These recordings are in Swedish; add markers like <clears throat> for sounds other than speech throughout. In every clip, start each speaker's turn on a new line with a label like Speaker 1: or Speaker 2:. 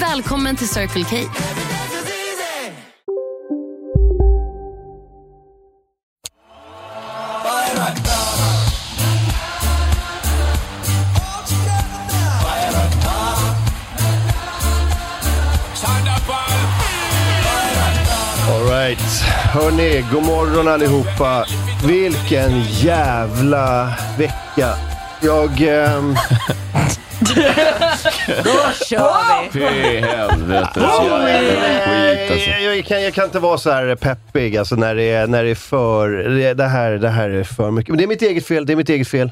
Speaker 1: Välkommen till Circle K.
Speaker 2: Alright, hörni, god morgon allihopa. Vilken jävla vecka. Jag... ehm,
Speaker 3: Fy helvetes jävla skit alltså.
Speaker 2: jag, jag, kan, jag kan inte vara så här peppig alltså, när, det är, när det är för... Det, det, här, det här är för mycket. Men det är mitt eget fel, det är mitt eget fel.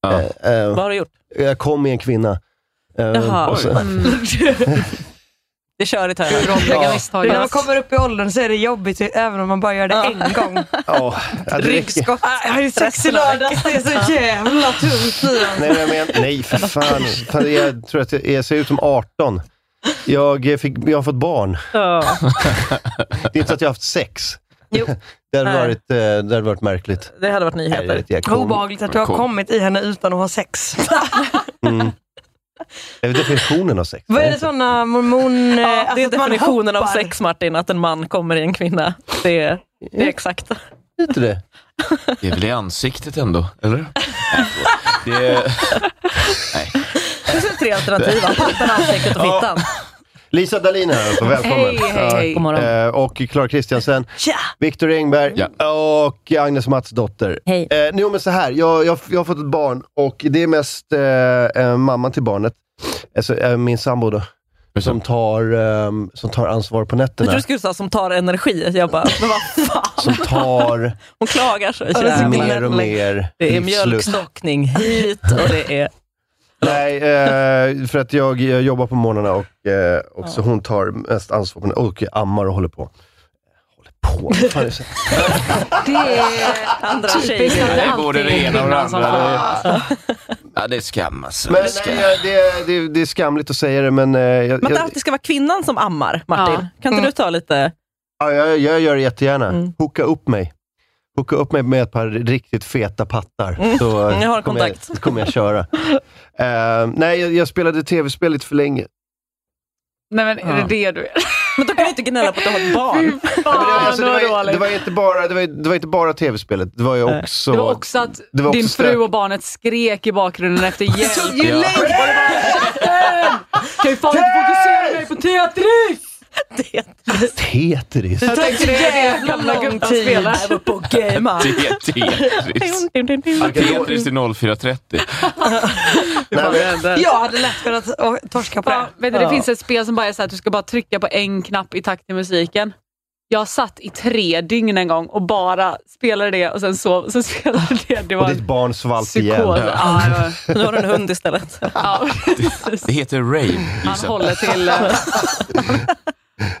Speaker 3: Ja.
Speaker 2: Eh, eh,
Speaker 4: Vad har du gjort?
Speaker 2: jag kom med en kvinna. Eh,
Speaker 4: Jaha. Mm.
Speaker 2: och så-
Speaker 4: Det kör ett hörn.
Speaker 2: Ja.
Speaker 5: Du, när man kommer upp i åldern så är det jobbigt även om man bara gör det en
Speaker 6: <laughs>
Speaker 5: gång.
Speaker 2: Ja, ja, det räcker.
Speaker 4: Ryggskott.
Speaker 5: Jag har ju sex i lördags, det är så jävla tungt nu.
Speaker 2: Nej, men jag men, nej, för fan. Fan, Jag tror att jag, jag ser ut som 18. Jag, eh, fick, jag har fått barn.
Speaker 4: Ja.
Speaker 2: Det är inte så att jag har haft sex.
Speaker 4: Jo.
Speaker 2: <laughs> Det hade
Speaker 4: Nej.
Speaker 2: varit, eh, det hade varit märkligt.
Speaker 4: Det hade varit
Speaker 2: Nej, det är
Speaker 4: nyheter.
Speaker 2: ett jäkla
Speaker 5: Vad obehagligt att du har
Speaker 3: Cool.
Speaker 5: kommit i henne utan att ha sex.
Speaker 2: Mm. Det är väl definitionen av sex.
Speaker 5: Vad är det sådana mormon... eh,
Speaker 4: Ja, det
Speaker 5: alltså
Speaker 4: är
Speaker 5: att man
Speaker 4: definitionen av
Speaker 5: hoppar?
Speaker 4: sex Martin, att en man kommer i en kvinna. Det är, det är exakt.
Speaker 2: Är inte det?
Speaker 3: Det är väl i ansiktet ändå, eller? Nej, det är... Nej.
Speaker 4: Det finns väl tre
Speaker 2: <laughs>
Speaker 4: alternativ, va? Pattan, ansiktet och fittan.
Speaker 2: Lisa Dahlin här alltså, välkommen.
Speaker 4: Hej, hej, hej. God morgon.
Speaker 2: Eh, Och Klara Kristiansen, Viktor Engberg och Agnes Matsdotter.
Speaker 4: Hej.
Speaker 2: Eh, jo, men så här, jag, jag, jag har fått ett barn och det är mest eh, eh, mamman till barnet, alltså, eh, min sambo då, som tar, eh, som tar ansvar på
Speaker 4: Jag trodde
Speaker 2: nätterna.
Speaker 4: du skulle säga som tar energi. Jag bara, men vad fan?
Speaker 2: Som tar
Speaker 4: Hon klagar så
Speaker 2: mer och
Speaker 4: jävla.
Speaker 2: mer
Speaker 4: Det är
Speaker 2: livsluft.
Speaker 4: mjölkstockning hit och det är...
Speaker 2: Nej, eh, för att jag, jag jobbar på morgnarna och, eh, och så hon tar mest ansvar på och jag ammar och håller på. Håller på? Vad fan är det så-
Speaker 5: Det är
Speaker 4: Andra
Speaker 5: typiskt
Speaker 4: tjejer.
Speaker 5: att det
Speaker 3: Det
Speaker 5: alltid
Speaker 3: både
Speaker 5: är
Speaker 3: det ena och det
Speaker 5: kvinnan som
Speaker 3: andra.
Speaker 5: får.
Speaker 3: Ja, det är skam alltså.
Speaker 2: Men,
Speaker 3: Det är skam.
Speaker 2: nej, det, det, det är skamligt att säga det, men eh, jag,
Speaker 4: Men att det
Speaker 2: jag,
Speaker 4: alltid ska vara kvinnan som ammar, Martin. Kan inte du ta lite...
Speaker 2: ja, jag, jag gör det jättegärna.
Speaker 4: Mm.
Speaker 2: Hooka upp mig. Hooka upp mig med ett par riktigt feta pattar. Så eh,
Speaker 4: jag har
Speaker 2: kommer
Speaker 4: kontakt.
Speaker 2: Jag, kommer jag köra. Eh, nej, jag, jag spelade tv-spel lite för länge.
Speaker 6: Nej men är det det du är?
Speaker 4: Men då kan du inte gnälla på att du har ett barn.
Speaker 6: <laughs>
Speaker 2: Men det, var-
Speaker 6: Fan
Speaker 2: alltså, det,
Speaker 6: vad
Speaker 2: var, det,
Speaker 6: dåligt.
Speaker 2: var inte bara, det, var, det var inte bara tv-spelet, det var ju
Speaker 4: Nej.
Speaker 2: också...
Speaker 6: Det var också att
Speaker 2: det var också
Speaker 6: din
Speaker 2: stök.
Speaker 6: fru och barnet skrek i bakgrunden efter hjälp.
Speaker 3: Ja.
Speaker 6: Kan ju fan inte fokusera mig på Tetris!
Speaker 2: Tetris.
Speaker 6: Jag tänkte det är det gamla gubben spelar.
Speaker 4: Jag var på och gamea.
Speaker 3: <laughs> Det är Tetris. Tetris till 04.30.
Speaker 2: Nej, men-
Speaker 5: Jag hade lätt kunnat å- torska på det.
Speaker 6: Fan, vet du, det
Speaker 4: Ja.
Speaker 6: finns ett spel som bara är så här att du ska bara trycka på en knapp i takt till musiken. Jag satt i tre dygn en gång och bara spelade det och sen sov sen <laughs> spelade det. Det
Speaker 2: Och
Speaker 6: var
Speaker 2: ditt
Speaker 6: en
Speaker 2: barn svalt
Speaker 6: psykos.
Speaker 2: igen.
Speaker 6: Ja, det var-
Speaker 4: Nu har du en hund istället. <laughs>
Speaker 6: ja, precis.
Speaker 3: Det heter rave,
Speaker 6: Han
Speaker 3: Lisa.
Speaker 6: håller till... eh,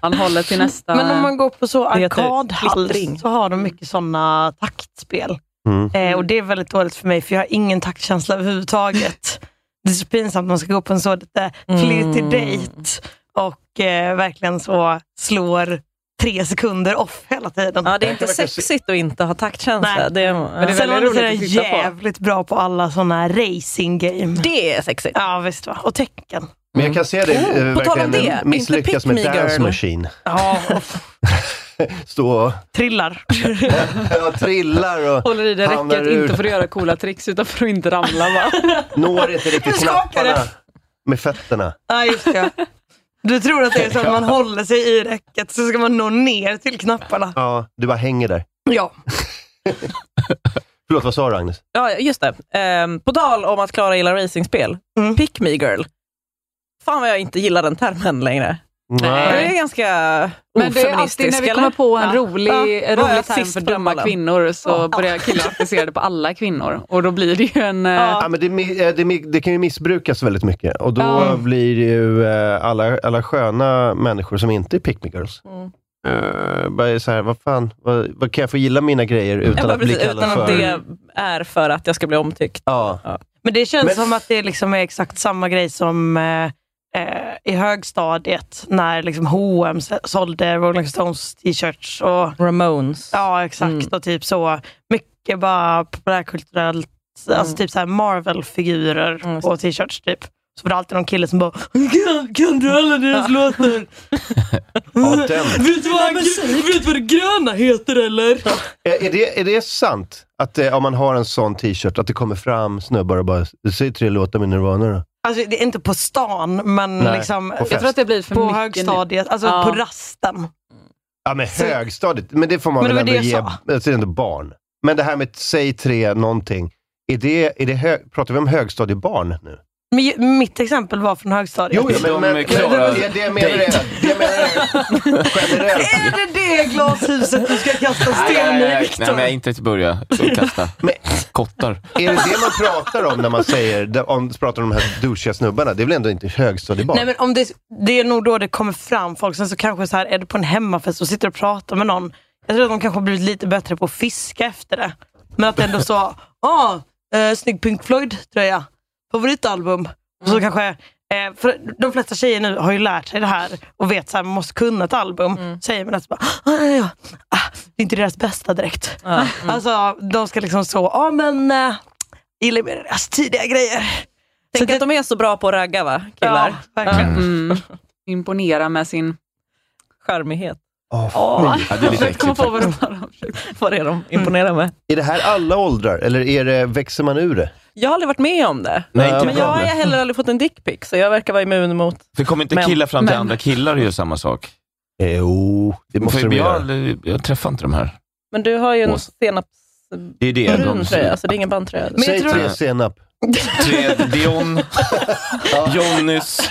Speaker 6: Han håller till nästa...
Speaker 5: Men om man går på så
Speaker 4: Det heter
Speaker 5: arkadhall
Speaker 4: splittring.
Speaker 5: så har de mycket sådana taktspel.
Speaker 2: Mm.
Speaker 5: Eh, och det är väldigt dåligt för mig för jag har ingen taktkänsla överhuvudtaget. Det är så pinsamt om man ska gå på en så lite flirty
Speaker 4: Mm.
Speaker 5: date och eh, verkligen så slår tre sekunder off hela tiden.
Speaker 4: Ja, det är inte sexigt att inte ha taktkänsla.
Speaker 5: Nej.
Speaker 4: Det är,
Speaker 6: det
Speaker 5: Sen
Speaker 6: är väldigt
Speaker 5: var det
Speaker 6: roligt
Speaker 5: sådär
Speaker 6: att titta på.
Speaker 5: jävligt bra på alla sådana racing game.
Speaker 4: det är sexigt.
Speaker 5: Ja visst va, och tecken.
Speaker 2: Men jag kan se dig
Speaker 4: Mm.
Speaker 2: eh,
Speaker 4: På tal
Speaker 2: verkligen
Speaker 4: om det, inte
Speaker 2: misslyckas
Speaker 4: Pick
Speaker 2: med
Speaker 4: Me
Speaker 2: Dance
Speaker 4: Girl.
Speaker 2: Machine.
Speaker 5: Ja, och
Speaker 2: <laughs> Stå och
Speaker 5: trillar.
Speaker 2: och trillar och
Speaker 6: Håller i det
Speaker 2: Hamnar
Speaker 6: räcket,
Speaker 2: ur.
Speaker 6: inte för att göra coola tricks utan för att inte ramla.
Speaker 4: <laughs>
Speaker 6: Va?
Speaker 2: når inte riktigt knapparna med fötterna.
Speaker 5: Ja, just det. ja. Du tror att det är så att man håller sig i räcket så ska man nå ner till knapparna.
Speaker 2: Ja, du bara hänger där.
Speaker 5: Ja.
Speaker 2: <laughs> Förlåt, vad sa du Agnes?
Speaker 4: Ja, just det. Ehm, på tal om att Klara gillar racingspel.
Speaker 5: Mm.
Speaker 4: Pick me girl. Fan vad jag inte gillar den termen längre. Det är ganska
Speaker 6: Men det är alltid
Speaker 4: ofeministisk,
Speaker 6: när vi
Speaker 4: eller?
Speaker 6: kommer på en
Speaker 4: Ja.
Speaker 6: rolig, en
Speaker 4: Var jag
Speaker 6: rolig term
Speaker 4: sist
Speaker 6: för
Speaker 4: på den
Speaker 6: dumma
Speaker 4: bollen?
Speaker 6: kvinnor så börjar killar applicera det på alla kvinnor och då blir det ju en... eh,
Speaker 2: Ja, men det, mi- eh, det, mi- det kan ju missbrukas väldigt mycket och då
Speaker 6: Ja.
Speaker 2: blir det ju eh, alla, alla sköna människor som inte är pick me girls.
Speaker 4: Mm.
Speaker 2: eh, bara så här, vad fan, vad, vad kan jag få gilla mina grejer utan
Speaker 4: Ja,
Speaker 2: att bli
Speaker 4: precis,
Speaker 2: kallad
Speaker 4: utan att
Speaker 2: för...
Speaker 4: det är för att jag ska bli omtyckt.
Speaker 2: Ja.
Speaker 5: Men det känns
Speaker 2: Men-
Speaker 5: som att det liksom är exakt samma grej som eh, eh, i högstadiet när liksom H&M s- sålde Rolling Stones t-shirts. Och,
Speaker 4: Ramones.
Speaker 5: ja, exakt.
Speaker 4: Mm.
Speaker 5: Och typ så. Mycket bara populärkulturellt. Alltså
Speaker 4: Mm.
Speaker 5: typ så här Marvel-figurer
Speaker 4: Mm,
Speaker 5: på t-shirts typ. Så var det alltid någon kille som bara kan, kan du alla deras låtar?
Speaker 2: Ja, den.
Speaker 5: <laughs> Vet du vad, vet du vad det gröna heter eller?
Speaker 2: Eh, Är, är, det, är det sant att eh, om man har en sån t-shirt, att det kommer fram snubbar och bara “säg tre låtar med Nirvana då”?
Speaker 5: Alltså det är inte på stan, men
Speaker 2: Nej,
Speaker 5: liksom
Speaker 2: på
Speaker 5: jag
Speaker 6: jag tror att det blir för
Speaker 5: på
Speaker 6: mycket nu.
Speaker 5: högstadiet, alltså
Speaker 6: Ja.
Speaker 5: på rasten.
Speaker 2: Ja, men högstadiet. Men det får man
Speaker 5: Men det
Speaker 2: väl
Speaker 5: var det
Speaker 2: ändå
Speaker 5: jag
Speaker 2: ge.
Speaker 5: sa.
Speaker 2: Alltså, det är ändå barn. Men det här med “säg tre någonting”, är det, är det hö, pratar vi om högstadiebarn nu?
Speaker 5: Men ju- mitt exempel var från högstadiet.
Speaker 2: Jo, jo, men,
Speaker 3: De
Speaker 2: men,
Speaker 3: är
Speaker 2: men
Speaker 3: klara.
Speaker 2: det, det jag menar är, det jag menar är generellt.
Speaker 5: Är det det glashuset du ska kasta
Speaker 3: Nej,
Speaker 5: sten
Speaker 3: nej,
Speaker 5: i,
Speaker 3: nej, nej,
Speaker 5: Viktor?
Speaker 3: men jag är inte till börja. Så Kasta.
Speaker 2: Men-
Speaker 3: Kottar.
Speaker 2: Är det det man pratar om när man säger, om, pratar om de här douchiga snubbarna? Det är väl ändå inte högstadiebarn?
Speaker 5: Nej, men om det, det är nog då det kommer fram folk. Sen så kanske så här, är du på en hemmafest och sitter och pratar med någon. Jag tror att de kanske har blivit lite bättre på att fiska efter det. Men att det ändå så, <laughs> ah, eh, snygg Pink Floyd-tröja. Favoritalbum. Och
Speaker 4: Mm.
Speaker 5: så kanske, eh, för de flesta tjejer nu har ju lärt sig det här och vet att man måste kunna ett album.
Speaker 4: Mm.
Speaker 5: Säger man att bara, ah, ja, ja. Ah, det är inte deras bästa direkt.
Speaker 4: Ja, mm.
Speaker 5: <laughs> Alltså, de ska liksom så, ja ah, men eh, gillar mer deras tidiga grejer.
Speaker 4: Tänk att de är så bra på att ragga, va? Killar.
Speaker 5: Ja, verkligen.
Speaker 6: Mm. Imponera med sin...
Speaker 4: Charmighet. <laughs>
Speaker 2: Åh,
Speaker 4: Åh.
Speaker 2: fy.
Speaker 3: Ja, det är
Speaker 6: Jag
Speaker 3: lite
Speaker 6: försöker komma
Speaker 3: äckligt.
Speaker 6: på vad
Speaker 3: faktiskt.
Speaker 6: de talar om.
Speaker 4: Vad är de imponerade med?
Speaker 2: Är det här alla åldrar, eller är det, växer man ur det?
Speaker 4: Jag har aldrig varit med om det.
Speaker 3: Nej, inte
Speaker 4: Men
Speaker 3: jag
Speaker 4: jag har
Speaker 3: heller.
Speaker 4: heller aldrig fått en dickpic, så jag verkar vara immun mot...
Speaker 3: För kommer inte
Speaker 4: Men-
Speaker 3: killar fram till
Speaker 4: men-
Speaker 3: andra killar och gör samma sak?
Speaker 2: Eh, Jo, det måste
Speaker 3: För
Speaker 2: de
Speaker 3: jag, har
Speaker 2: göra.
Speaker 3: aldrig- jag träffar inte de här.
Speaker 4: Men du har ju en
Speaker 3: Ås.
Speaker 4: senapsbrun
Speaker 3: Det är det. de,
Speaker 4: tröja, så det är ingen bandtröja.
Speaker 6: Men jag
Speaker 2: Säg
Speaker 6: tror-
Speaker 2: tre senap.
Speaker 3: Tre,
Speaker 2: <laughs>
Speaker 3: Dion, Jonnys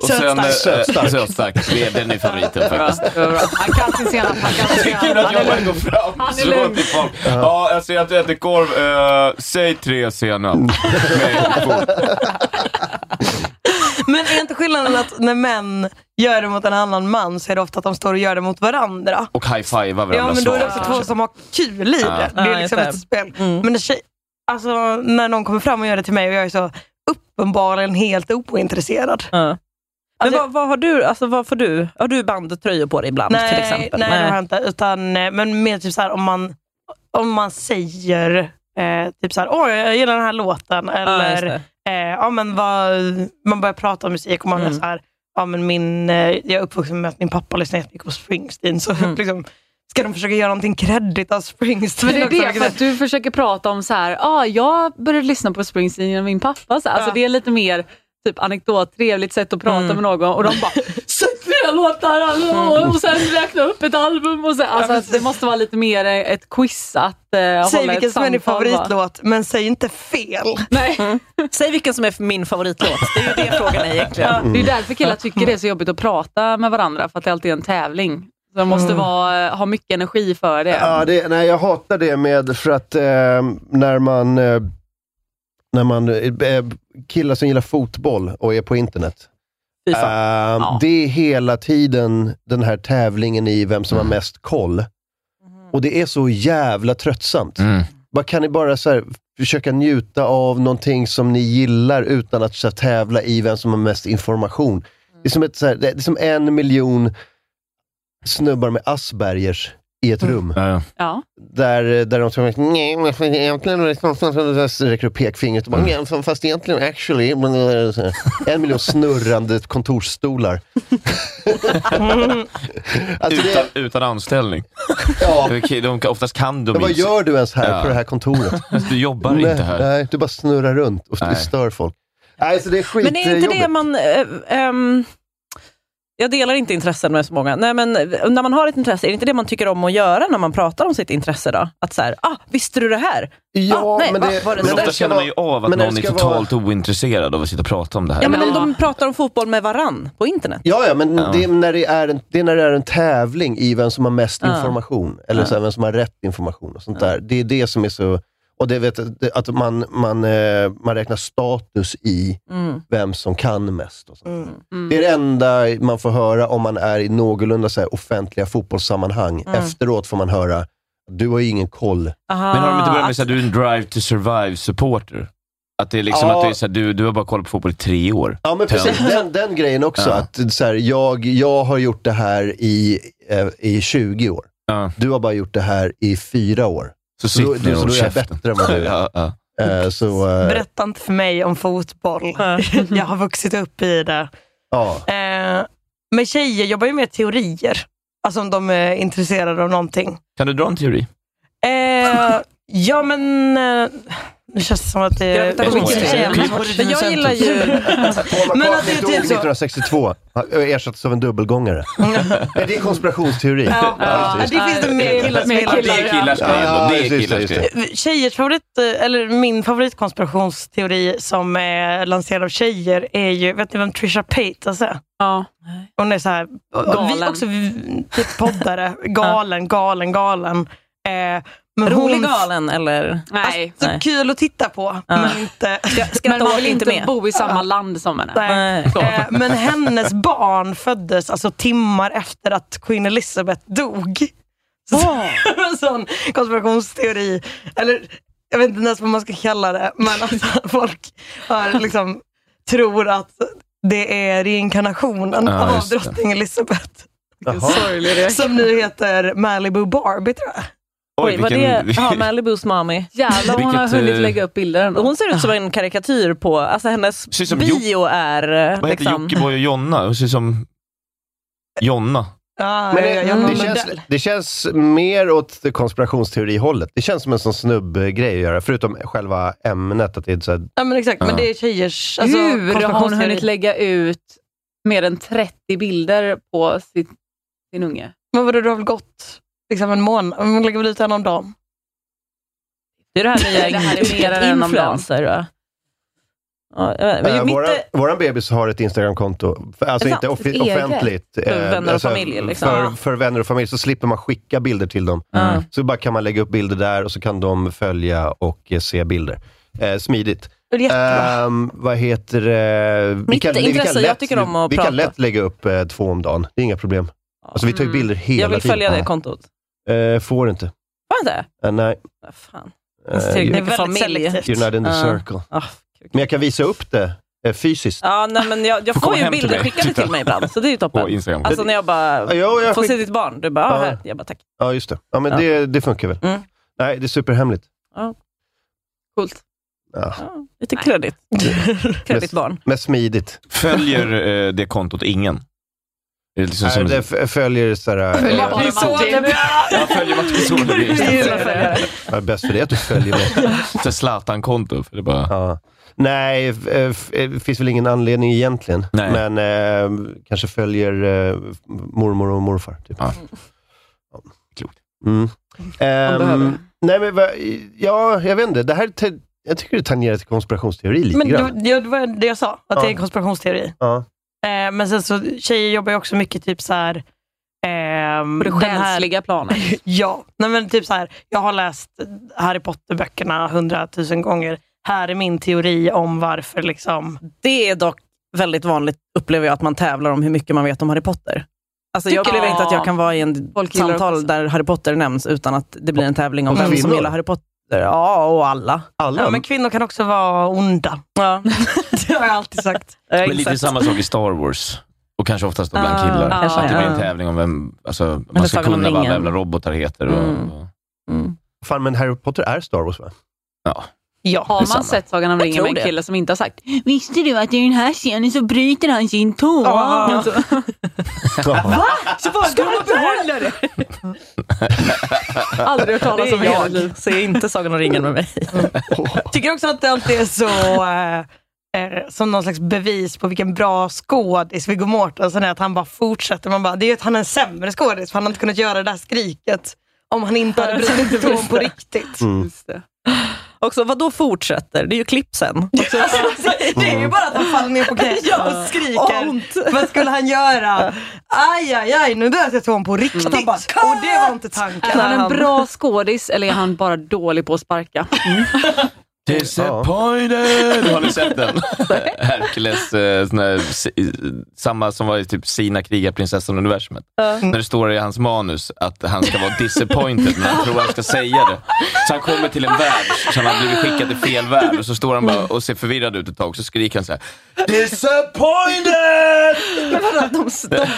Speaker 3: och sen eh,
Speaker 2: Sötstark.
Speaker 3: Sötstark. Det- Den är favoriten
Speaker 6: Bra,
Speaker 3: faktiskt.
Speaker 6: bra, bra. Han kan sin senap, han kan sin
Speaker 3: Det är kul
Speaker 6: senap.
Speaker 3: att
Speaker 6: Han är
Speaker 3: jag bara
Speaker 6: lugn.
Speaker 3: går fram och
Speaker 6: Han är
Speaker 3: slår
Speaker 6: lugn.
Speaker 3: till folk. Ja, alltså, jag ser att du äter korv. Eh, säg tre senap. Nej, två.
Speaker 5: Men är inte skillnaden att när män gör det mot en annan man så är det ofta att de står och gör det mot varandra?
Speaker 3: Och high-fivar varandra
Speaker 5: Ja, men då är det
Speaker 3: svagt.
Speaker 5: också två som har kul i det. Det
Speaker 4: Ja,
Speaker 5: är liksom
Speaker 4: just det.
Speaker 5: ett spel.
Speaker 4: Mm.
Speaker 5: Men när, tjej, alltså, när någon kommer fram och gör det till mig och jag är så uppenbarligen helt ointresserad.
Speaker 4: Ja. Men
Speaker 5: Alltså-
Speaker 4: vad, vad har du, alltså vad får du, har du bandtröjor på dig ibland till
Speaker 5: Nej,
Speaker 4: exempel?
Speaker 5: nej, det har jag inte. Utan, eh, men mer typ så här, om man, om man säger eh, typ så här, åh jag gillar den här låten.
Speaker 4: Ja, just
Speaker 5: Eller,
Speaker 4: det.
Speaker 5: eh, ja, men vad, man börjar prata om musik och man är
Speaker 4: Mm.
Speaker 5: så här, ja, men min, eh, jag är uppvuxen med att min pappa lyssnar jättemycket på Springsteen. Så <laughs>
Speaker 4: Mm.
Speaker 5: liksom, ska de försöka göra någonting kreddigt av Springsteen?
Speaker 6: Men det är
Speaker 5: också,
Speaker 6: det,
Speaker 5: vilket
Speaker 6: för att du försöker prata om så här, ah, jag började lyssna på Springsteen genom min pappa. Så här. Alltså,
Speaker 5: Ja.
Speaker 6: Det är lite mer typ anekdot, trevligt sätt att prata
Speaker 4: Mm.
Speaker 6: med någon och de bara säg flera låtar alltså, och sen räkna upp ett album. Och så, alltså,
Speaker 5: Ja,
Speaker 6: att det måste vara lite mer eh, ett quiz att eh,
Speaker 5: Säg
Speaker 6: hålla
Speaker 5: vilken
Speaker 6: ett
Speaker 5: som är din
Speaker 6: samtal, va?
Speaker 5: favoritlåt, men säg inte fel.
Speaker 6: Nej,
Speaker 5: <laughs>
Speaker 4: Säg vilken som är min favoritlåt. Det är ju det frågan är egentligen.
Speaker 6: Det är därför killar tycker det är så jobbigt att prata med varandra, för att det alltid är en tävling. Så de måste vara, eh, ha mycket energi för det.
Speaker 2: Ja, det, nej, jag hatar det med, för att eh, när man, eh, när man eh, killar som gillar fotboll och är på internet,
Speaker 4: Fy
Speaker 2: eh,
Speaker 4: fan.
Speaker 2: det är hela tiden den här tävlingen i vem som har mest koll.
Speaker 4: Mm.
Speaker 2: Och det är så jävla tröttsamt.
Speaker 3: Mm.
Speaker 2: Vad kan ni bara så här, försöka njuta av någonting som ni gillar utan att så här, tävla i vem som har mest information? Det är som, ett, så här, det är som en miljon snubbar med Aspergers i
Speaker 4: Mm.
Speaker 2: ett rum.
Speaker 3: Ja, ja.
Speaker 6: Ja.
Speaker 2: Där, där de ska nej, men fast egentligen räcker upp pekfingret och bara,
Speaker 3: Mm.
Speaker 2: nej, men fast egentligen actually, men, eh, så här. en miljon snurrande
Speaker 3: <laughs>
Speaker 2: kontorsstolar. alltså,
Speaker 3: Utan,
Speaker 2: det,
Speaker 3: utan anställning.
Speaker 2: ja,
Speaker 3: Okej, De, kan- oftast kan de
Speaker 2: men vad
Speaker 3: inte.
Speaker 2: gör du ens här
Speaker 3: Ja.
Speaker 2: på det här kontoret?
Speaker 3: Du jobbar inte här.
Speaker 2: Nej, du bara snurrar runt och
Speaker 3: Nej.
Speaker 2: stör folk. Nej, så det är
Speaker 4: Men är inte
Speaker 2: skitjobbigt.
Speaker 4: det man... eh, ehm, Jag delar inte intressen med så många. Nej, men eh, när man har ett intresse, är det inte det man tycker om att göra när man pratar om sitt intresse? då? Att så här, ah, visste du det här?
Speaker 2: Ja,
Speaker 4: Ah, nej,
Speaker 2: men
Speaker 4: va?
Speaker 2: det, men
Speaker 4: Var det så?
Speaker 3: Men
Speaker 2: det
Speaker 3: ofta
Speaker 2: ska
Speaker 3: känner man ju
Speaker 2: vara-
Speaker 3: av att
Speaker 2: men det
Speaker 3: någon är
Speaker 2: ska vara-
Speaker 3: totalt ointresserad av att sitta och prata om det här.
Speaker 4: Ja, men om
Speaker 6: Ja.
Speaker 4: de pratar om fotboll med varann på internet.
Speaker 2: Ja, ja, men
Speaker 3: Ja.
Speaker 2: Det, är när det, är en, det är när det är en tävling i vem som har mest
Speaker 4: Ja.
Speaker 2: information. Eller så här, vem som har rätt information och sånt där. Det är det som är så... Och det vet, jag, det- att man, man, eh, man räknar status i
Speaker 4: Mm.
Speaker 2: vem som kan mest. Och sånt.
Speaker 5: Mm.
Speaker 6: Mm.
Speaker 2: Det är det enda man får höra om man är i någorlunda så här, offentliga fotbollssammanhang.
Speaker 4: Mm.
Speaker 2: Efteråt får man höra, du har ju ingen koll.
Speaker 4: Aha,
Speaker 3: Men har de inte börjat med
Speaker 4: att-
Speaker 3: att du är en drive to survive-supporter? Att det är liksom
Speaker 2: Ja.
Speaker 3: att det är så här, du, du har bara kollat på fotboll i tre år.
Speaker 2: Ja, men precis. Den, den grejen också.
Speaker 3: Ja.
Speaker 2: Att, så här, jag, jag har gjort det här i, eh, i 20 år.
Speaker 3: Ja.
Speaker 2: Du har bara gjort det här i fyra år.
Speaker 3: Så
Speaker 2: Så då,
Speaker 3: sitt
Speaker 2: du,
Speaker 3: ner och
Speaker 2: så
Speaker 3: håll
Speaker 2: då är jag
Speaker 3: käften.
Speaker 2: bättre än vad du är.
Speaker 3: Ja, <laughs> ja.
Speaker 2: Eh, så, eh,
Speaker 5: Berätta inte för mig om fotboll. <laughs> jag har vuxit upp i det.
Speaker 2: ja.
Speaker 5: Eh, men tjejer jobbar ju med teorier. Alltså om de är intresserade av någonting.
Speaker 3: Kan du dra en teori?
Speaker 5: Eh, ja, men... Eh, nu känns det som att det
Speaker 4: Jag vet inte
Speaker 5: är
Speaker 4: vad som
Speaker 5: mycket
Speaker 4: säger.
Speaker 5: jävla-
Speaker 4: Men jag
Speaker 5: <laughs>
Speaker 4: gillar
Speaker 5: <laughs>
Speaker 4: ju...
Speaker 5: Men att det är
Speaker 2: dog
Speaker 5: typ så.
Speaker 2: 1962 har ersattes av en
Speaker 3: <laughs>
Speaker 2: dubbelgångare. Är det är konspirationsteori?
Speaker 5: Ja,
Speaker 2: Ja,
Speaker 5: det
Speaker 2: just det.
Speaker 5: finns det mer killar som
Speaker 6: Mer
Speaker 5: gillar.
Speaker 6: killar,
Speaker 3: Det är killars
Speaker 2: ja.
Speaker 3: grej ändå.
Speaker 2: Ja,
Speaker 3: Det
Speaker 2: just
Speaker 3: är
Speaker 2: det,
Speaker 3: killars
Speaker 2: just det.
Speaker 3: grej.
Speaker 5: Tjejers favorit, eh, eller min favoritkonspirationsteori som är lanserad av tjejer är ju, vet ni vem Trisha Paytas är?
Speaker 6: Ja.
Speaker 5: Hon är så här,
Speaker 6: Galen.
Speaker 5: Vi också, vi, typ <laughs> poddare, galen, galen, galen. Eh, men
Speaker 4: Rolig
Speaker 5: hon-
Speaker 4: galen eller?
Speaker 6: Nej.
Speaker 5: Så
Speaker 4: Nej.
Speaker 5: kul att titta på,
Speaker 4: Ja.
Speaker 5: men inte...
Speaker 6: Men man vill
Speaker 4: inte
Speaker 6: inte
Speaker 4: med.
Speaker 6: bo i samma land som henne.
Speaker 5: Nej.
Speaker 4: Nej.
Speaker 6: Så.
Speaker 5: Eh, Men hennes barn föddes alltså timmar efter att Queen Elizabeth dog. Så, en <laughs> sån konspirationsteori. Eller jag vet inte ens vad man ska kalla det, men att folk har, liksom, tror att det är reinkarnationen
Speaker 3: Ja,
Speaker 5: av
Speaker 3: just det.
Speaker 5: drottning Elizabeth.
Speaker 2: Jaha.
Speaker 6: Sorglig reaktion.
Speaker 5: Som nu heter Malibu Barbie tror jag.
Speaker 4: Oj, vad det? Ja, Malibus mami.
Speaker 6: Jävlar vad hon har
Speaker 3: Vilket, eh,
Speaker 6: hunnit lägga upp bilder ändå.
Speaker 4: Hon ser ut som en karikatyr på, alltså
Speaker 3: Ser ut
Speaker 4: hennes
Speaker 3: som
Speaker 4: bio är
Speaker 3: <laughs>
Speaker 4: eh,
Speaker 3: Vad heter
Speaker 4: liksom...
Speaker 3: Jockiboi och Jonna? Hon ser ut som Jonna.
Speaker 5: Ja,
Speaker 2: Men
Speaker 5: ja,
Speaker 2: det, mm,
Speaker 5: ja, någon
Speaker 2: det, känns,
Speaker 5: modell.
Speaker 2: det känns mer åt det konspirationsteorihållet. Det känns som en sån snubbgrej att göra, förutom själva ämnet. Att det är så här,
Speaker 5: ja, men exakt.
Speaker 3: Ja.
Speaker 5: Men det är tjejers alltså,
Speaker 6: Hur har hon
Speaker 5: konspirationsteori.
Speaker 6: hunnit lägga ut mer än 30 bilder på sin, sin unge?
Speaker 5: Men vadå, det har väl gått liksom, en månad? Hon lägger väl ut en om dagen?
Speaker 4: Det är det här nya
Speaker 6: Det här är mer än en om dagen.
Speaker 4: influencer. va? Ja, jag vet. Men
Speaker 2: eh,
Speaker 4: mitt,
Speaker 2: våran, våran bebis har ett Instagramkonto. För- Alltså
Speaker 4: Ett
Speaker 2: inte
Speaker 4: sant-
Speaker 2: offi-
Speaker 4: ett eget.
Speaker 2: offentligt. eh,
Speaker 4: För vänner och familj, liksom.
Speaker 2: För, för vänner och familj, så slipper man skicka bilder till dem. Mm.
Speaker 4: Ja.
Speaker 2: Så bara kan man lägga upp bilder där och så kan de följa och eh, se bilder. Eh, smidigt.
Speaker 5: Det är jättebra.
Speaker 2: Ehm, vad heter eh, det?
Speaker 4: Mitt intresse, jag tycker om att
Speaker 2: vi
Speaker 4: prata.
Speaker 2: kan lätt lägga upp eh, två om dagen. Det är inga problem. Alltså vi tar ju
Speaker 6: Mm.
Speaker 2: bilder hela
Speaker 4: jag vill
Speaker 2: tiden.
Speaker 4: följa det kontot.
Speaker 2: Eh, får inte.
Speaker 4: Får jag inte?
Speaker 2: Eh, nej.
Speaker 4: Vad Fan.
Speaker 2: Eh,
Speaker 4: Det är
Speaker 2: you-
Speaker 5: Det är
Speaker 4: mycket
Speaker 5: väldigt
Speaker 4: familj.
Speaker 5: selektivt.
Speaker 2: you're not in the
Speaker 4: Ah.
Speaker 2: circle.
Speaker 4: Ah, kuk.
Speaker 2: Men jag kan visa upp det eh, fysiskt.
Speaker 4: Ja, nej, men jag,
Speaker 3: Får
Speaker 4: jag får,
Speaker 3: komma
Speaker 4: ju
Speaker 3: hem till
Speaker 4: bilder
Speaker 3: mig.
Speaker 4: skickade
Speaker 3: Titta.
Speaker 4: till mig ibland, så det är ju
Speaker 3: På
Speaker 4: toppen.
Speaker 3: Instagram.
Speaker 4: Alltså när jag bara
Speaker 2: Ja, jag, jag
Speaker 4: får se
Speaker 2: skick...
Speaker 4: ditt barn, du bara, ah,
Speaker 2: Ja.
Speaker 4: här. Jag bara, tack.
Speaker 2: ja just det. Ja, men
Speaker 4: Ja.
Speaker 2: Det, det funkar väl.
Speaker 4: Mm.
Speaker 2: Nej, det är superhemligt.
Speaker 6: Coolt.
Speaker 2: Ja.
Speaker 4: Ja, lite kreddigt. <laughs> kreddigt barn.
Speaker 2: Men smidigt.
Speaker 3: Följer eh, det kontot ingen? Det är liksom
Speaker 2: Nej,
Speaker 3: som
Speaker 2: det f- följer sådär...
Speaker 6: Följer
Speaker 2: eh,
Speaker 6: bara-
Speaker 3: Jag följer Martin Solveig.
Speaker 2: vad är bäst för det att du följer mig.
Speaker 3: Så Zlatan-konto. för Det är bara...
Speaker 2: Ja. Nej, f- eh, f- det finns väl ingen anledning egentligen.
Speaker 3: Nej.
Speaker 2: Men eh, kanske följer eh, mormor och morfar. Typ.
Speaker 3: Ja.
Speaker 2: Ja.
Speaker 3: Klokt.
Speaker 2: Mm. Ehm,
Speaker 6: behöver det.
Speaker 2: nej, men va, ja, jag vet inte. Det här, te- jag tycker det tangerar till konspirationsteori lite
Speaker 5: Men
Speaker 2: grann.
Speaker 5: det, det var det jag sa, att det är en
Speaker 2: Ja.
Speaker 5: konspirationsteori.
Speaker 2: Ja.
Speaker 5: Eh, men sen så, tjejer jobbar ju också mycket typ så här... ehm,
Speaker 6: På det
Speaker 5: den här-
Speaker 6: själsliga <laughs> planet.
Speaker 5: Ja, nej men typ så här, jag har läst Harry Potter-böckerna hundratusen gånger. Här är min teori om varför liksom...
Speaker 4: Det är dock väldigt vanligt, upplever jag, att man tävlar om hur mycket man vet om Harry Potter. Alltså, jag
Speaker 6: Tycker
Speaker 4: upplever
Speaker 6: du?
Speaker 4: inte att jag kan vara i en
Speaker 6: Folk gillar också.
Speaker 4: samtal där Harry Potter nämns utan att det blir en tävling om
Speaker 2: Och
Speaker 4: vem som
Speaker 2: kvinnor.
Speaker 4: gillar Harry Potter. Ja, och alla.
Speaker 2: Alla?
Speaker 5: Ja, men kvinnor kan också vara onda.
Speaker 4: Ja.
Speaker 5: Det har jag alltid sagt.
Speaker 4: Jag har
Speaker 3: Men lite
Speaker 4: insett.
Speaker 3: samma sak i Star Wars. Och kanske oftast då bland
Speaker 4: Ah,
Speaker 3: killar.
Speaker 4: kanske,
Speaker 3: att det blir en
Speaker 4: ja.
Speaker 3: tävling om vem... Alltså, man ska
Speaker 4: Sagan om
Speaker 3: kunna vad alla
Speaker 4: ringen.
Speaker 3: jävla robotar heter. Och,
Speaker 4: Mm. <laughs>
Speaker 3: och,
Speaker 4: Mm.
Speaker 2: Fan, men Harry Potter är Star Wars va?
Speaker 3: ja.
Speaker 5: Ja.
Speaker 6: Har man sett Sagan om
Speaker 4: Jag
Speaker 6: ringen
Speaker 4: tror
Speaker 6: med en
Speaker 4: det.
Speaker 6: kille som inte har sagt “Visste du att i den här scenen så bryter han sin tå?”
Speaker 4: Ja.
Speaker 6: Så-
Speaker 4: Så vad ska man behålla det?
Speaker 6: Aldrig hört talas
Speaker 4: Det
Speaker 6: om
Speaker 4: är
Speaker 6: i hela mitt liv.
Speaker 4: jag. Så jag är inte Sagan om ringen med mig.
Speaker 5: Tycker också att det alltid är så... Eh, eh, som någon slags bevis på vilken bra skådis Viggo Mortensen är, att han bara fortsätter. Man bara, det är ju att han är en sämre skådis, för han hade inte kunnat göra det där skriket om han inte hade blivit <laughs> ifrån på riktigt.
Speaker 3: Mm.
Speaker 6: Just det.
Speaker 4: Också, vad då fortsätter? Det är ju klipp sen.
Speaker 5: Det är ju bara att han faller ner på <laughs> knä och skriker. Vad skulle han göra? Aj, aj, aj, nu dödade jag tån på riktigt. och det var inte tanken.
Speaker 6: Är han en bra skådis eller är han bara dålig på att sparka?
Speaker 3: Disappointed! Har ni sett
Speaker 4: <laughs>
Speaker 3: den? Hercules, eh, sån här, si- samma som var i typ Sina krigarprinsessan universumet. När det står i hans manus att han ska vara disappointed, men han tror han ska säga det. Så han kommer till en värld som han har blivit skickad till fel värld och så står han bara och ser förvirrad ut ett tag, så skriker han så här: Disappointed!
Speaker 4: Men vadå, att de,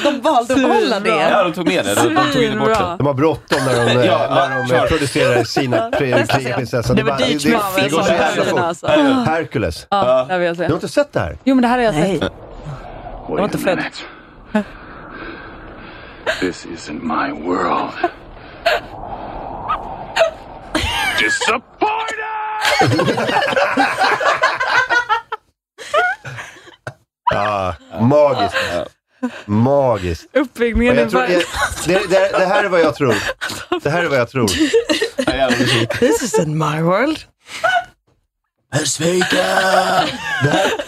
Speaker 4: de, de valde att behålla det?
Speaker 3: Ja, de tog med det. De, de tog inte bort det.
Speaker 6: Svinbra.
Speaker 2: De har bråttom när de, eh,
Speaker 3: <laughs> Ja,
Speaker 2: när de
Speaker 3: kör.
Speaker 2: eh, producerar
Speaker 3: <laughs>
Speaker 2: sina pri- krigarprinsessan.
Speaker 4: Det var
Speaker 2: bara-
Speaker 4: Deitch Marvel
Speaker 2: det går
Speaker 4: som
Speaker 2: så jävla
Speaker 4: hade
Speaker 6: den,
Speaker 2: fort.
Speaker 6: alltså.
Speaker 2: Hercules.
Speaker 6: Ja, där vill jag se.
Speaker 2: Du har inte sett det här?
Speaker 6: Jo men det här har jag sett.
Speaker 4: Nej. Jag var inte född.
Speaker 7: This isn't my world. Disappointed!
Speaker 2: Ja, Ah, magiskt. Magiskt.
Speaker 6: Uppvigningen
Speaker 2: Men
Speaker 6: är
Speaker 2: jag tror,
Speaker 6: bara...
Speaker 2: jag, det, det, det här är vad jag tror. Det här är vad jag tror.
Speaker 3: Ja, jävla musik.
Speaker 5: This isn't my world.
Speaker 2: Det här,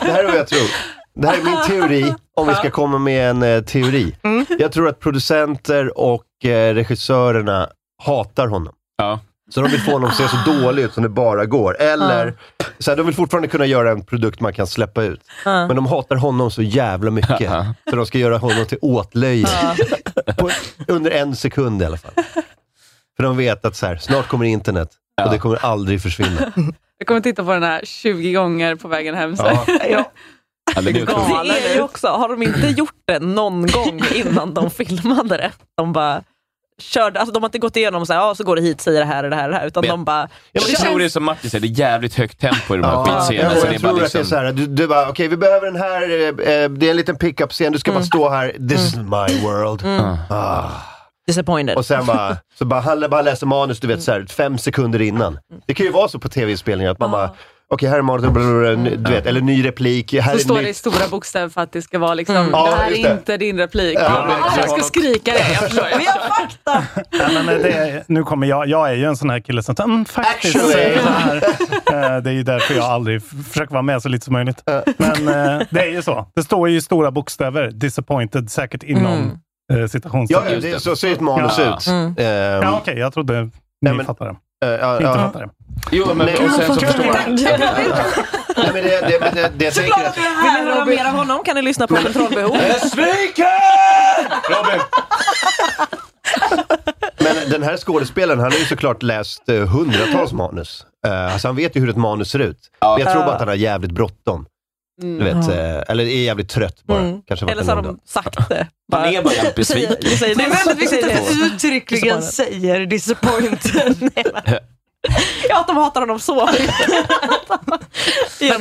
Speaker 2: det här är vad jag tror. Det här är min teori, om vi ska komma med en eh, teori. Jag tror att producenter och eh, regissörerna hatar honom.
Speaker 3: Ja.
Speaker 2: Så de vill få honom att se så dålig ut som det bara går. Eller, så här, de vill fortfarande kunna göra en produkt man kan släppa ut. Men de hatar honom så jävla mycket.
Speaker 3: Ja.
Speaker 2: Så de ska göra honom till åtlöje. På, under en sekund i alla fall. För de vet att så här, snart kommer internet och det kommer aldrig försvinna.
Speaker 6: Jag kommer titta på den här 20 gånger på vägen hem. <laughs> Så.
Speaker 2: Ja.
Speaker 3: Ja, den är otrolig.
Speaker 6: Galet.
Speaker 4: Det är ju också, har de inte gjort det någon gång innan <laughs> de filmade det? De bara körde, alltså de har inte gått igenom så här, ja så går det hit, säger det här och det här och det här, utan
Speaker 3: Men-
Speaker 4: de bara,
Speaker 3: Jag
Speaker 4: kör.
Speaker 3: tror det är som Martin säger, det är jävligt högt tempo i de här
Speaker 2: Ja,
Speaker 3: skitscenerna.
Speaker 2: jag,
Speaker 3: så
Speaker 2: jag
Speaker 3: det är
Speaker 2: tror
Speaker 3: bara
Speaker 2: att det är
Speaker 3: liksom...
Speaker 2: så här, du, du bara, okej vi behöver den här, eh, eh, det är en liten pickup-scen, du ska
Speaker 6: Mm.
Speaker 2: bara stå här, this is my world. Ah.
Speaker 4: disappointed.
Speaker 2: Och sen bara, så bara, han bara läser manus, du vet, så här, fem sekunder innan. Det kan ju vara så på tv-inspelningar, att man bara, okej här är manus, blablabla, ny- du vet, eller ny replik, här
Speaker 6: Mm. Så står
Speaker 2: är
Speaker 6: det i
Speaker 2: nytt.
Speaker 6: stora bokstäver för att det ska vara liksom,
Speaker 4: Mm.
Speaker 6: <laughs>
Speaker 2: Ja,
Speaker 6: det här
Speaker 2: just det.
Speaker 6: är inte din replik.
Speaker 2: Ja, men-
Speaker 6: jag ska skrika det. Jag förstår, jag förstår.
Speaker 8: Nej, men det, är- nu kommer jag, jag är ju en sån här kille som tar, mm, faktiskt
Speaker 2: Actually.
Speaker 8: säger så här. Eh, Det är ju därför jag aldrig f- försöker vara med så lite som möjligt. Men eh, det är ju så. Det står ju i stora bokstäver, disappointed, säkert inom mm.
Speaker 2: Ja,
Speaker 8: citationstecken.
Speaker 2: det, är- så ser ett manus
Speaker 3: Ja.
Speaker 2: ut.
Speaker 6: Mm.
Speaker 2: Ehm,
Speaker 8: Ja, okej, jag trodde ni
Speaker 2: Nej, men-
Speaker 8: fattade.
Speaker 2: eh, ja,
Speaker 8: Inte
Speaker 2: ja.
Speaker 8: fattade.
Speaker 3: Jo, men och sen så förstår man.
Speaker 2: Nej, men det- det- men det- det- jag tänker att-
Speaker 4: Vill ni höra mer av honom kan ni lyssna på kontrollbehov.
Speaker 3: Jag sviker! Robin!
Speaker 2: Men den här skådespelaren, han har ju såklart läst eh, hundratals manus. Eh, alltså han vet ju hur ett manus ser ut. Men jag tror bara att han har jävligt bråttom. Du vet, eh, eller är jävligt trött bara. Kanske
Speaker 4: Mm. Eller så har de sagt det.
Speaker 3: Han är bara jävligt besviken.
Speaker 4: Säger- säger-
Speaker 5: Det är väldigt viktigt
Speaker 6: Mm,
Speaker 5: att
Speaker 4: säger-
Speaker 5: du uttryckligen
Speaker 4: Disappointed.
Speaker 5: säger disappointed.
Speaker 3: <laughs>
Speaker 4: Ja, att de hatar honom så mycket. Jag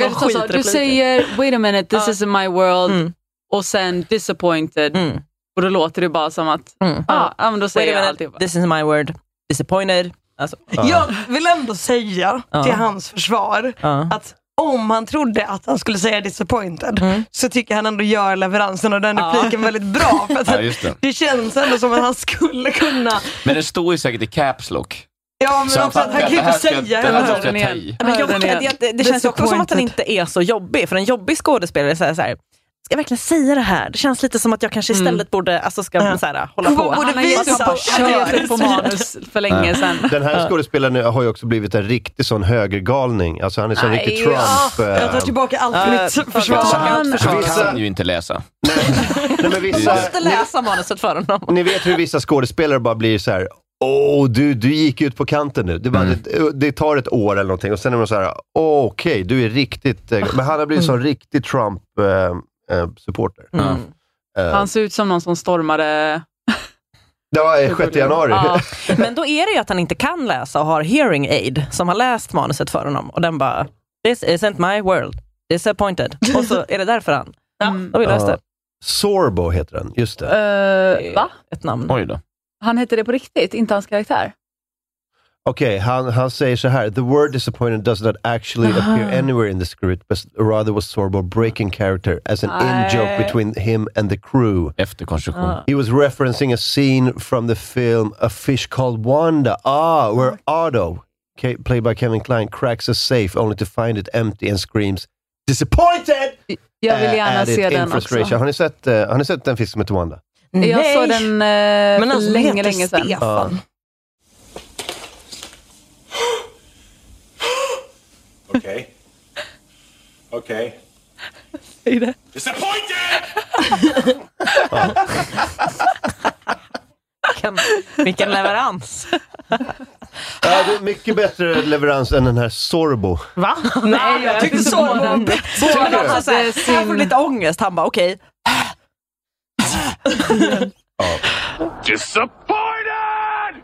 Speaker 6: Jag förstår så. Du säger “Wait a minute, this isn't my world” och sen “disappointed”
Speaker 4: Mm.
Speaker 6: och då låter det bara som att
Speaker 4: Mm.
Speaker 6: ah, ja, men då säger jag alltid.
Speaker 4: this is my word. Disappointed. Alltså,
Speaker 5: Jag vill ändå säga
Speaker 4: Ja.
Speaker 5: till hans försvar
Speaker 4: ja.
Speaker 5: att om han trodde att han skulle säga disappointed
Speaker 4: Mm.
Speaker 5: så tycker jag han ändå gör leveransen och den
Speaker 4: Ja.
Speaker 5: repliken väldigt
Speaker 3: <laughs>
Speaker 5: bra. För att
Speaker 3: Ja, just det.
Speaker 5: det känns ändå som att han skulle kunna.
Speaker 3: Men det står ju säkert i Caps Lock.
Speaker 5: Ja, men också att han kan ju inte säga
Speaker 3: det här
Speaker 5: heller.
Speaker 3: ska jag ta i.
Speaker 4: Men jag,
Speaker 6: Hör den igen.
Speaker 4: det, det, det känns också som att den inte är så jobbig, för en jobbig skådespelare säger så här, ska jag verkligen säga det här? Det känns lite som att jag
Speaker 6: Mm.
Speaker 4: kanske istället borde alltså, ska, så här, hålla
Speaker 5: Vad
Speaker 4: på. Alltså,
Speaker 5: borde
Speaker 6: Han har
Speaker 5: vi
Speaker 6: ju liksom
Speaker 5: ta
Speaker 6: bara
Speaker 5: bort?
Speaker 6: kört på manus för länge sedan.
Speaker 2: Den här skådespelaren har ju också blivit en riktig sån högergalning. Alltså han är sån riktig Trump.
Speaker 5: Jag tar
Speaker 2: eh,
Speaker 5: tillbaka allt
Speaker 4: Eh,
Speaker 5: mitt försvar.
Speaker 4: tillbaka.
Speaker 6: Han,
Speaker 3: Han
Speaker 2: Vissa-
Speaker 3: kan ju inte läsa.
Speaker 2: nej, men vissa,
Speaker 4: Jag måste läsa manuset för honom.
Speaker 2: ni, ni vet hur vissa skådespelare bara blir så här. Åh, du, du gick ut på kanten nu. Det, bara,
Speaker 6: Mm.
Speaker 2: det, det tar ett år eller någonting och sen är man så här. "Åh, Okej, du är riktigt...
Speaker 6: <laughs>
Speaker 2: eh, Men han har blivit
Speaker 6: Mm.
Speaker 2: sån riktig eh, Trump-supporter.
Speaker 3: Ja.
Speaker 6: han ser ut som någon som stormade.
Speaker 2: Eh, det var eh, 6 januari. <laughs>
Speaker 6: Ja.
Speaker 4: Men då är det ju att han inte kan läsa och har hearing aid som har läst manuset för honom och den bara, this isn't my world. Disappointed. Och så är det därför han.
Speaker 6: Mm.
Speaker 4: Då har vi löst det.
Speaker 2: Sorbo heter den, just det.
Speaker 6: Eh, va?
Speaker 4: Ett namn.
Speaker 3: Oj då.
Speaker 6: Han hette det på riktigt, inte hans karaktär?
Speaker 2: Okej, han, han säger så här. The word disappointed does not actually appear
Speaker 6: Aha.
Speaker 2: anywhere in the script, but rather was Sorbo breaking character as an in-joke
Speaker 6: Nej.
Speaker 2: between him and the crew.
Speaker 3: Efterkonstruktion.
Speaker 6: Ah.
Speaker 2: He was referencing a scene from the film A Fish Called Wanda, ah,
Speaker 6: Oh
Speaker 2: where Otto, ca- played by Kevin Kline, cracks a safe only to find it empty and screams “Disappointed!”
Speaker 6: Jag vill
Speaker 2: eh,
Speaker 6: gärna
Speaker 2: at it
Speaker 6: se
Speaker 2: in
Speaker 6: den också.
Speaker 2: frustration. Har ni, sett, eh, har ni sett den fisken som heter Wanda?
Speaker 6: Jag såg den eh,
Speaker 5: Men
Speaker 6: för
Speaker 5: alltså, den
Speaker 6: länge,
Speaker 5: heter
Speaker 6: länge sedan.
Speaker 2: Ja.
Speaker 9: Okay. Okay.
Speaker 6: Säg det.
Speaker 9: Disappointed!
Speaker 4: Vilken, vilken leverans.
Speaker 2: Ja, det är mycket bättre leverans än den här Sorbo.
Speaker 5: Va? Nej, jag tyckte så var bättre.
Speaker 4: Båda
Speaker 2: du?
Speaker 4: hade såhär, Han får lite ångest. Han bara okej.
Speaker 9: Disappointed!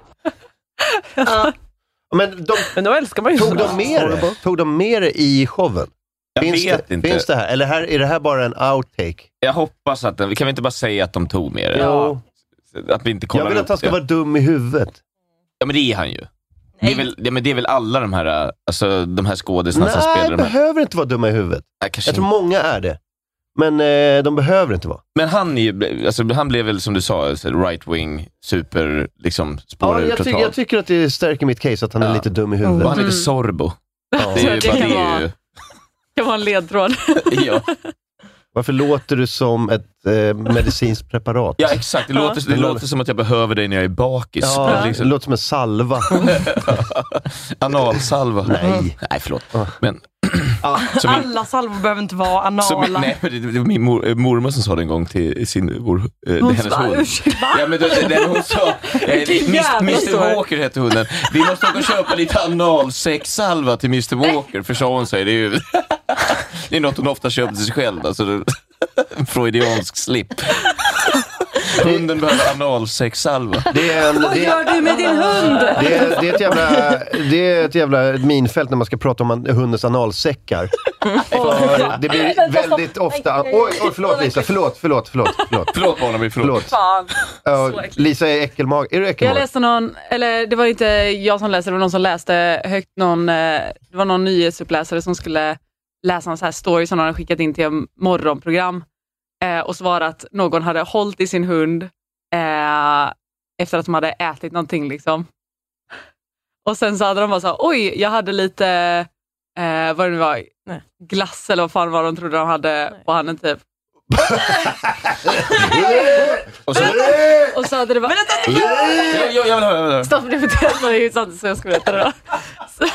Speaker 2: Men de,
Speaker 4: Men då älskar man ju
Speaker 2: tog,
Speaker 6: <laughs>
Speaker 4: sådana.
Speaker 2: de med det? tog de med det i showen? Jag finns
Speaker 3: vet
Speaker 2: det,
Speaker 3: inte.
Speaker 2: Finns det här? Eller här, är det här bara en outtake?
Speaker 3: Jag hoppas att den... Kan vi inte bara säga att de tog med det?
Speaker 2: Jo.
Speaker 3: Att vi inte kollar
Speaker 2: jag vill att
Speaker 3: upp
Speaker 2: han ska
Speaker 3: det.
Speaker 2: vara dum i huvudet.
Speaker 3: Ja, men det är han ju. Det är, väl, ja, men det är väl alla de här, äh, alltså, de här skådisarna som
Speaker 2: Nej,
Speaker 3: spelar de här.
Speaker 2: behöver inte vara dumma i huvudet.
Speaker 3: Nej, kanske
Speaker 2: Jag tror
Speaker 3: inte.
Speaker 2: många är det. Men eh, de behöver inte vara.
Speaker 3: Men han, är, ju- alltså, han blev väl, som du sa, alltså, right-wing, super, liksom, spårar ur
Speaker 2: jag, ty-
Speaker 3: totalt.
Speaker 2: jag tycker att det stärker mitt case att han är lite dum i huvudet.
Speaker 3: Och han heter Sorbo.
Speaker 2: Ja.
Speaker 3: Det är ju
Speaker 6: Det
Speaker 3: bara
Speaker 6: kan
Speaker 3: det.
Speaker 6: vara-
Speaker 3: Är ju,
Speaker 6: kan vara en ledtråd.
Speaker 3: <laughs> ja.
Speaker 2: Varför låter du som ett eh, medicinskt preparat?
Speaker 3: ja, exakt. Det, låter, det
Speaker 2: Ja.
Speaker 3: låter som att jag behöver dig när jag är bakis.
Speaker 2: Ja, det
Speaker 3: Liksom,
Speaker 2: låter som en <laughs> salva.
Speaker 3: analsalva. Mm.
Speaker 2: Nej.
Speaker 3: Nej, förlåt. Men, <clears throat> så min,
Speaker 5: Alla salvor behöver inte vara
Speaker 3: så min,
Speaker 5: anala.
Speaker 3: nej, men det, det var min mor, eh, mormor som sa det en gång till sin mor, eh, hennes
Speaker 5: bara, <laughs>
Speaker 3: hund. Ja, men det, det, det hon sa, eh, Mr. Mr Walker hette hunden. Vi måste åka och köpa lite analsexsalva till Mr Walker, för sa hon sig. Det är ju <laughs> det är något hon ofta köper till sig själv. Alltså, det- <laughs> en freudiansk slip. Hunden behöver analsexsalva.
Speaker 2: Det är, en, det, är,
Speaker 6: du med din hund?
Speaker 2: det, är, det, är ett jävla, det är ett jävla minfält när man ska prata om an- hundens <laughs> analsäckar. För det blir väldigt ofta... Oj, oj, förlåt Lisa. Förlåt, förlåt, förlåt. förlåt.
Speaker 3: Förlåt Barnaby, förlåt.
Speaker 2: förlåt.
Speaker 6: Fan.
Speaker 2: Ja, Lisa är äckelmag. Är du
Speaker 6: Jag
Speaker 2: äckelmag?
Speaker 6: läste någon, eller det var inte jag som läste, det var någon som läste högt någon, eh, det var någon nyhetsuppläsare som skulle läsa en sån här story som någon hade skickat in till en morgonprogram eh, och så var det att någon hade hållit i sin hund eh, efter att de hade ätit någonting liksom. Och sen så hade de bara så här, oj, jag hade lite, eh, vad det nu var,
Speaker 5: Nej.
Speaker 6: glass eller vad fan var de trodde de hade på handen typ.
Speaker 3: Och så,
Speaker 6: Och så hade det bara,
Speaker 3: jag, jag, jag vill höra, jag vill höra.
Speaker 6: stopp nu, det var ju sant så jag skulle veta det då.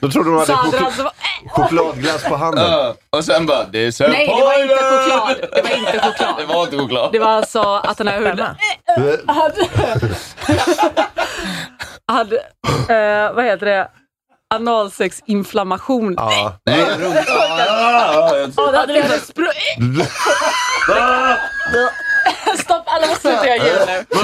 Speaker 2: Då trodde hon
Speaker 6: Så
Speaker 2: hade
Speaker 6: hade de
Speaker 2: chok-
Speaker 6: så bara,
Speaker 2: chokladglass på handen.
Speaker 3: Ja, och sen bara, det är
Speaker 6: Nej, det var inte
Speaker 3: <laughs>
Speaker 6: choklad. Det var inte choklad.
Speaker 3: Det var inte choklad.
Speaker 6: Det var alltså att den här hunden hade... hade eh, vad heter det? Analsexinflammation.
Speaker 2: Ja.
Speaker 3: Nej, jag tror inte- Ja, ja, ja, jag-
Speaker 6: Och det hade liksom spr- <laughs> Stopp, alla måste sluta göra ljud nu.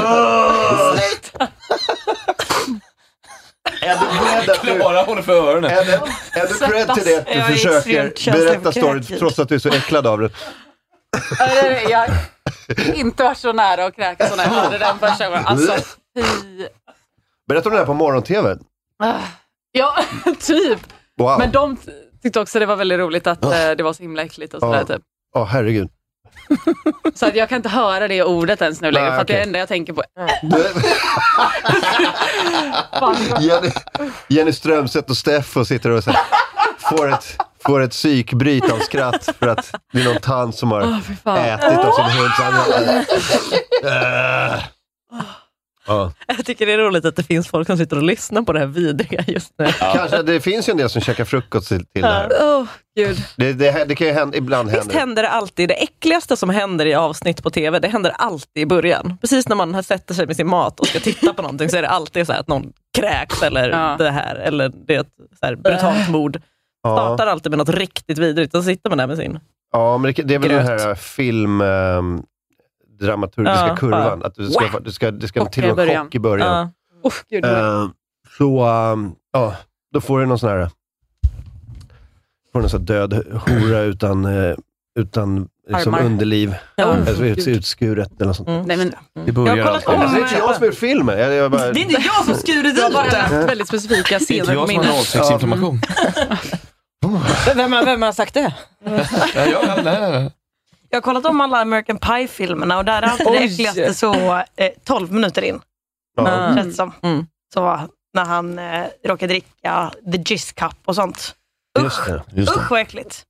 Speaker 2: Är du beredd att du...
Speaker 3: Klara håller för öronen.
Speaker 2: Är du- Är du cred till det att du
Speaker 5: Jag är extremt
Speaker 2: försöker
Speaker 5: känslig
Speaker 2: berätta
Speaker 5: för
Speaker 2: storyn
Speaker 5: kräkljud.
Speaker 2: trots att du är så äcklad av den?
Speaker 6: Nej, nej, nej, Jag har inte varit så nära att kräkas som när jag hörde den första gången. Alltså, fy.
Speaker 2: Berätta om det här på morgon-tv.
Speaker 6: Ja, <laughs> typ.
Speaker 2: Wow.
Speaker 6: Men de tyckte också det var väldigt roligt att eh, det var så himla äckligt och sådär.
Speaker 2: Ja.
Speaker 6: Typ.
Speaker 2: Ja, herregud.
Speaker 6: Så att jag kan inte höra det ordet ens nu längre,
Speaker 2: Nej,
Speaker 6: för att det är
Speaker 2: okej.
Speaker 6: det enda jag tänker på.
Speaker 2: Jenny, Jenny Strömstedt och Steffo sitter och så här, får, ett, får ett psykbryt av skratt för att det är någon tant som har
Speaker 6: Fy fan.
Speaker 2: ätit av sin hund. Så han- Äh. Ja.
Speaker 4: Jag tycker det är roligt att det finns folk som sitter och lyssnar på det här vidriga just nu.
Speaker 2: Kanske, det finns ju en del som käkar frukost till, till det här.
Speaker 6: Åh, gud.
Speaker 2: Det, det, det kan ju hända, ibland
Speaker 4: Visst
Speaker 2: händer det.
Speaker 4: händer det alltid. Det äckligaste som händer i avsnitt på tv, det händer alltid i början. Precis när man sätter sig med sin mat och ska titta på någonting så är det alltid så här att någon kräks eller
Speaker 6: Ja.
Speaker 4: det här, eller det är ett så här brutalt mord.
Speaker 2: Ja.
Speaker 4: Startar alltid med något riktigt vidrigt, så sitter man där med sin.
Speaker 2: Ja, men det, det är väl den
Speaker 4: Gröt.
Speaker 2: här äh, film... ehm, dramaturgiska
Speaker 4: Ja,
Speaker 2: kurvan.
Speaker 4: bara-
Speaker 2: Att du ska, du ska, det ska
Speaker 6: Chock
Speaker 2: till och
Speaker 6: i
Speaker 2: med
Speaker 6: början.
Speaker 2: chock i början.
Speaker 4: Ja.
Speaker 6: Oh, gud.
Speaker 2: Eh, så, ehm, ja, då får du någon sån här... Får du någon sån här död hora äh, utan, eh, utan liksom
Speaker 9: Armar.
Speaker 2: underliv.
Speaker 9: Ja.
Speaker 2: Alltså, ut, utskuret eller något sånt.
Speaker 4: Mm.
Speaker 6: Nej, men,
Speaker 2: Det börjar
Speaker 9: Jag har kollat
Speaker 2: alltid.
Speaker 9: om-
Speaker 2: Alltså, det är inte jag som har gjort filmen. Jag, jag bara...
Speaker 9: Det är inte jag som skurit
Speaker 6: Jag har bara
Speaker 9: ut det.
Speaker 6: haft väldigt specifika
Speaker 2: Det är typ
Speaker 6: scener
Speaker 2: inte jag
Speaker 6: på
Speaker 2: som har
Speaker 6: minnet.
Speaker 2: nollsexinflammation.
Speaker 5: Vem, har- vem har sagt det?
Speaker 3: Ja, ja, nej, nej, nej.
Speaker 5: Jag har kollat om alla American Pie-filmerna och där är alltid det
Speaker 4: Oj.
Speaker 5: äckligaste så eh, 12 minuter in.
Speaker 4: Ja.
Speaker 5: Känns det som. Så när han eh, råkar dricka the jizz cup och sånt.
Speaker 2: Just det. Just
Speaker 5: Usch
Speaker 2: det.
Speaker 5: vad äckligt.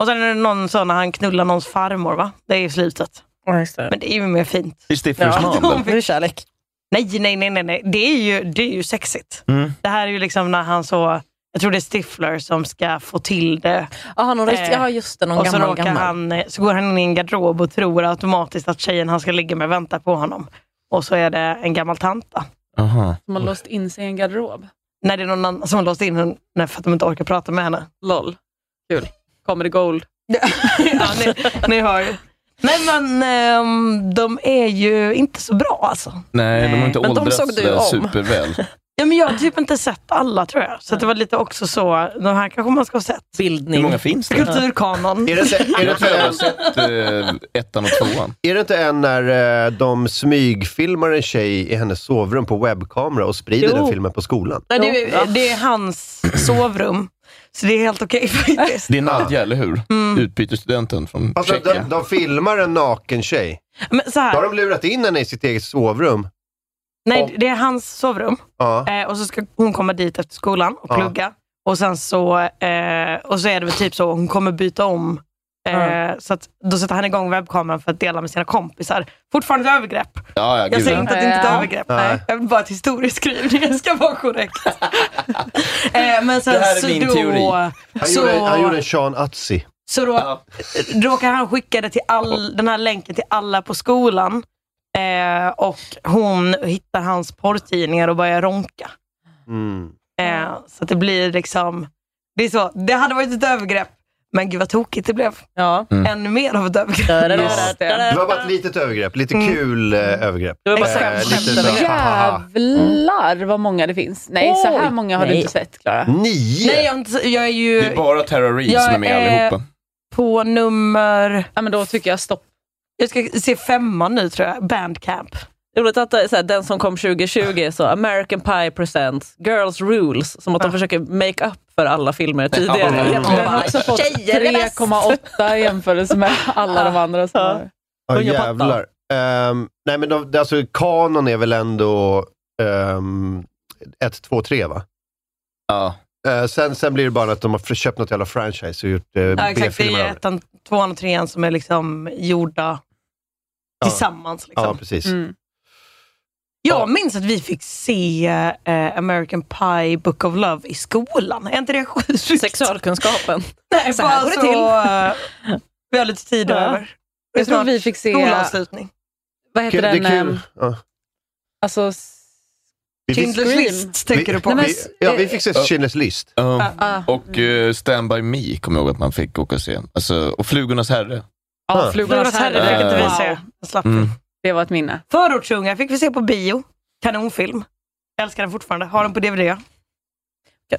Speaker 5: Och sen är det någon sån när han knullar någons farmor va? Det är ju slutet. Men det är ju mer fint.
Speaker 3: Det är Stiffers
Speaker 5: <laughs>
Speaker 3: man.
Speaker 5: det är kärlek. Nej, nej, nej, nej, nej. Det är ju, det är ju sexigt.
Speaker 3: Mm.
Speaker 5: Det här är ju liksom när han så, jag tror det är Stifler som ska få till det. Eh,
Speaker 10: Aha, någon, ja, just det. Någon
Speaker 5: och så,
Speaker 10: gammal,
Speaker 5: råkar
Speaker 10: gammal.
Speaker 5: Han, eh, så går han in i en garderob och tror automatiskt att tjejen han ska ligga med väntar på honom. Och så är det en gammal tanta.
Speaker 3: Aha.
Speaker 6: Som har låst in sig i en garderob.
Speaker 5: När det är någon annan som har låst in henne nej, för att de inte orkar prata med henne.
Speaker 6: LOL. Kul. Comedy gold.
Speaker 5: <laughs> ja, ni, ni hör ju. Nej men ehm, de är ju inte så bra alltså.
Speaker 3: Nej, de har inte
Speaker 5: Men de
Speaker 3: åldrats
Speaker 5: såg du
Speaker 3: sådär
Speaker 5: om.
Speaker 3: superväl.
Speaker 5: Ja, men jag har typ inte sett alla tror jag. Så att det var lite också så, de här kanske man ska ha sett.
Speaker 10: Bildning.
Speaker 3: Hur många finns det?
Speaker 5: Kulturkanon.
Speaker 2: Är det inte- är det
Speaker 3: Jag tror <laughs> jag har
Speaker 2: inte
Speaker 3: sett eh, ettan och tvåan.
Speaker 2: Är det inte en när eh, de smygfilmar en tjej i hennes sovrum på webbkamera och sprider
Speaker 5: Jo.
Speaker 2: den filmen på skolan?
Speaker 5: Nej, det, är, det är hans sovrum. Så det är helt okej <laughs> faktiskt.
Speaker 3: Det är Nadja, eller hur? Utbytesstudenten från
Speaker 2: Alltså, de,
Speaker 3: Tjeckien.
Speaker 2: de filmar en naken tjej.
Speaker 5: Men så här.
Speaker 2: Då har de lurat in henne i sitt eget sovrum.
Speaker 5: Nej, det är hans sovrum.
Speaker 2: Ja.
Speaker 5: Eh, och så ska hon komma dit efter skolan och
Speaker 2: Ja.
Speaker 5: plugga. Och sen så, eh, och så är det väl typ så, hon kommer byta om. Eh,
Speaker 3: Ja.
Speaker 5: Så att, då sätter han igång webbkameran för att dela med sina kompisar. Fortfarande ett övergrepp.
Speaker 3: Ja, ja,
Speaker 5: jag
Speaker 3: gud,
Speaker 5: säger
Speaker 3: ja.
Speaker 5: inte att det inte är ett
Speaker 3: Ja.
Speaker 5: övergrepp.
Speaker 3: Nej.
Speaker 5: Nej. Jag vill bara att historieskrivningen ska vara korrekt. eh, men sen,
Speaker 2: Det här är
Speaker 5: så
Speaker 2: min
Speaker 5: då,
Speaker 2: teori. Han,
Speaker 5: Så,
Speaker 2: gjorde, han gjorde en Sean Atzi.
Speaker 5: så då råkar han skicka det till all, den här länken till alla på skolan. Eh, och hon hittar hans porrtidningar och börjar ronka.
Speaker 2: Mm.
Speaker 5: Eh, så att det blir liksom... Det, är så, det hade varit ett övergrepp, men gud vad tokigt det blev.
Speaker 10: Ja.
Speaker 2: Mm.
Speaker 5: Ännu mer av ett övergrepp.
Speaker 2: Det var bara ett litet övergrepp. Lite
Speaker 5: Mm.
Speaker 2: kul eh, övergrepp.
Speaker 5: Det var bara
Speaker 2: Eh,
Speaker 5: ett
Speaker 2: lite så här, haha.
Speaker 6: Jävlar vad många det finns. Nej, så här
Speaker 5: Oj.
Speaker 6: många har du
Speaker 5: Nej.
Speaker 6: inte sett, Klara.
Speaker 2: Nio?
Speaker 5: Nej, jag, har inte- jag är ju...
Speaker 3: Det är bara Tara Reid
Speaker 5: Jag
Speaker 3: som är med
Speaker 5: är-
Speaker 3: allihopa.
Speaker 5: På nummer...
Speaker 6: Ja, men då tycker jag stopp.
Speaker 5: Jag ska se femman nu tror jag. Bandcamp.
Speaker 2: Mm.
Speaker 10: Det är roligt att det är så här, den som kom 2020 är så American Pie presents Girls Rules, som att de försöker make up för alla filmer
Speaker 6: Ja,
Speaker 10: tidigare.
Speaker 6: Den har också fått 3,8 i jämförelse med alla de andra som har...
Speaker 2: Ja,
Speaker 6: Unga pappa.
Speaker 2: jävlar. Ehm, nej, men de, det- alltså, kanon är väl ändå ehm, ett, två, tre va?
Speaker 3: Ja.
Speaker 2: Eh, sen, sen blir det bara att de har för- köpt något jävla franchise och gjort eh,
Speaker 5: Ja, exakt. Det
Speaker 2: B-filmer
Speaker 5: är
Speaker 2: av det.
Speaker 5: ettan, tvåan och trean som är liksom gjorda
Speaker 2: Ja.
Speaker 5: tillsammans. Liksom.
Speaker 2: Ja, precis.
Speaker 5: Mm. Jag minns att vi fick se eh, American Pie Book of Love i skolan. Är inte det sjukt?
Speaker 10: Sexualkunskapen.
Speaker 5: Nej,
Speaker 10: Så
Speaker 5: bara
Speaker 10: här
Speaker 5: så,
Speaker 10: går det till.
Speaker 5: eh, vi har lite tid
Speaker 10: Ja.
Speaker 5: över.
Speaker 6: Jag tror vi fick se-
Speaker 5: Skolavslutning.
Speaker 6: Vad heter den? ehm,
Speaker 2: Ja.
Speaker 6: Alltså... s-
Speaker 2: Vi fick-
Speaker 6: Schindler's
Speaker 5: list tänker
Speaker 2: vi,
Speaker 5: du på?
Speaker 2: Vi,
Speaker 6: Nej, men-
Speaker 2: ja, vi fick se
Speaker 3: eh,
Speaker 5: <clears throat>
Speaker 2: Schindler's list.
Speaker 3: Um,
Speaker 6: Ah.
Speaker 3: och eh, Stand By Me kommer jag ihåg att man fick åka och se. Alltså, och Flugornas Herre.
Speaker 6: Ja, Flugornas herre
Speaker 3: fick inte vi
Speaker 6: Wow.
Speaker 3: se.
Speaker 5: Slapp.
Speaker 3: Mm.
Speaker 6: Det var ett minne.
Speaker 5: Förortsungar fick vi se på bio. Kanonfilm. Älskar den fortfarande. Har den på DVD.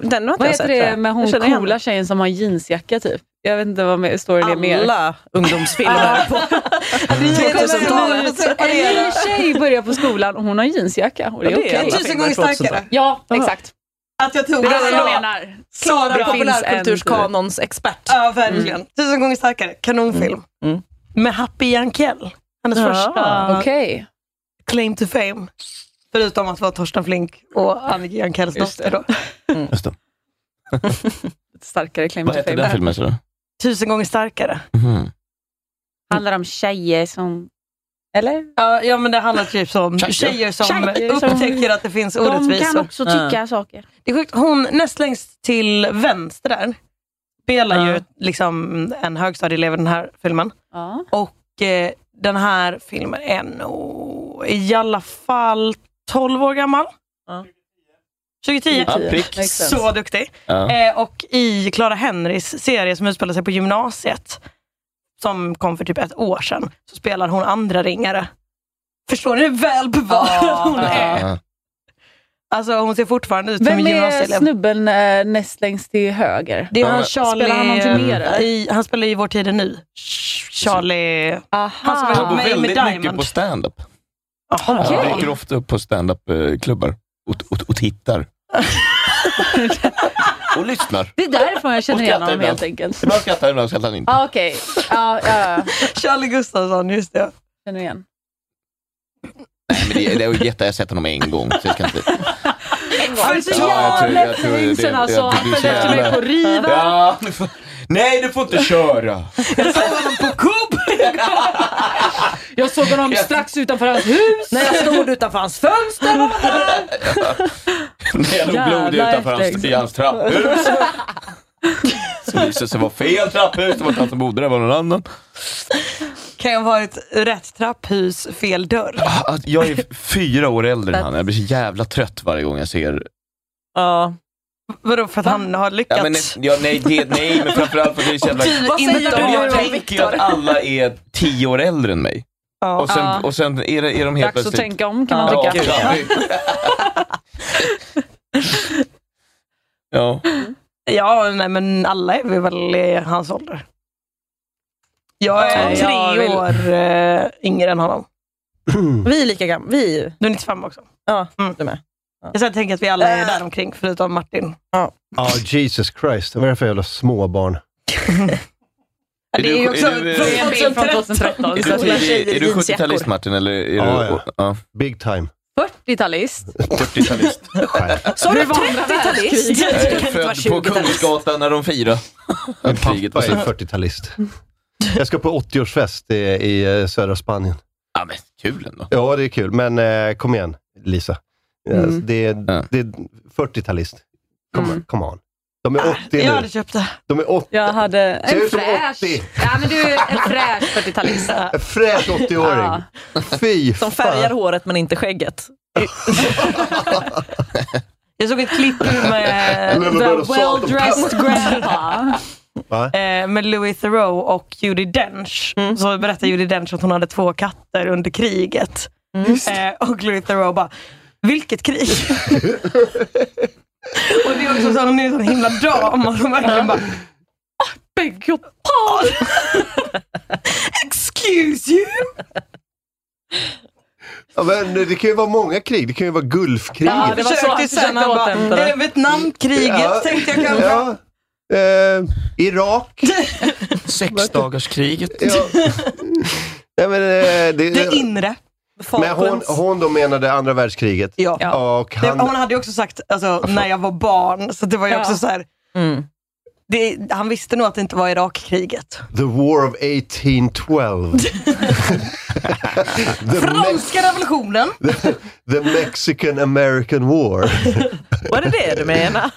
Speaker 10: Den
Speaker 6: Vad heter det med hon
Speaker 5: känner igen
Speaker 6: coola tjejen som har jeansjacka typ? Jag vet inte vad med- storyn är mer.
Speaker 10: Alla ungdomsfilmer. på.
Speaker 6: Det kommer
Speaker 10: 2000-talet.
Speaker 6: ut- En ny tjej börjar på skolan och hon har jeansjacka. Och det är
Speaker 10: Ja, det är
Speaker 6: okej.
Speaker 10: alla Tusen gånger filmer på starkare. 2000-talet.
Speaker 6: Ja, exakt.
Speaker 5: Att jag tog
Speaker 6: Det är det
Speaker 5: den.
Speaker 6: jag menar.
Speaker 5: Klara
Speaker 6: Det finns en-
Speaker 5: populärkulturskanons
Speaker 10: expert.
Speaker 5: Ja, verkligen. Tusen gånger starkare. Kanonfilm. Med Happy Jankell. Hennes
Speaker 6: Ja,
Speaker 5: första
Speaker 6: okej.
Speaker 5: claim to fame. Förutom att vara Torsten Flink och Annika Jankells
Speaker 6: Just
Speaker 5: dotter. Då.
Speaker 3: Just det.
Speaker 6: Ett starkare claim
Speaker 3: Vad
Speaker 6: to
Speaker 3: hette
Speaker 6: fame.
Speaker 3: den filmen? sa du?
Speaker 5: Tusen gånger starkare.
Speaker 3: Mhm.
Speaker 6: Handlar om tjejer som... Eller?
Speaker 5: Ja, ja, men det handlar typ så om
Speaker 6: Tjejer.
Speaker 5: tjejer som
Speaker 6: Tjejer som-
Speaker 5: upptäcker att det finns orättvisor.
Speaker 6: saker.
Speaker 5: Det är sjukt. Hon näst längst till vänster där spelar ju liksom en högstadieelev i den här filmen. Och eh, den här filmen är nog i alla fall 12 år gammal. 2010.
Speaker 9: Ja, prick. Makes sense.
Speaker 5: Så duktig.
Speaker 9: Ja.
Speaker 5: Eh, och i Clara Henrys serie som utspelar sig på gymnasiet, som kom för typ ett år sedan, så spelar hon andra ringare. Förstår ni hur väl bevarad hon är? Alltså hon ser fortfarande ut som
Speaker 6: Vem
Speaker 5: en
Speaker 6: är
Speaker 5: gymnasieelev.
Speaker 6: snubben eh, näst längst till höger?
Speaker 5: Det är han Charlie...
Speaker 6: Spelar han någonting mer? eller?
Speaker 5: i, han spelar i Vår tid är nu. Charlie... Han som var
Speaker 3: Han
Speaker 5: ihop med
Speaker 3: går
Speaker 5: Amy
Speaker 3: väldigt mycket
Speaker 5: Diamond.
Speaker 3: på stand-up.
Speaker 5: Jaha.
Speaker 3: Han dyker ofta upp på stand-up-klubbar och, och, och tittar. och lyssnar.
Speaker 11: Det är därför jag känner igen
Speaker 3: Och skrattar
Speaker 11: honom
Speaker 3: ibland.
Speaker 11: helt enkelt.
Speaker 3: Ibland skrattar han, ibland skrattar han inte.
Speaker 6: Ah,
Speaker 11: Ja, okej. Ja, ja, ja.
Speaker 5: Charlie Gustafsson, just det.
Speaker 11: Känner igen.
Speaker 3: Nej, men det, det är ju jätte, jag har sett honom en gång. Så jag ska inte...
Speaker 11: För så
Speaker 3: Ja, jag tror- jag
Speaker 11: jävla
Speaker 3: tror det-
Speaker 11: länge sedan
Speaker 3: jag-
Speaker 11: alltså.
Speaker 3: jag-
Speaker 11: Han
Speaker 3: du är så
Speaker 11: följde efter mig
Speaker 3: jävla-
Speaker 11: på Riva.
Speaker 3: Ja, du får- nej, du får inte köra!
Speaker 11: Jag såg honom strax utanför hans hus.
Speaker 4: När jag stod utanför hans fönster. var han där.
Speaker 3: När jag låg blodig
Speaker 4: Jävlar,
Speaker 3: utanför hans,
Speaker 4: Eftersläng.
Speaker 3: i
Speaker 5: <laughs>
Speaker 3: hans trapphus. Så visade sig vara fel trapphus, det var inte han som bodde där, det var någon annan.
Speaker 5: Kan jag ha varit rätt trapphus, fel dörr?
Speaker 3: Ah, Jag är fyra år äldre än han, jag blir så jävla trött varje gång jag ser
Speaker 5: Ja. Vadå, för att han har lyckats?
Speaker 3: Ja, men, ja, nej, det, nej, men framförallt för att det är så jävla...
Speaker 5: Och du,
Speaker 3: Men
Speaker 5: inte
Speaker 3: jag,
Speaker 5: du och
Speaker 3: tänker ju att alla är tio år äldre än mig.
Speaker 5: Ja.
Speaker 3: Och, sen,
Speaker 6: Ja.
Speaker 3: och sen är, det, är de helt
Speaker 6: Dags att
Speaker 3: plötsligt...
Speaker 6: tänka om kan man
Speaker 3: Ja,
Speaker 6: tycka.
Speaker 3: ja. ja.
Speaker 5: Ja, nej men alla är vi väl i hans ålder. Jag är
Speaker 4: Ja, jag
Speaker 5: tre
Speaker 4: vill-
Speaker 5: år eh, yngre än honom.
Speaker 4: Vi är lika gamla. Vi...
Speaker 5: Du är 95 också.
Speaker 4: Ja, Eh.
Speaker 5: Mm.
Speaker 4: du med.
Speaker 5: Jag ska tänka att vi alla är där omkring förutom
Speaker 4: <laughs>
Speaker 5: Martin. Ja.
Speaker 2: Ja, Jesus Christ. Vad är det för jävla småbarn?
Speaker 3: Är
Speaker 5: det är ju
Speaker 3: du-
Speaker 5: också
Speaker 3: är du-
Speaker 5: från
Speaker 3: är du-
Speaker 5: 2013.
Speaker 3: Är du, tidig- är du 70-talist Martin? Eller är
Speaker 2: Ja,
Speaker 3: du,
Speaker 2: ja.
Speaker 3: ja.
Speaker 5: <laughs>
Speaker 2: Big time.
Speaker 11: 40-talist.
Speaker 3: 40-talist.
Speaker 11: Sa du
Speaker 3: Jag
Speaker 11: 30-talist?
Speaker 3: är född på Kungsgatan när
Speaker 2: <laughs>
Speaker 3: de firade.
Speaker 2: Min
Speaker 3: kriget var
Speaker 2: pappa är
Speaker 3: slut.
Speaker 2: 40-talist. Jag ska på 80-årsfest i, i eh, södra Spanien.
Speaker 3: Ja, men kul ändå.
Speaker 2: Ja, det är kul. Men eh, kom igen, Lisa. Eh,
Speaker 3: Mm.
Speaker 2: alltså, Det, är, det är 40-talist. Come, on, come on. De är 80
Speaker 5: Jag
Speaker 2: nu.
Speaker 5: hade köpt Mm. Ah, det.
Speaker 2: De är 80.
Speaker 11: Jag hade
Speaker 2: Ser
Speaker 11: en
Speaker 2: ut som
Speaker 11: fräsch.
Speaker 2: 80.
Speaker 11: Ja, men du är en fräsch 40-talist.
Speaker 2: En fräsch 80-åring. Fy
Speaker 4: Som färgar
Speaker 2: fan.
Speaker 4: håret men inte skägget.
Speaker 5: <laughs> Jag såg ett klipp
Speaker 2: A
Speaker 5: med
Speaker 2: little bit of
Speaker 5: The
Speaker 2: salt and
Speaker 5: Well-Dressed Grandpa.
Speaker 2: Va?
Speaker 5: eh, med Louis Theroux och Judi Dench. Så berättade Judi Dench att hon hade två katter under kriget. Eh, och Louis Theroux bara, vilket krig? <laughs> och det är också så, hon är en sån himla dam. Och hon verkligen bara, "Ah,
Speaker 11: Beg your
Speaker 5: <laughs> excuse you.
Speaker 2: Ja, men det kan ju vara måga krig. Det kan ju vara Gulfkriget.
Speaker 5: Ja, det var så han sen. Han bara,
Speaker 4: återhämta
Speaker 5: är det Vietnamkriget
Speaker 2: Ja.
Speaker 5: tänkte jag kanske.
Speaker 2: Ja. Eh,
Speaker 5: <laughs>
Speaker 2: Irak.
Speaker 3: Sexdagarskriget.
Speaker 2: Ja. Nej, men, eh, det,
Speaker 5: Det inre.
Speaker 2: men hon,
Speaker 5: Falklands.
Speaker 2: hon då menade andra världskriget.
Speaker 5: Ja.
Speaker 2: Och
Speaker 5: Det-
Speaker 2: han,
Speaker 5: Hon hade ju också sagt, alltså, när jag var barn, så det var ju
Speaker 11: Ja.
Speaker 5: också så här. Det, han visste nog att det inte var Irakkriget.
Speaker 2: The War of
Speaker 5: <laughs>
Speaker 2: 1812. the, Me-
Speaker 5: Franska revolutionen!
Speaker 2: the Mexican American War.
Speaker 4: Var det det du menar?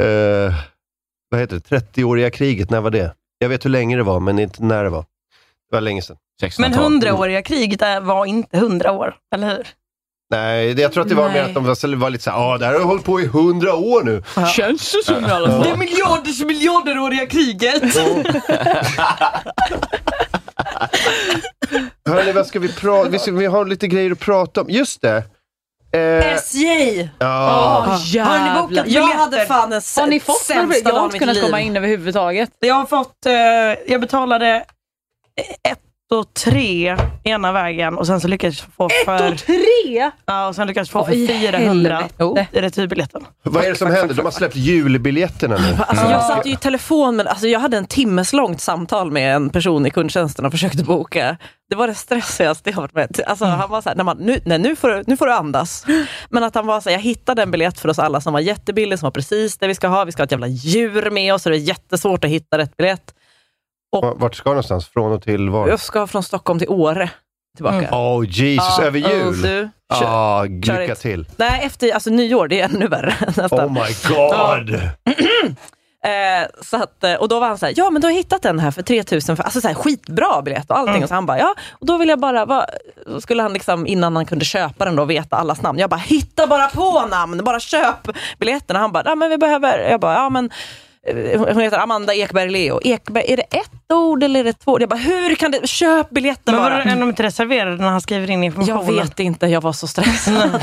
Speaker 2: Eh, vad heter det? 30-åriga kriget, när var det? Jag vet hur länge det var, men inte när det var. Det var länge sedan.
Speaker 5: Men hundraåriga kriget är- var inte hundra år, eller hur?
Speaker 2: Nej, det, jag tror att det var mer
Speaker 11: Nej.
Speaker 2: att de var, var lite såhär, ja det här har hållit på i hundra år nu.
Speaker 11: Känns det som i alla
Speaker 5: Det är miljarders miljarderåriga kriget!
Speaker 2: Hörni, vad ska vi prata vi, ska- vi har lite grejer att prata om. Just det! Eh,
Speaker 4: SJ!
Speaker 2: ja.
Speaker 5: Har ni bokat
Speaker 11: jävlar.
Speaker 5: biljetter?
Speaker 4: Jag hade fan en s-
Speaker 11: Har ni fått några
Speaker 4: sämsta
Speaker 11: biljetter? Jag
Speaker 4: dagen
Speaker 11: har
Speaker 4: i
Speaker 11: inte
Speaker 4: mitt
Speaker 11: kunnat
Speaker 4: liv.
Speaker 11: komma in överhuvudtaget.
Speaker 5: Jag har fått, eh, jag betalade ett och tre ena vägen och sen så lyckades jag få för,
Speaker 11: Tre!
Speaker 5: ja, och sen lyckades jag få
Speaker 11: Oj,
Speaker 5: för 400
Speaker 11: helvete.
Speaker 5: i returbiljetten.
Speaker 2: Vad är det som händer? De har släppt julbiljetterna
Speaker 11: <laughs>
Speaker 2: nu.
Speaker 4: Alltså, jag satt ju i telefon, men alltså, jag hade en timmes långt samtal med en person i kundtjänsten och försökte boka. Det var det stressigaste jag varit med alltså,
Speaker 2: Mm.
Speaker 4: Han var såhär, när man, nu, nej, nu, får du, nu får du andas. Men att han var såhär, jag hittade en biljett för oss alla som var jättebillig, som var precis det vi ska ha. Vi ska ha ett jävla djur med oss, så det är jättesvårt att hitta rätt biljett.
Speaker 2: Vart ska jag någonstans? Från och till var?
Speaker 4: Jag ska från Stockholm till Åre tillbaka.
Speaker 2: Oh Jesus,
Speaker 4: Ja,
Speaker 2: över
Speaker 4: och
Speaker 2: jul!
Speaker 4: du, kör.
Speaker 2: Ah,
Speaker 4: kör
Speaker 2: lycka
Speaker 4: ett-
Speaker 2: till!
Speaker 4: Nej, efter alltså, nyår, det är ännu värre <laughs> nästan.
Speaker 2: Oh my god!
Speaker 4: Eh, så att, eh, och då var han så här, ja men du har hittat den här för 3000, för, alltså så här, skitbra biljett och allting. Och så han bara, ja, och då vill jag bara, va, så skulle han liksom innan han kunde köpa den då veta allas namn. Jag bara, hitta bara på namn, bara köp biljetterna. Han bara, ja men vi behöver, jag bara, ja men eh, hon heter Amanda Ekberg Leo. Ekberg, är det ett ord eller är det två? Jag bara, hur kan du, köp biljetten
Speaker 5: Men var
Speaker 4: bara.
Speaker 5: det ändå inte reserverade när han skriver in informationen?
Speaker 4: <laughs> Jag vet inte, jag var så stressad.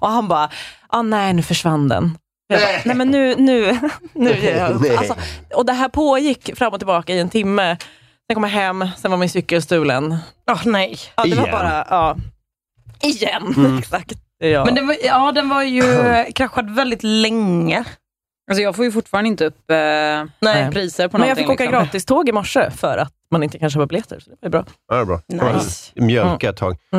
Speaker 4: och han bara, ah, nej nu försvann den. Jag bara, nej men nu, nu, <laughs> nu ger
Speaker 2: <laughs>
Speaker 4: jag upp.
Speaker 10: Nej.
Speaker 4: alltså, Och det här pågick fram och tillbaka i en timme. Sen kom jag hem, sen var min cykel stulen.
Speaker 5: Åh nej.
Speaker 4: Ja, det var
Speaker 5: Igen.
Speaker 4: bara, ja. Igen,
Speaker 5: Mm.
Speaker 4: <laughs> exakt. Ja.
Speaker 5: Men det var, ja, den var ju kraschad väldigt länge.
Speaker 11: Alltså jag får ju fortfarande inte upp eh, priser på
Speaker 4: Men
Speaker 11: någonting.
Speaker 4: jag fick åka
Speaker 11: liksom.
Speaker 4: gratiståg i morse för att man inte kan köpa biljetter. Så det var ju bra.
Speaker 2: Ja, det är bra.
Speaker 4: Nice. Mm.
Speaker 2: Nice. Mjölka ett tag. Eh,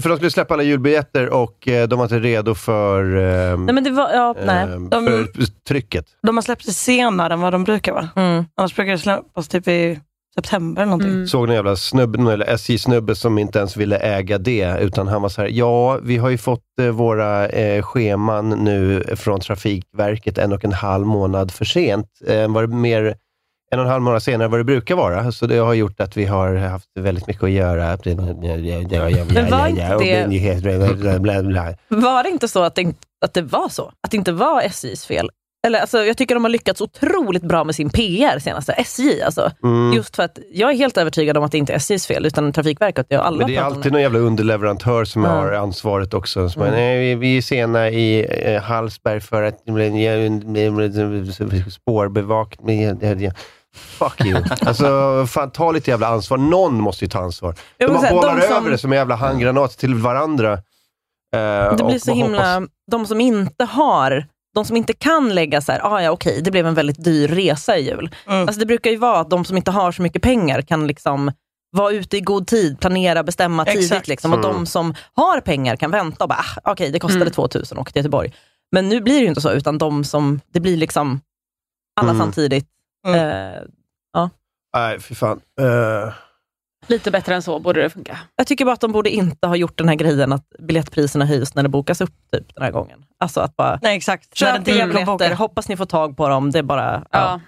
Speaker 2: för de skulle släppa alla julbiljetter och eh, de var inte redo för, eh,
Speaker 5: Nej, men det var, ja, nej.
Speaker 2: eh,
Speaker 5: De,
Speaker 2: för trycket.
Speaker 5: de har släppt det senare än vad de brukar va?
Speaker 4: Mm.
Speaker 5: Annars brukar det släppas typ i september eller någonting.
Speaker 11: Mm.
Speaker 2: Såg någon jävla snubben, eller SJ-snubbe som inte ens ville äga det, utan han var så här, ja, vi har ju fått eh, våra eh, scheman nu från Trafikverket en och en halv månad för sent. Eh, var det mer en och en halv månad senare än vad det brukar vara, så det har gjort att vi har haft väldigt mycket att göra. Men
Speaker 4: var inte det-
Speaker 2: det...
Speaker 4: Mm. Var det inte så att det, inte- att det var så? Att det inte var SJs fel? Eller, alltså, jag tycker de har lyckats otroligt bra med sin PR senaste, SJ alltså.
Speaker 2: Mm.
Speaker 4: Just för att jag är helt övertygad om att det inte är SJs fel, utan Trafikverket. Det har alla
Speaker 2: Men det är
Speaker 4: pratat om
Speaker 2: alltid någon jävla underleverantör som
Speaker 4: Mm.
Speaker 2: har ansvaret också. Som bara,
Speaker 4: Mm.
Speaker 2: nej, vi, vi är sena i eh, Hallsberg för att spårbevakning... Fuck
Speaker 4: <laughs>
Speaker 2: you. Alltså, fan, ta lite jävla ansvar. Någon måste ju ta ansvar.
Speaker 4: Jag
Speaker 2: De
Speaker 4: vill
Speaker 2: bara
Speaker 4: säga,
Speaker 2: bollar
Speaker 4: de som-
Speaker 2: över det som en jävla handgranat till varandra. Eh,
Speaker 4: Det
Speaker 2: och
Speaker 4: blir så
Speaker 2: man
Speaker 4: himla,
Speaker 2: hoppas-
Speaker 4: de som inte har, de som inte kan lägga så här, ah, ja okej, det blev en väldigt dyr resa i jul.
Speaker 5: Mm.
Speaker 4: Alltså, det brukar ju vara att de som inte har så mycket pengar kan liksom vara ute i god tid, planera, bestämma
Speaker 10: Exakt.
Speaker 4: tidigt. Liksom. Och
Speaker 10: Mm.
Speaker 4: de som har pengar kan vänta och bara, ah, okej det kostade
Speaker 2: Mm.
Speaker 4: 2000 och åka till Göteborg. Men nu blir det ju inte så, utan de som, det blir liksom alla
Speaker 2: Mm.
Speaker 4: samtidigt. Eh, ja.
Speaker 2: Nej, fy fan. Eh,
Speaker 4: Lite bättre än så borde det funka. Jag tycker bara att de borde inte ha gjort den här grejen att biljettpriserna höjs när det bokas upp typ, den här gången. Alltså att bara,
Speaker 5: Nej, exakt. När det
Speaker 4: köp
Speaker 5: inte gäller att
Speaker 4: biljetter,
Speaker 5: boka.
Speaker 4: hoppas ni får tag på dem. Det är bara, ja.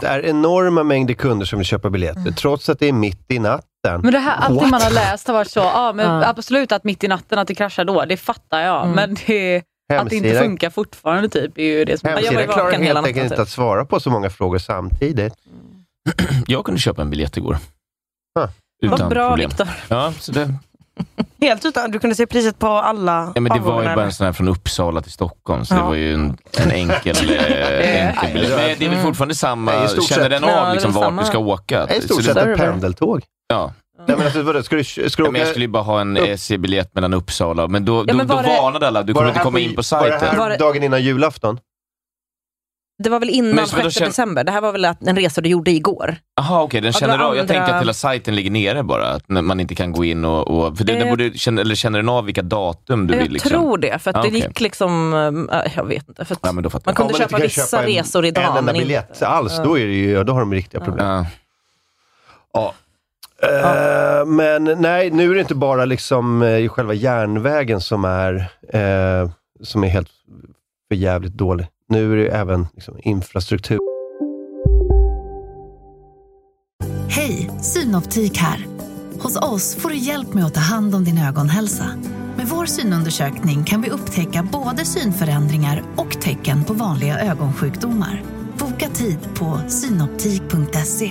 Speaker 2: det är enorma mängder kunder som vill köpa biljetter,
Speaker 4: Mm.
Speaker 2: trots att det är mitt i natten.
Speaker 11: Men det här, allting
Speaker 2: What?
Speaker 11: man har läst har varit så, ja men
Speaker 2: Ja.
Speaker 11: absolut att mitt i natten att det kraschar då, det fattar jag.
Speaker 12: Mm.
Speaker 11: Men det, att det inte
Speaker 2: Hemsidan-
Speaker 11: funkar fortfarande typ är ju det som...
Speaker 2: Hemsidan klarar helt
Speaker 4: typ.
Speaker 2: enkelt inte att svara på så många frågor samtidigt.
Speaker 3: <clears throat> Jag kunde köpa en biljett igår.
Speaker 5: Vad
Speaker 3: Utan
Speaker 5: bra,
Speaker 3: problem.
Speaker 5: Viktor.
Speaker 3: Ja, så det,
Speaker 5: Helt utan, du kunde se priset på alla
Speaker 3: ja, men det var ju
Speaker 5: avgångar,
Speaker 3: bara
Speaker 5: eller?
Speaker 3: en sån här från Uppsala till Stockholm, så
Speaker 5: Ja.
Speaker 3: det var ju en, en
Speaker 5: <laughs>
Speaker 3: enkel, eh, enkel biljett. Men
Speaker 2: Mm.
Speaker 3: det är väl fortfarande samma, känner den av liksom, vart du ska åka?
Speaker 2: Det är i
Speaker 3: Så
Speaker 2: stort
Speaker 3: det-
Speaker 2: sett ett pendeltåg.
Speaker 3: Ja.
Speaker 2: Nej, men alltså, vadå, ska du, ska du
Speaker 3: Ja, men jag skulle ju bara ha en SJ-biljett mellan Uppsala, men då, då,
Speaker 4: men
Speaker 3: då
Speaker 4: var det-
Speaker 3: varnade alla, du
Speaker 2: Var
Speaker 3: kommer
Speaker 2: det
Speaker 3: inte
Speaker 2: här
Speaker 3: komma
Speaker 2: på-
Speaker 3: in på
Speaker 2: var det
Speaker 3: sajten.
Speaker 2: här dagen innan julafton?
Speaker 4: Det var väl innan
Speaker 3: Men så då
Speaker 4: 6
Speaker 3: känner-
Speaker 4: december? Det här var väl att- en resa du gjorde igår?
Speaker 3: Jaha, okej, den
Speaker 4: Att
Speaker 3: känner
Speaker 4: det var
Speaker 3: av, jag tänkte
Speaker 4: andra-
Speaker 3: att hela sajten ligger nere bara, att när man inte kan gå in och, och för det, den
Speaker 4: Eh.
Speaker 3: borde, känner, eller känner den av vilka datum du
Speaker 4: jag
Speaker 3: vill liksom?
Speaker 4: tror det, för att
Speaker 3: Ja,
Speaker 4: det
Speaker 3: okej.
Speaker 4: gick liksom, eh, jag vet inte. För att
Speaker 3: Ja, men då fattar
Speaker 4: man
Speaker 3: jag.
Speaker 4: kunde
Speaker 3: Ja, men
Speaker 4: köpa
Speaker 3: du kan
Speaker 4: vissa
Speaker 3: köpa en-
Speaker 4: resor idag.
Speaker 2: en enda
Speaker 4: men inte-
Speaker 2: biljett alls, då, är det ju, då har de riktiga problem.
Speaker 3: Ja.
Speaker 2: Eh, men nej, nu är det inte bara liksom eh, själva järnvägen som är, eh, som är helt för jävligt dålig. Nu är det även liksom, infrastruktur.
Speaker 12: Hej, Synoptik här. Hos oss får du hjälp med att ta hand om din ögonhälsa. Med vår synundersökning kan vi upptäcka både synförändringar och tecken på vanliga ögonsjukdomar. Boka tid på synoptik.se.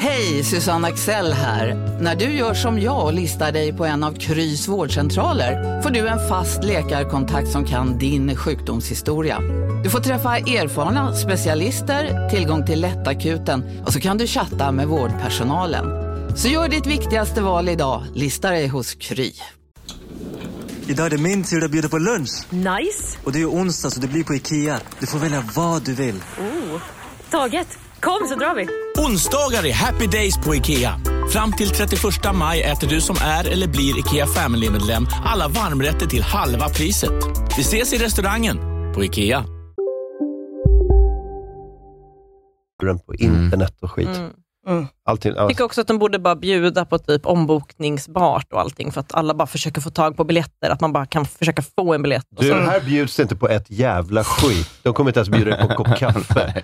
Speaker 9: Hej, Susanne Axel här. När du gör som jag och listar dig på en av Krys vårdcentraler får du en fast läkarkontakt som kan din sjukdomshistoria. Du får träffa erfarna specialister, tillgång till lättakuten och så kan du chatta med vårdpersonalen. Så gör ditt viktigaste val idag, listar dig hos Kry.
Speaker 13: Idag är det min tur att bjuda på lunch. Nice. Och det är ju onsdag så det blir på IKEA. Du får välja vad du vill.
Speaker 14: Oh. Taget. Kom så drar vi.
Speaker 15: Onsdagar är happy days på IKEA. Fram till 31 maj äter du som är eller blir IKEA Family-medlem alla varmrätter till halva priset. Vi ses i restaurangen på IKEA.
Speaker 3: Mm.
Speaker 2: på internet och skit.
Speaker 4: Mm.
Speaker 2: Allting, alltså.
Speaker 4: Jag tycker också att de borde bara bjuda på typ ombokningsbart och allting, för att alla bara försöker få tag på biljetter. Att man bara kan försöka få en biljett. Och
Speaker 2: Du,
Speaker 4: så.
Speaker 2: här bjuds det inte på ett jävla skit. De kommer inte ens bjuda dig på en
Speaker 3: <laughs>
Speaker 2: kopp kaffe.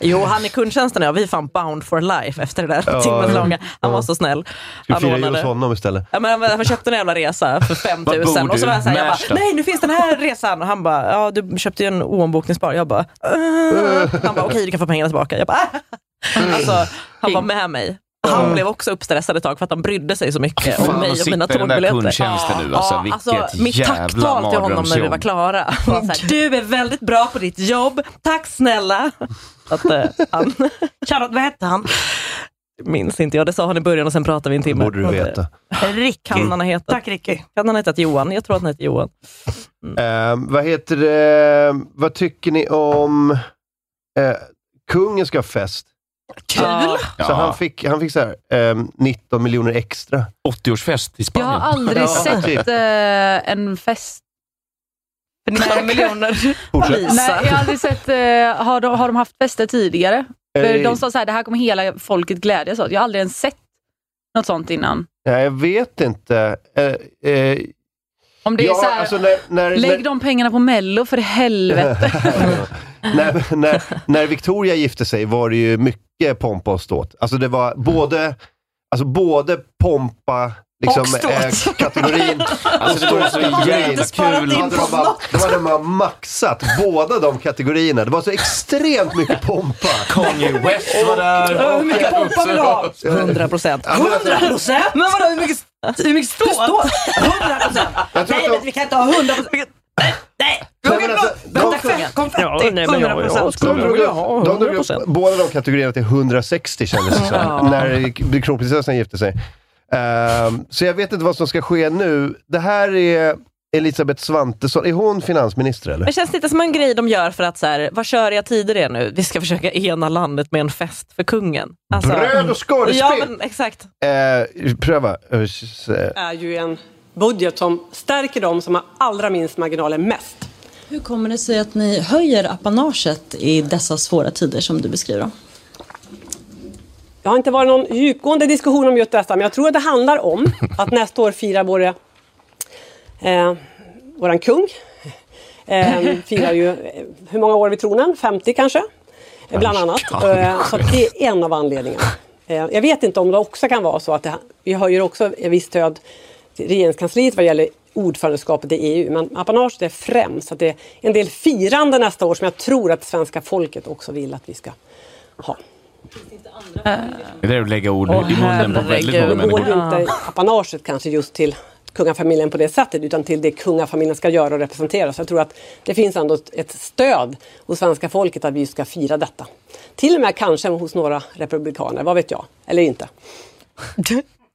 Speaker 4: Jo, han i kundtjänsten och jag, vi är fan bound for life efter det där
Speaker 2: Ja,
Speaker 4: timmeslånga. Han var så snäll.
Speaker 2: Ska vi
Speaker 4: Han
Speaker 2: fira jul
Speaker 4: ordnade-
Speaker 2: hos honom istället?
Speaker 4: Ja, men han köpte en jävla resa för 5
Speaker 2: Var
Speaker 4: 000
Speaker 2: bor
Speaker 4: och
Speaker 2: du?
Speaker 4: så var jag såhär, jag
Speaker 2: Märsta?
Speaker 4: bara, nej nu finns den här resan. Och han bara, ja du köpte ju en oombokningsbar. Jag bara, "Eh." han bara, okej du kan få pengarna tillbaka. Jag bara,
Speaker 3: Mm.
Speaker 4: "Ah." alltså, han var med mig. Han blev också uppstressad ett tag för att han brydde sig så mycket
Speaker 3: Fan,
Speaker 4: om mig
Speaker 3: att
Speaker 4: och mina
Speaker 3: sitta i den där
Speaker 4: tågbiljetter.
Speaker 3: kundtjänsten nu, alltså,
Speaker 4: Ja,
Speaker 3: vilket
Speaker 4: mitt
Speaker 3: jävla
Speaker 4: tacktal till honom när vi var
Speaker 3: mardrömsjobb.
Speaker 4: klara var så här, du är väldigt bra på ditt jobb, tack snälla. Att, eh, han,
Speaker 5: Charlotte, vad hette han?
Speaker 4: minns inte jag, det sa han i början och sen pratade vi en timme.
Speaker 2: borde du veta. Mm.
Speaker 5: Rick.
Speaker 3: Mm.
Speaker 4: Kan han ha hetat?
Speaker 5: Tack Ricky.
Speaker 4: Kan han ha hetat Johan? Jag tror att han heter Johan.
Speaker 2: Ehm, vad heter det? Vad tycker ni om... eh, kungen ska ha fest.
Speaker 4: Kul!
Speaker 2: Så han fick, han fick så här, ehm, 19 miljoner extra.
Speaker 3: 80-årsfest i
Speaker 6: Jag
Speaker 3: Spanien.
Speaker 6: har aldrig
Speaker 2: typ.
Speaker 6: sett eh, en fest...
Speaker 5: För 19 miljoner.
Speaker 2: Fortsätt.
Speaker 6: Nej, jag har aldrig sett, eh, har, de, har de haft fester tidigare? För
Speaker 2: Eh,
Speaker 6: de sa så här, det här kommer hela folket glädjas åt. Jag har aldrig ens sett något sånt innan.
Speaker 2: Nej, jag vet inte. Eh, eh,
Speaker 6: Om det är
Speaker 2: ja,
Speaker 6: så här,
Speaker 2: alltså när, när,
Speaker 6: lägg
Speaker 2: när,
Speaker 6: de pengarna på mello för helvete.
Speaker 2: <laughs> när, när, när Victoria gifte sig var det ju mycket pompa och ståt. Alltså det var både, alltså både pompa, liksom,
Speaker 3: Och ståt.
Speaker 2: eh,
Speaker 6: <laughs>
Speaker 2: kategorin
Speaker 3: Alltså, det var så
Speaker 2: kategorin.
Speaker 3: jävla Inte sparat kul. in
Speaker 2: Hade de
Speaker 3: på
Speaker 2: bara-
Speaker 3: Typ något.
Speaker 2: De hade bara maxat båda de kategorierna. Det var så extremt mycket pompa.
Speaker 3: Kanye West var där.
Speaker 5: Hur mycket pompa vill du ha?
Speaker 4: 100 procent.
Speaker 2: alltså,
Speaker 5: procent? Men vadå, hur mycket, hur mycket stål? 100 procent?
Speaker 2: Jag tror
Speaker 5: Nej,
Speaker 2: att
Speaker 5: men
Speaker 2: de-
Speaker 5: vi kan inte ha 100 procent. Nej,
Speaker 2: Nej, men alltså,
Speaker 5: vänta,
Speaker 2: de-
Speaker 5: konfetti,
Speaker 4: Ja, nej, men jag-
Speaker 5: 100
Speaker 4: jag
Speaker 5: procent.
Speaker 2: De drog upp, de drog upp båda de kategorierna till 160 kändes det som, när kronprinsessan gifte sig. Ehm, så jag vet inte vad som ska ske nu. Det här är Elisabeth Svantesson. Är hon finansminister eller?
Speaker 4: Det känns lite som en grej de gör för att så här, vad kör jag tider är nu? Vi ska försöka ena landet med en fest för kungen. Alltså-
Speaker 2: Bröd och skådespel!
Speaker 4: Ja, men exakt.
Speaker 2: Eh, pröva. Eh, s- eh,
Speaker 16: är ju en budget som stärker de som har allra minst marginaler mest.
Speaker 17: Hur kommer det sig att ni höjer apanaget i dessa svåra tider som du beskriver?
Speaker 16: Det har inte varit någon djupgående diskussion om just detta, men jag tror att det handlar om att nästa år firar vår, eh, våran kung. Eh, firar ju, eh, hur många år vid tronen? 50 kanske? Eh, bland annat. Eh, så att det är en av anledningarna. Eh, jag vet inte om det också kan vara så att det, vi höjer också ett visst stöd till regeringskansliet vad gäller ordförandeskapet i EU. Men apanaget är främst att det är en del firande nästa år som jag tror att svenska folket också vill att vi ska ha.
Speaker 3: Det där är att lägga ord
Speaker 16: Åh,
Speaker 3: i munnen på väldigt många
Speaker 16: herregud. Det går ju
Speaker 3: människor.
Speaker 16: inte apanaget kanske just till kungafamiljen på det sättet utan till det kungafamiljen ska göra och representera. Så jag tror att det finns ändå ett- ett stöd hos svenska folket att vi ska fira detta. Till och med kanske hos några republikaner, vad vet jag? Eller inte.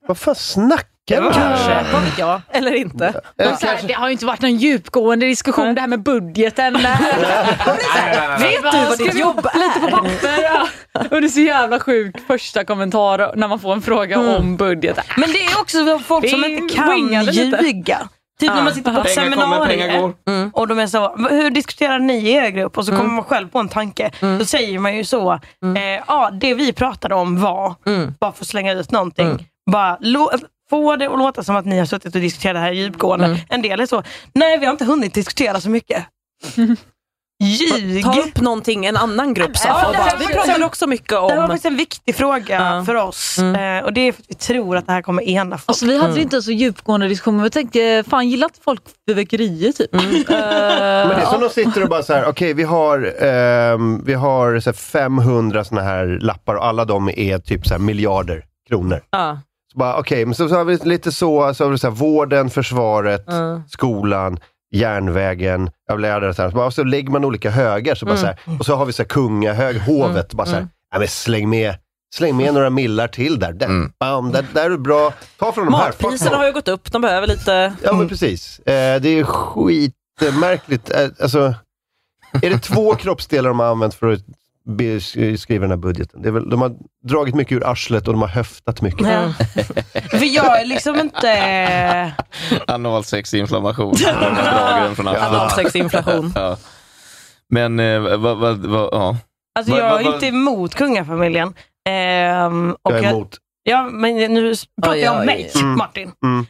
Speaker 2: vad fan snackar du
Speaker 6: Kanske.
Speaker 4: Vad vet jag? Eller inte.
Speaker 6: De så här, det har ju inte varit någon djupgående diskussion det här med <laughs> budgeten. Vet du vad ditt jobb är? <laughs> Lite på papper. Ja. Och det är så jävla sjuk första kommentar när man får en fråga om budgeten.
Speaker 5: Men det är också folk som
Speaker 6: Vi
Speaker 5: inte kan
Speaker 6: wingade lite.
Speaker 5: ljuga. Typ när
Speaker 6: Ja.
Speaker 5: man sitter på ett
Speaker 6: Pengar kommer, pengar
Speaker 5: seminarium Mm.
Speaker 6: går.
Speaker 5: och de är så, hur diskuterar ni i er grupp? Och så kommer man själv på en tanke. Då säger man ju så, eh, ja det vi pratade om var, bara för att slänga ut någonting. Bara lo- få det att låta som att ni har suttit och diskuterat det här djupgående. En del är så, nej vi har inte hunnit diskutera så mycket. Ljug! Äh,
Speaker 4: Ta upp någonting en annan grupp sa.
Speaker 5: Ja,
Speaker 4: Och
Speaker 5: det här
Speaker 4: bara, vi
Speaker 5: var ju-
Speaker 4: pratade också mycket
Speaker 5: äh. Det här var
Speaker 4: om...
Speaker 5: faktiskt en viktig fråga för oss eh, och det är för att vi tror att det här kommer ena folk.
Speaker 11: Alltså, vi hade inte så djupgående diskussioner. men Jag tänkte, fan gillar inte folk fyrverkerier typ?
Speaker 4: Mm.
Speaker 11: Eh,
Speaker 2: Men det är som de sitter och bara så här, okej vi har, ehm, vi har så här 500 såna här lappar och alla de är typ så här miljarder kronor.
Speaker 4: Ja.
Speaker 2: Så bara, okej, men så, så har vi lite så, så har vi så här, vården, försvaret, skolan, järnvägen, jag vill lära det så här. Så, bara, och så lägger man olika högar, så bara
Speaker 18: Mm.
Speaker 2: så här, och så har vi så här kungahög,
Speaker 4: Mm.
Speaker 2: hovet, bara så här, ja, men släng med Släng med några millar till där. Där,
Speaker 3: Mm.
Speaker 2: bam, där, där är bra. Ta från de här.
Speaker 4: Matpriserna har ju gått upp, de behöver lite...
Speaker 2: Ja,
Speaker 6: Mm.
Speaker 2: men precis. Eh, det är skitmärkligt. Eh, alltså, är det
Speaker 6: <laughs>
Speaker 2: två kroppsdelar de har använt för att be- skriva den här budgeten? Det är väl, de har dragit mycket ur arslet och de har höftat mycket.
Speaker 5: Ja. För jag är liksom inte... eh,
Speaker 3: Analsexinflammation. De har dragit den från alla.
Speaker 4: Analsexinflation.
Speaker 3: Ja. Men eh, vad, vad, vad, ja.
Speaker 5: Alltså
Speaker 3: Vad-
Speaker 5: jag
Speaker 3: vad-
Speaker 5: är
Speaker 3: vad-
Speaker 5: inte emot kungafamiljen. Ehm, och
Speaker 2: Jag är emot.
Speaker 5: Ja, men nu pratar
Speaker 2: Aj,
Speaker 5: jag om
Speaker 2: aj.
Speaker 5: mig,
Speaker 2: Mm.
Speaker 5: Martin.
Speaker 2: Mm.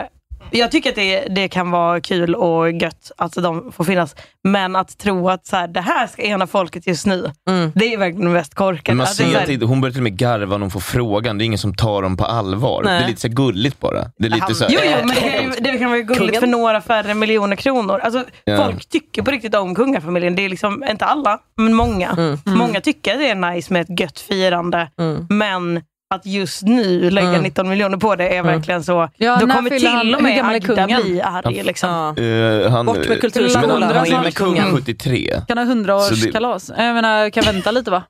Speaker 5: Eh, jag tycker att det, det kan vara kul och gött att de får finnas. Men att tro att så här, det här ska ena folket just nu,
Speaker 4: Mm,
Speaker 5: det är verkligen mest korkat.
Speaker 3: Men man
Speaker 5: Att det är så
Speaker 3: ser
Speaker 5: här-
Speaker 3: att det- hon börjar till och med garva när hon får frågan. Det är ingen som tar dem på allvar.
Speaker 5: Nej.
Speaker 3: Det är lite så här gulligt bara. Det är lite så här,
Speaker 5: Jo, jo, men det, kan ju- det kan vara gulligt
Speaker 3: Kungen.
Speaker 5: för några färre miljoner kronor. Alltså,
Speaker 3: Ja.
Speaker 5: Folk tycker på riktigt om kungafamiljen. Det är liksom, inte alla, men många.
Speaker 4: mm,
Speaker 6: Mm.
Speaker 5: Många tycker att det är nice med ett gött firande, men att just nu lägga 19 miljoner på det är verkligen så.
Speaker 6: Mm. Ja,
Speaker 5: Då
Speaker 6: när
Speaker 5: kommer
Speaker 6: fyller han-
Speaker 5: till och
Speaker 6: hur
Speaker 5: med
Speaker 6: gammal är
Speaker 5: Agda
Speaker 6: kungen?
Speaker 5: bli arg. Liksom.
Speaker 3: Eh, han,
Speaker 6: Bort med kulturskolan.
Speaker 3: Men han är med
Speaker 6: Mm.
Speaker 3: kung 73.
Speaker 6: Kan ha
Speaker 3: Så det-
Speaker 6: hundraårskalas. Jag menar, kan vänta lite va?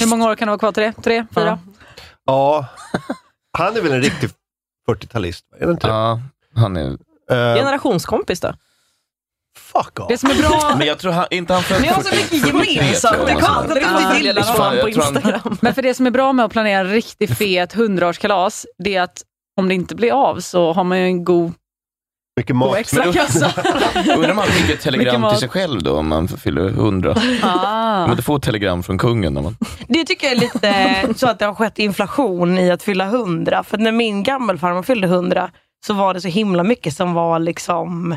Speaker 6: Hur många år kan det vara kvar till det? Tre? Fyra?
Speaker 2: Ja, han är väl en riktig 40-talist? Är det inte
Speaker 3: Ja, han är...
Speaker 19: Generationskompis då?
Speaker 2: Fuck off.
Speaker 6: Det som är bra...
Speaker 3: <laughs> Men jag tror han, inte han föddes
Speaker 6: Ni har så
Speaker 3: 40
Speaker 6: mycket
Speaker 3: 43,
Speaker 6: gemensamt.
Speaker 3: tror
Speaker 6: Jag kan
Speaker 3: någonstans.
Speaker 6: aldrig riktigt gilla
Speaker 3: Ja,
Speaker 6: honom
Speaker 3: jag
Speaker 6: på
Speaker 3: tror han-
Speaker 4: <laughs>
Speaker 6: Men för det som är bra med att planera en riktigt fet hundraårskalas, det är att om det inte blir av så har man ju en god
Speaker 2: Mycket
Speaker 6: Och
Speaker 2: mat.
Speaker 6: extra kassa.
Speaker 3: <laughs> Undrar om han skickar ett
Speaker 6: Mycket
Speaker 3: telegram
Speaker 6: mat.
Speaker 3: till sig själv då, om han fyller 100.
Speaker 6: Ah.
Speaker 3: Men du får ett telegram från kungen. När man...
Speaker 5: Det tycker jag är lite eh, så att det har skett inflation i att fylla 100. För när min gammelfarmor fyllde 100 så var det så himla mycket som var liksom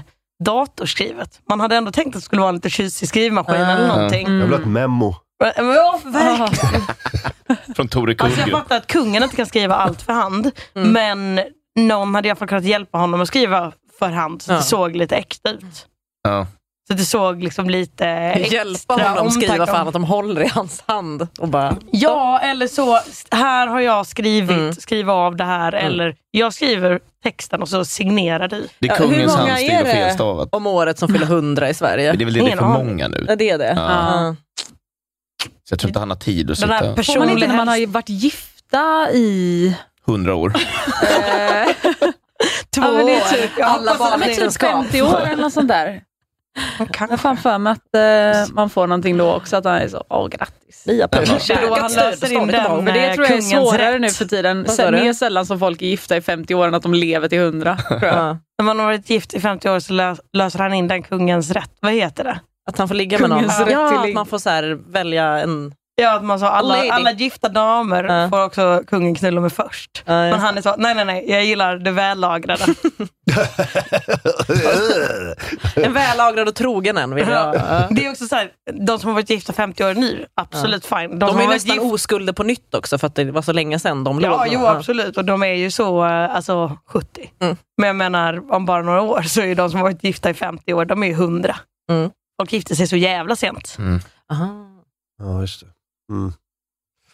Speaker 5: datorskrivet. Man hade ändå tänkt att det skulle vara en lite tjusig skrivmaskin
Speaker 6: Ah.
Speaker 5: eller någonting.
Speaker 6: Mm.
Speaker 2: Jag vill ha ett memo.
Speaker 5: Men, Ja, verkligen.
Speaker 3: Från Tore
Speaker 5: Alltså jag
Speaker 3: Kullgren.
Speaker 5: fattar att kungen inte kan skriva allt för hand,
Speaker 6: Mm.
Speaker 5: men någon hade i alla fall kunnat hjälpa honom att skriva för hand så att det såg lite äkta ut.
Speaker 3: Ja.
Speaker 5: Så att det såg liksom lite extra
Speaker 4: Hjälpa honom skriva
Speaker 5: omtanke
Speaker 4: för
Speaker 5: om-
Speaker 4: att de håller i hans hand och bara...
Speaker 5: Ja, eller så, här har jag skrivit,
Speaker 6: Mm.
Speaker 5: skriv av det här. Eller jag skriver texten och så signerar du.
Speaker 3: Det är kungens handstil och felstavat.
Speaker 4: om året som fyller 100 i Sverige?
Speaker 3: Men det är väl det, det är för många nu.
Speaker 4: Ja, det är det.
Speaker 3: Ja.
Speaker 4: Ja.
Speaker 3: Så jag tror inte han har tid att
Speaker 4: Den här
Speaker 3: sitta
Speaker 6: Får man inte när man har ju varit gifta i...
Speaker 3: 100 år.
Speaker 6: Två ja, men det är typ,
Speaker 4: år. Alla
Speaker 6: alla barn
Speaker 4: barn
Speaker 6: men
Speaker 4: är
Speaker 6: typ
Speaker 4: skap.
Speaker 6: 50 år eller något sånt där. Jag har fan för mig att eh, man får någonting då också, att han är så, åh grattis.
Speaker 4: Lia
Speaker 6: Det
Speaker 4: Persson.
Speaker 6: är då han
Speaker 4: Käkat stöd,
Speaker 6: löser
Speaker 4: står
Speaker 6: in
Speaker 4: det på dem.
Speaker 6: den. Men det tror jag är
Speaker 4: Kungens
Speaker 6: svårare
Speaker 4: rätt.
Speaker 6: nu för tiden.
Speaker 4: Vad sa
Speaker 6: Sen-
Speaker 4: du?
Speaker 6: Mer sällan som folk är gifta i 50 år än att de lever till 100. Tror jag.
Speaker 5: När man har varit gift i 50 år så lö- löser han in den kungens rätt. Vad heter det?
Speaker 4: Att han får ligga med någon.
Speaker 5: Kungens rätt till
Speaker 4: Ja, att
Speaker 5: ligg.
Speaker 4: man får så här välja en...
Speaker 5: Ja, att man sa
Speaker 4: Lady.
Speaker 5: alla, alla gifta damer får också kungen knulla med först. Men han är så, nej nej nej, jag gillar det vällagrade.
Speaker 4: En vällagrad och trogen en vill jag.
Speaker 5: Ja. Det är också så här, de som har varit gifta 50 år nu, absolut fine.
Speaker 4: De,
Speaker 5: som har
Speaker 4: är
Speaker 5: varit
Speaker 4: nästan
Speaker 5: gif-
Speaker 4: oskulder på nytt också för att det var så länge sedan de låg
Speaker 5: Ja,
Speaker 4: med
Speaker 5: jo
Speaker 4: varandra.
Speaker 5: absolut. Och de är ju så eh, alltså, 70. Men jag menar, om bara några år så är ju de som har varit gifta i 50 år, de är ju 100.
Speaker 4: Mm.
Speaker 5: Folk gifte sig så jävla sent.
Speaker 2: Mm.
Speaker 4: Aha,
Speaker 2: Ja, just det. Mm.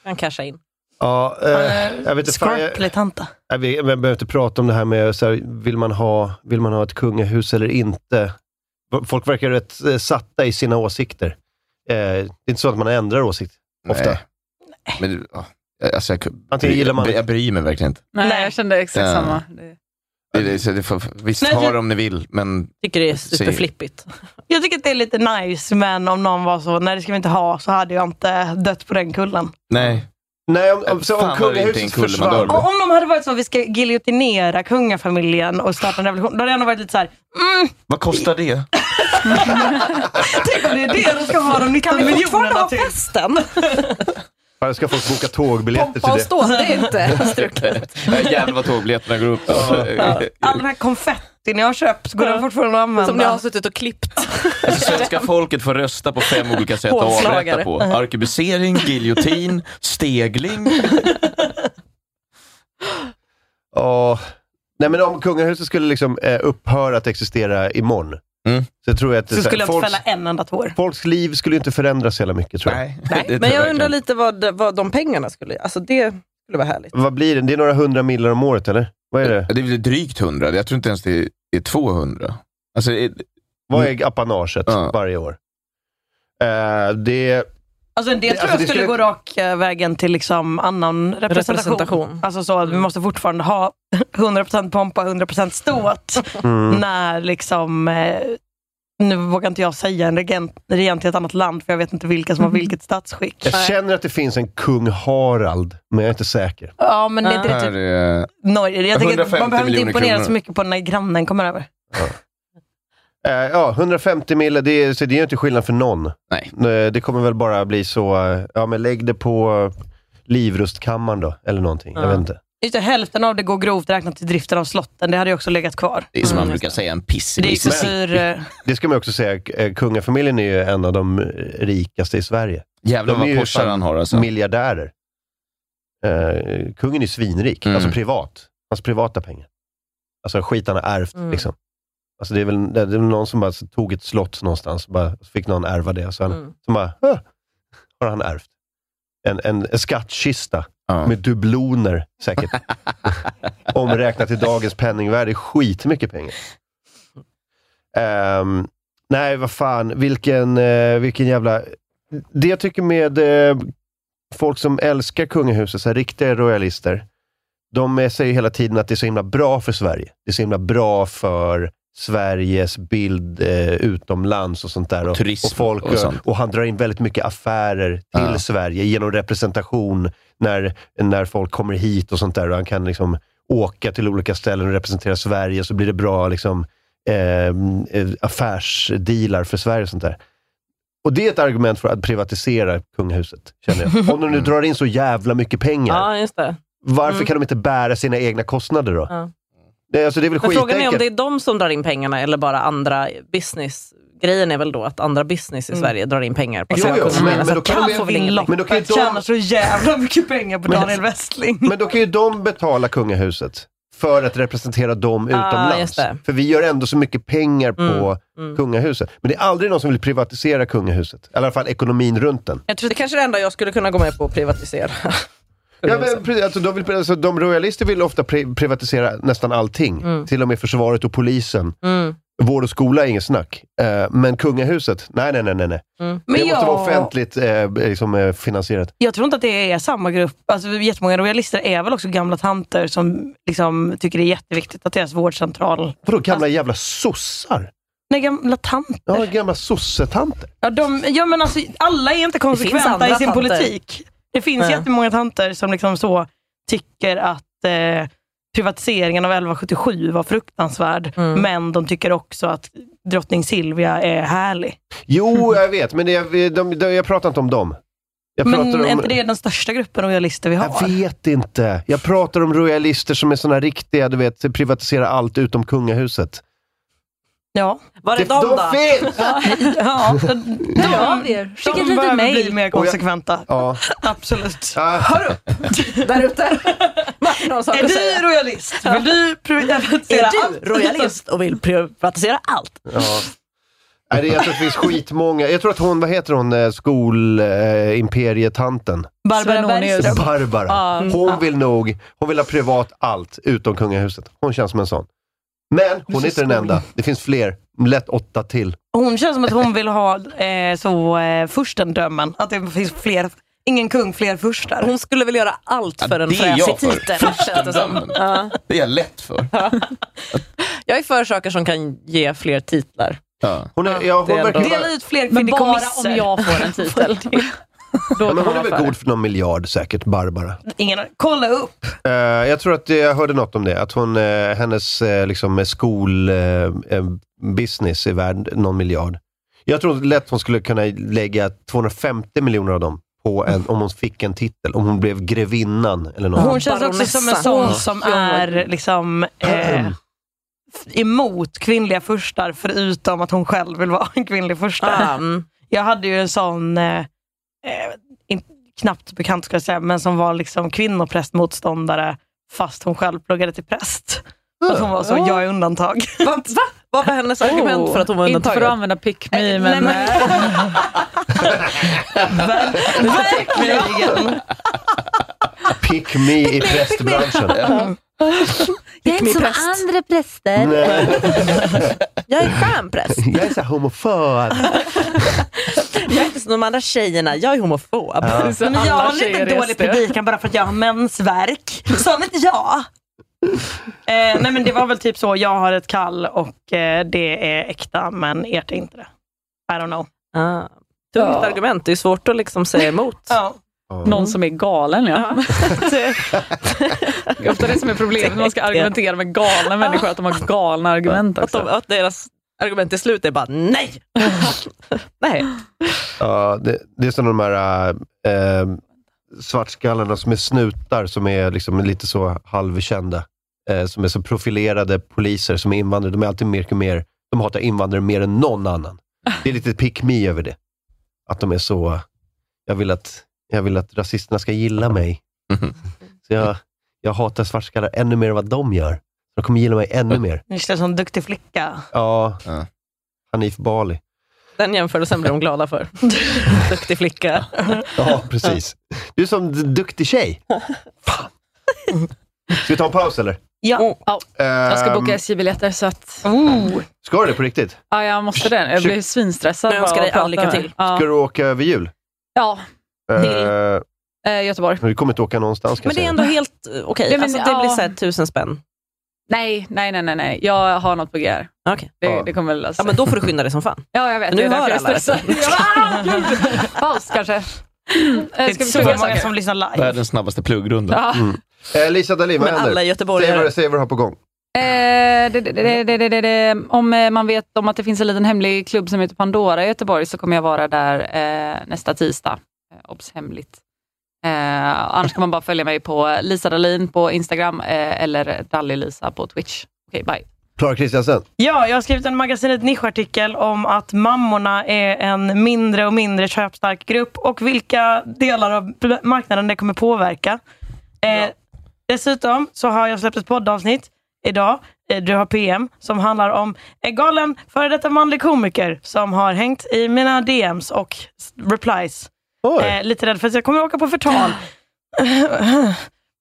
Speaker 4: kan casha in.
Speaker 2: Ja, eh, jag vet inte fan, jag,
Speaker 5: Skröplig tanta.
Speaker 2: jag, vet- jag behöver inte prata om det här med, så här, vill, man ha, vill man ha ett kungahus eller inte? Folk verkar rätt eh, satta i sina åsikter. Eh, det är inte så att man ändrar åsikt ofta.
Speaker 3: Nej. Men, ja, alltså, jag,
Speaker 2: Antingen gillar man-
Speaker 3: jag, jag bryr mig verkligen inte.
Speaker 6: Nej, jag kände exakt
Speaker 3: Ja.
Speaker 6: samma.
Speaker 3: Det, det, så det får, visst,
Speaker 5: Nej,
Speaker 3: ha
Speaker 5: jag-
Speaker 3: det om ni vill, men...
Speaker 4: tycker det är
Speaker 5: superflippigt. Jag tycker att det är lite nice, men om någon var så, nej det ska vi inte ha, så hade jag inte dött på den kullen.
Speaker 3: Nej.
Speaker 2: Nej, om, om,
Speaker 3: Eh, Fan,
Speaker 2: så
Speaker 3: vad det
Speaker 2: om
Speaker 3: inte är en
Speaker 2: kungahuset
Speaker 3: kulle man dör
Speaker 2: försvann.
Speaker 3: på.
Speaker 5: Om de hade varit så, vi ska giljotinera kungafamiljen och starta en revolution, då hade jag ändå varit lite så här, mm,
Speaker 3: Vad kostar det?
Speaker 5: tänk om det är det de ska ha de 19
Speaker 4: Kan vi fortfarande
Speaker 5: miljonerna
Speaker 4: ha
Speaker 5: till.
Speaker 4: festen?
Speaker 2: Fan, jag ska folk boka tågbiljetter
Speaker 4: Pompa och
Speaker 2: till det.
Speaker 4: ståt, det är inte struket.
Speaker 3: Nej, Jävlar vad tågbiljetterna går upp. Alltså, eh, Ja.
Speaker 5: All den här konfettin jag har köpt, går den fortfarande att använda?
Speaker 4: Som ni har suttit och klippt.
Speaker 3: Alltså, svenska folket får rösta på fem olika sätt att
Speaker 4: Hovslagare.
Speaker 3: avrätta på. Arkebusering, giljotin, stegling.
Speaker 2: Ja. Nej, men om kungahuset skulle liksom, eh, upphöra att existera imorgon,
Speaker 3: Mm.
Speaker 2: så tror jag att det-
Speaker 5: Så
Speaker 2: här,
Speaker 5: skulle jag inte
Speaker 2: folks,
Speaker 5: fälla en enda tår.
Speaker 2: folks liv skulle inte förändras så jävla mycket tror jag.
Speaker 4: Nej, men jag undrar lite vad, vad de pengarna skulle... Alltså det skulle vara härligt.
Speaker 2: Vad blir det? Det är några hundra millar om året, eller? Vad är det?
Speaker 3: Det är väl drygt 100. Jag tror inte ens det är 200. Alltså, Mm. det-
Speaker 2: Vad är apanaget varje år? Eh, det...
Speaker 5: Alltså en del
Speaker 2: Det-
Speaker 5: tror
Speaker 2: alltså,
Speaker 5: jag skulle
Speaker 2: det skulle-
Speaker 5: gå raka vägen till liksom annan representation.
Speaker 4: Representation.
Speaker 5: Alltså så, att vi måste fortfarande ha <laughs> 100% pompa, 100% ståt.
Speaker 4: Mm.
Speaker 5: När liksom, eh, nu vågar inte jag säga en regent, regent i ett annat land, för jag vet inte vilka
Speaker 4: Mm.
Speaker 5: som har vilket statsskick.
Speaker 2: Jag känner att det finns en kung Harald, men jag är inte säker.
Speaker 5: Ja, men det är inte
Speaker 3: Här
Speaker 5: typ
Speaker 3: är...
Speaker 5: Norge. Jag tänker, att
Speaker 2: 150
Speaker 5: man behöver inte
Speaker 2: miljoner
Speaker 5: imponera så
Speaker 2: kronor.
Speaker 5: mycket på när grannen kommer över.
Speaker 2: Eh, ja, 150 millar, det, är- så det är ju inte skillnad för någon.
Speaker 3: Nej.
Speaker 2: Det kommer väl bara bli så, eh, ja men eh, lägg det på Livrustkammaren då, eller någonting. Jag vet inte.
Speaker 5: Just det, hälften av det går grovt räknat till driften av slotten. Det hade ju också legat kvar.
Speaker 3: Det är som man
Speaker 4: Mm.
Speaker 3: brukar säga, en piss i
Speaker 5: Det är
Speaker 3: Mississippi.
Speaker 5: frisyr...
Speaker 2: Det ska man också säga, eh, kungafamiljen är ju en av de rikaste i Sverige.
Speaker 3: Jävlar
Speaker 2: de
Speaker 3: vad
Speaker 2: är ju
Speaker 3: Porsche
Speaker 2: fan
Speaker 3: han har, alltså.
Speaker 2: miljardärer. Eh, kungen är svinrik, alltså privat. Hans privata pengar. Alltså skit han har ärvt.
Speaker 3: Mm.
Speaker 2: Liksom. Alltså, det, är väl, det är väl någon som bara tog ett slott någonstans, bara, så fick någon ärva det. Så han,
Speaker 3: Mm.
Speaker 2: så bara, "Ah, har han ärvt. En, en, en skattkista med dubloner säkert. Omräknat till dagens penningvärde, är skitmycket pengar. Ehm, nej, vad fan. Vilken, eh, vilken jävla... Det jag tycker med eh, folk som älskar kungahuset, så här, riktiga royalister, de eh, säger hela tiden att det är så himla bra för Sverige. Det är så himla bra för Sveriges bild eh, utomlands och sånt där. Och,
Speaker 3: turism
Speaker 2: folk,
Speaker 3: och sånt.
Speaker 2: och han drar in väldigt mycket affärer till
Speaker 3: Ja.
Speaker 2: Sverige genom representation när, när folk kommer hit och sånt där. Och han kan liksom åka till olika ställen och representera Sverige så blir det bra liksom, eh, eh, affärsdealar för Sverige och sånt där. Och det är ett argument för att privatisera kungahuset,
Speaker 4: <laughs>
Speaker 2: känner jag. Om de nu drar in så jävla mycket pengar,
Speaker 4: Mm. Ja, just det.
Speaker 2: varför
Speaker 4: Mm.
Speaker 2: kan de inte bära sina egna kostnader då?
Speaker 4: Ja.
Speaker 2: Det, alltså, det är väl
Speaker 4: Men frågan är om
Speaker 2: skitenkelt.
Speaker 4: det är de som drar in pengarna eller bara andra business. Grejen är väl då att andra business i
Speaker 5: Mm.
Speaker 4: Sverige drar in pengar på
Speaker 2: Jo,
Speaker 4: sina
Speaker 2: jo,
Speaker 4: kostnader.
Speaker 2: men- men
Speaker 4: Alltså,
Speaker 2: då kan vi-
Speaker 4: får väl ingen
Speaker 2: men då kan ju
Speaker 4: loppa.
Speaker 2: de-
Speaker 5: tjänar så
Speaker 2: <laughs>
Speaker 5: jävla mycket pengar på
Speaker 2: Men-
Speaker 5: Daniel Westling.
Speaker 2: <laughs> Men då kan ju de betala kungahuset för att representera dem
Speaker 5: Ah,
Speaker 2: utomlands.
Speaker 5: just det.
Speaker 2: För vi gör ändå så mycket pengar på
Speaker 4: mm.
Speaker 2: kungahuset. Men det är aldrig någon som vill privatisera kungahuset. Eller i alla fall ekonomin runt den.
Speaker 4: Jag tror det kanske är det enda jag skulle kunna gå med på att privatisera.
Speaker 2: Ja, men, precis, alltså, de, vill, alltså, de royalister vill ofta pri- privatisera nästan allting.
Speaker 5: Mm.
Speaker 2: Till och med försvaret och polisen.
Speaker 4: Mm.
Speaker 2: Vård och skola är ingen snack. Eh, men kungahuset, nej, nej, nej. nej, nej.
Speaker 5: Men
Speaker 2: det måste
Speaker 5: ja.
Speaker 2: vara offentligt eh, liksom, eh, finansierat.
Speaker 5: Jag tror inte att det är samma grupp. Alltså, jättemånga royalister är väl också gamla tanter som liksom, tycker det är jätteviktigt att deras vårdcentral...
Speaker 2: Vadå gamla
Speaker 5: Alltså-
Speaker 2: jävla sossar?
Speaker 5: Nej, gamla tanter.
Speaker 2: Ja, gamla sossetanter.
Speaker 5: Ja, de, ja, men alltså, alla är inte konsekventa
Speaker 4: andra
Speaker 5: i sin
Speaker 4: tanter.
Speaker 5: politik. Det finns
Speaker 4: Nej.
Speaker 5: jättemånga tanter som liksom så tycker att eh, privatiseringen av 1177 var fruktansvärd,
Speaker 4: Mm.
Speaker 2: Mm.
Speaker 5: men de tycker också att drottning Silvia är härlig. <laughs>
Speaker 2: Jo, jag vet, men det, de, de, jag pratar inte om dem. Jag pratar
Speaker 5: men
Speaker 2: om...
Speaker 5: är inte det den största gruppen royalister vi har?
Speaker 2: Jag vet inte. Jag pratar om royalister som är såna riktiga, du vet, privatisera allt utom kungahuset.
Speaker 5: Ja.
Speaker 4: Var
Speaker 2: är Det- de de då? finns!
Speaker 5: Ja, ja, de,
Speaker 4: av er. Skicka ett
Speaker 5: de
Speaker 4: litet
Speaker 5: behöver
Speaker 4: mejl.
Speaker 5: bli mer
Speaker 2: Och jag-
Speaker 5: konsekventa. <laughs>
Speaker 2: Ja.
Speaker 5: Absolut.
Speaker 2: Hör
Speaker 5: upp!
Speaker 4: Där ute. Martin har en sak
Speaker 5: Är
Speaker 4: att
Speaker 5: du
Speaker 4: säga.
Speaker 5: royalist? Vill du privatisera
Speaker 4: Är
Speaker 5: allt?
Speaker 4: du royalist och vill privatisera allt?
Speaker 2: Ja. Nej, det, jag tror att det finns skitmånga. Jag tror att hon, vad heter hon, eh, skolimperietanten?
Speaker 5: Barbara Nornius.
Speaker 2: Barbara.
Speaker 5: Ja.
Speaker 2: Hon vill nog, hon vill ha privat allt utom kungahuset. Hon känns som en sån. Men hon är inte den enda. Det finns fler. Lätt åtta till.
Speaker 5: Hon känns som att hon vill ha eh, så, eh, furstendömen. Att det finns fler, ingen kung, fler furstar.
Speaker 4: Hon skulle väl göra allt
Speaker 3: Ja,
Speaker 4: för en
Speaker 3: det är jag
Speaker 4: fräsig
Speaker 3: för.
Speaker 4: titel. känns det som. Ja.
Speaker 3: Det är jag lätt för.
Speaker 4: Jag är för saker som kan ge fler titlar.
Speaker 3: Ja.
Speaker 2: Hon är, ja,
Speaker 4: Det
Speaker 2: hon
Speaker 4: är
Speaker 2: verkar,
Speaker 4: ändå-
Speaker 2: ja,
Speaker 5: Dela ut fler
Speaker 4: Men bara
Speaker 5: fideikommisser.
Speaker 4: om jag får en titel.
Speaker 2: men hon är väl god för någon miljard säkert, Barbara.
Speaker 5: <laughs> Ingen, kolla upp.
Speaker 2: Eh, jag tror att det, jag hörde något om det, att hon, eh, hennes eh, liksom, skolbusiness är värd någon miljard. Jag tror lätt hon skulle kunna lägga 250 miljoner av dem på en, om hon fick en titel, om hon blev grevinnan eller något.
Speaker 5: Hon känns också som en
Speaker 4: Baronessa.
Speaker 5: sån som
Speaker 4: Ja.
Speaker 5: är liksom, eh, emot kvinnliga furstar förutom att hon själv vill vara en kvinnlig fursta.
Speaker 4: Ah, mm.
Speaker 5: Jag hade ju en sån, eh, eh, in, knappt bekant ska jag säga, men som var liksom kvinnoprästmotståndare fast hon själv pluggade till präst. För att hon var så,
Speaker 6: Ja.
Speaker 5: jag är undantag.
Speaker 4: Va? Va? Vad var hennes argument Oh. för att hon var
Speaker 6: Inte för att
Speaker 4: undantagen?
Speaker 6: använda pick me, men...
Speaker 5: Verkligen.
Speaker 2: Pick me i prästbranschen.
Speaker 7: Jag är inte som andra präster.
Speaker 2: Nej,
Speaker 4: Jag är stjärnpräst.
Speaker 2: jag är så här homofob.
Speaker 4: Jag är inte som de andra tjejerna, jag är homofob.
Speaker 2: Ja.
Speaker 5: Men jag
Speaker 6: alla
Speaker 5: håller
Speaker 6: tjejer
Speaker 5: inte
Speaker 6: är
Speaker 5: dålig
Speaker 6: SD.
Speaker 5: predikan bara för att jag har mensvärk. Sån inte jag. Eh, nej men det var väl typ så, jag har ett kall och eh, det är äkta men ert är inte det. I don't know.
Speaker 4: Ah. Tungt argument, det är svårt att liksom säga emot.
Speaker 5: Ja.
Speaker 6: Någon som är galen, ja.
Speaker 4: Det-
Speaker 6: <laughs> Det är ofta det som är problemet när man ska argumentera med galna människor, att de har galna argument
Speaker 4: Att, de,
Speaker 6: också.
Speaker 4: att deras argument till slut är bara nej. nej.
Speaker 2: Ja, det, det är som de här äh, svartskallarna som är snutar, som är liksom lite så halvkända. Eh, som är så profilerade poliser, som är invandrare. De är alltid mer och mer... De hatar invandrare mer än någon annan. Det är lite pick me över det. Att de är så... Jag vill att, jag vill att rasisterna ska gilla mig. Så jag, jag hatar svartskallar ännu mer än vad de gör. De kommer gilla mig ännu mer.
Speaker 5: Ni känns som en duktig flicka.
Speaker 2: Ja, Hanif Bali.
Speaker 4: Den jämförelsen blir de
Speaker 5: <laughs>
Speaker 4: glada för. Duktig flicka.
Speaker 2: Ja, precis. Du är som en duktig tjej. Fan. Ska vi ta en paus eller? Ehm,
Speaker 6: Ja.
Speaker 5: Mm.
Speaker 6: Jag ska boka SJ-biljetter så att...
Speaker 2: Ska du det på riktigt?
Speaker 6: Ehm, Ja, jag måste det. Jag blev svinstressad.
Speaker 4: Jag önskar
Speaker 6: bara
Speaker 4: dig
Speaker 6: att
Speaker 4: all
Speaker 6: prata
Speaker 4: lycka
Speaker 6: med
Speaker 4: till.
Speaker 6: er. Ja.
Speaker 2: Ska du åka över jul?
Speaker 6: ja.
Speaker 2: Eh,
Speaker 6: Eh, Göteborg.
Speaker 2: Vi kommer inte åka någonstans kan
Speaker 4: Men det är
Speaker 2: jag
Speaker 4: ändå
Speaker 2: säga.
Speaker 4: helt eh, okej.
Speaker 6: Ja, men,
Speaker 4: Alltså, det blir
Speaker 6: ja.
Speaker 4: så här tusen spänn.
Speaker 6: Nej, nej, nej, nej, nej. Jag har något på GR.
Speaker 4: Okej.
Speaker 6: Det, det kommer väl
Speaker 4: Ja, men då får du skynda dig som fan.
Speaker 6: Ja, jag vet.
Speaker 4: Nu
Speaker 6: det är därför
Speaker 4: hör
Speaker 6: jag
Speaker 4: alla
Speaker 6: stressar.
Speaker 4: detta.
Speaker 6: Jag bara, ah,
Speaker 4: <laughs>
Speaker 6: gud! Paus kanske. Eh, Ska vi
Speaker 4: inte så
Speaker 6: försöka
Speaker 4: många
Speaker 6: saker?
Speaker 5: som lyssnar live.
Speaker 3: Världens snabbaste pluggrunda.
Speaker 6: Ja.
Speaker 2: Mm. Eh, Lisa Dahlin, vad
Speaker 4: Men
Speaker 2: händer?
Speaker 4: alla göteborgare-
Speaker 2: Säg vad du- Säg vad du har på gång.
Speaker 6: Eh, det, det, det, det, det, det, det. Om eh, man vet om att det finns en liten hemlig klubb som heter Pandora i Göteborg så kommer jag vara där eh, nästa tisdag. Eh, obs, hemligt. Eh, annars kan man bara följa mig på Lisa Dahlin på Instagram eh, eller Dalli-Lisa på Twitch. Okej, bye.
Speaker 2: Klara Kristiansen.
Speaker 5: Ja, jag har skrivit en magasinet nischartikel om att mammorna är en mindre och mindre köpstark grupp och vilka delar av marknaden det kommer påverka. Eh, dessutom så har jag släppt ett poddavsnitt idag, eh, du har PM, som handlar om en galen före detta manlig komiker som har hängt i mina DMs och s- replies.
Speaker 2: Oj.
Speaker 5: Eh, lite rädd för att jag kommer åka på förtal.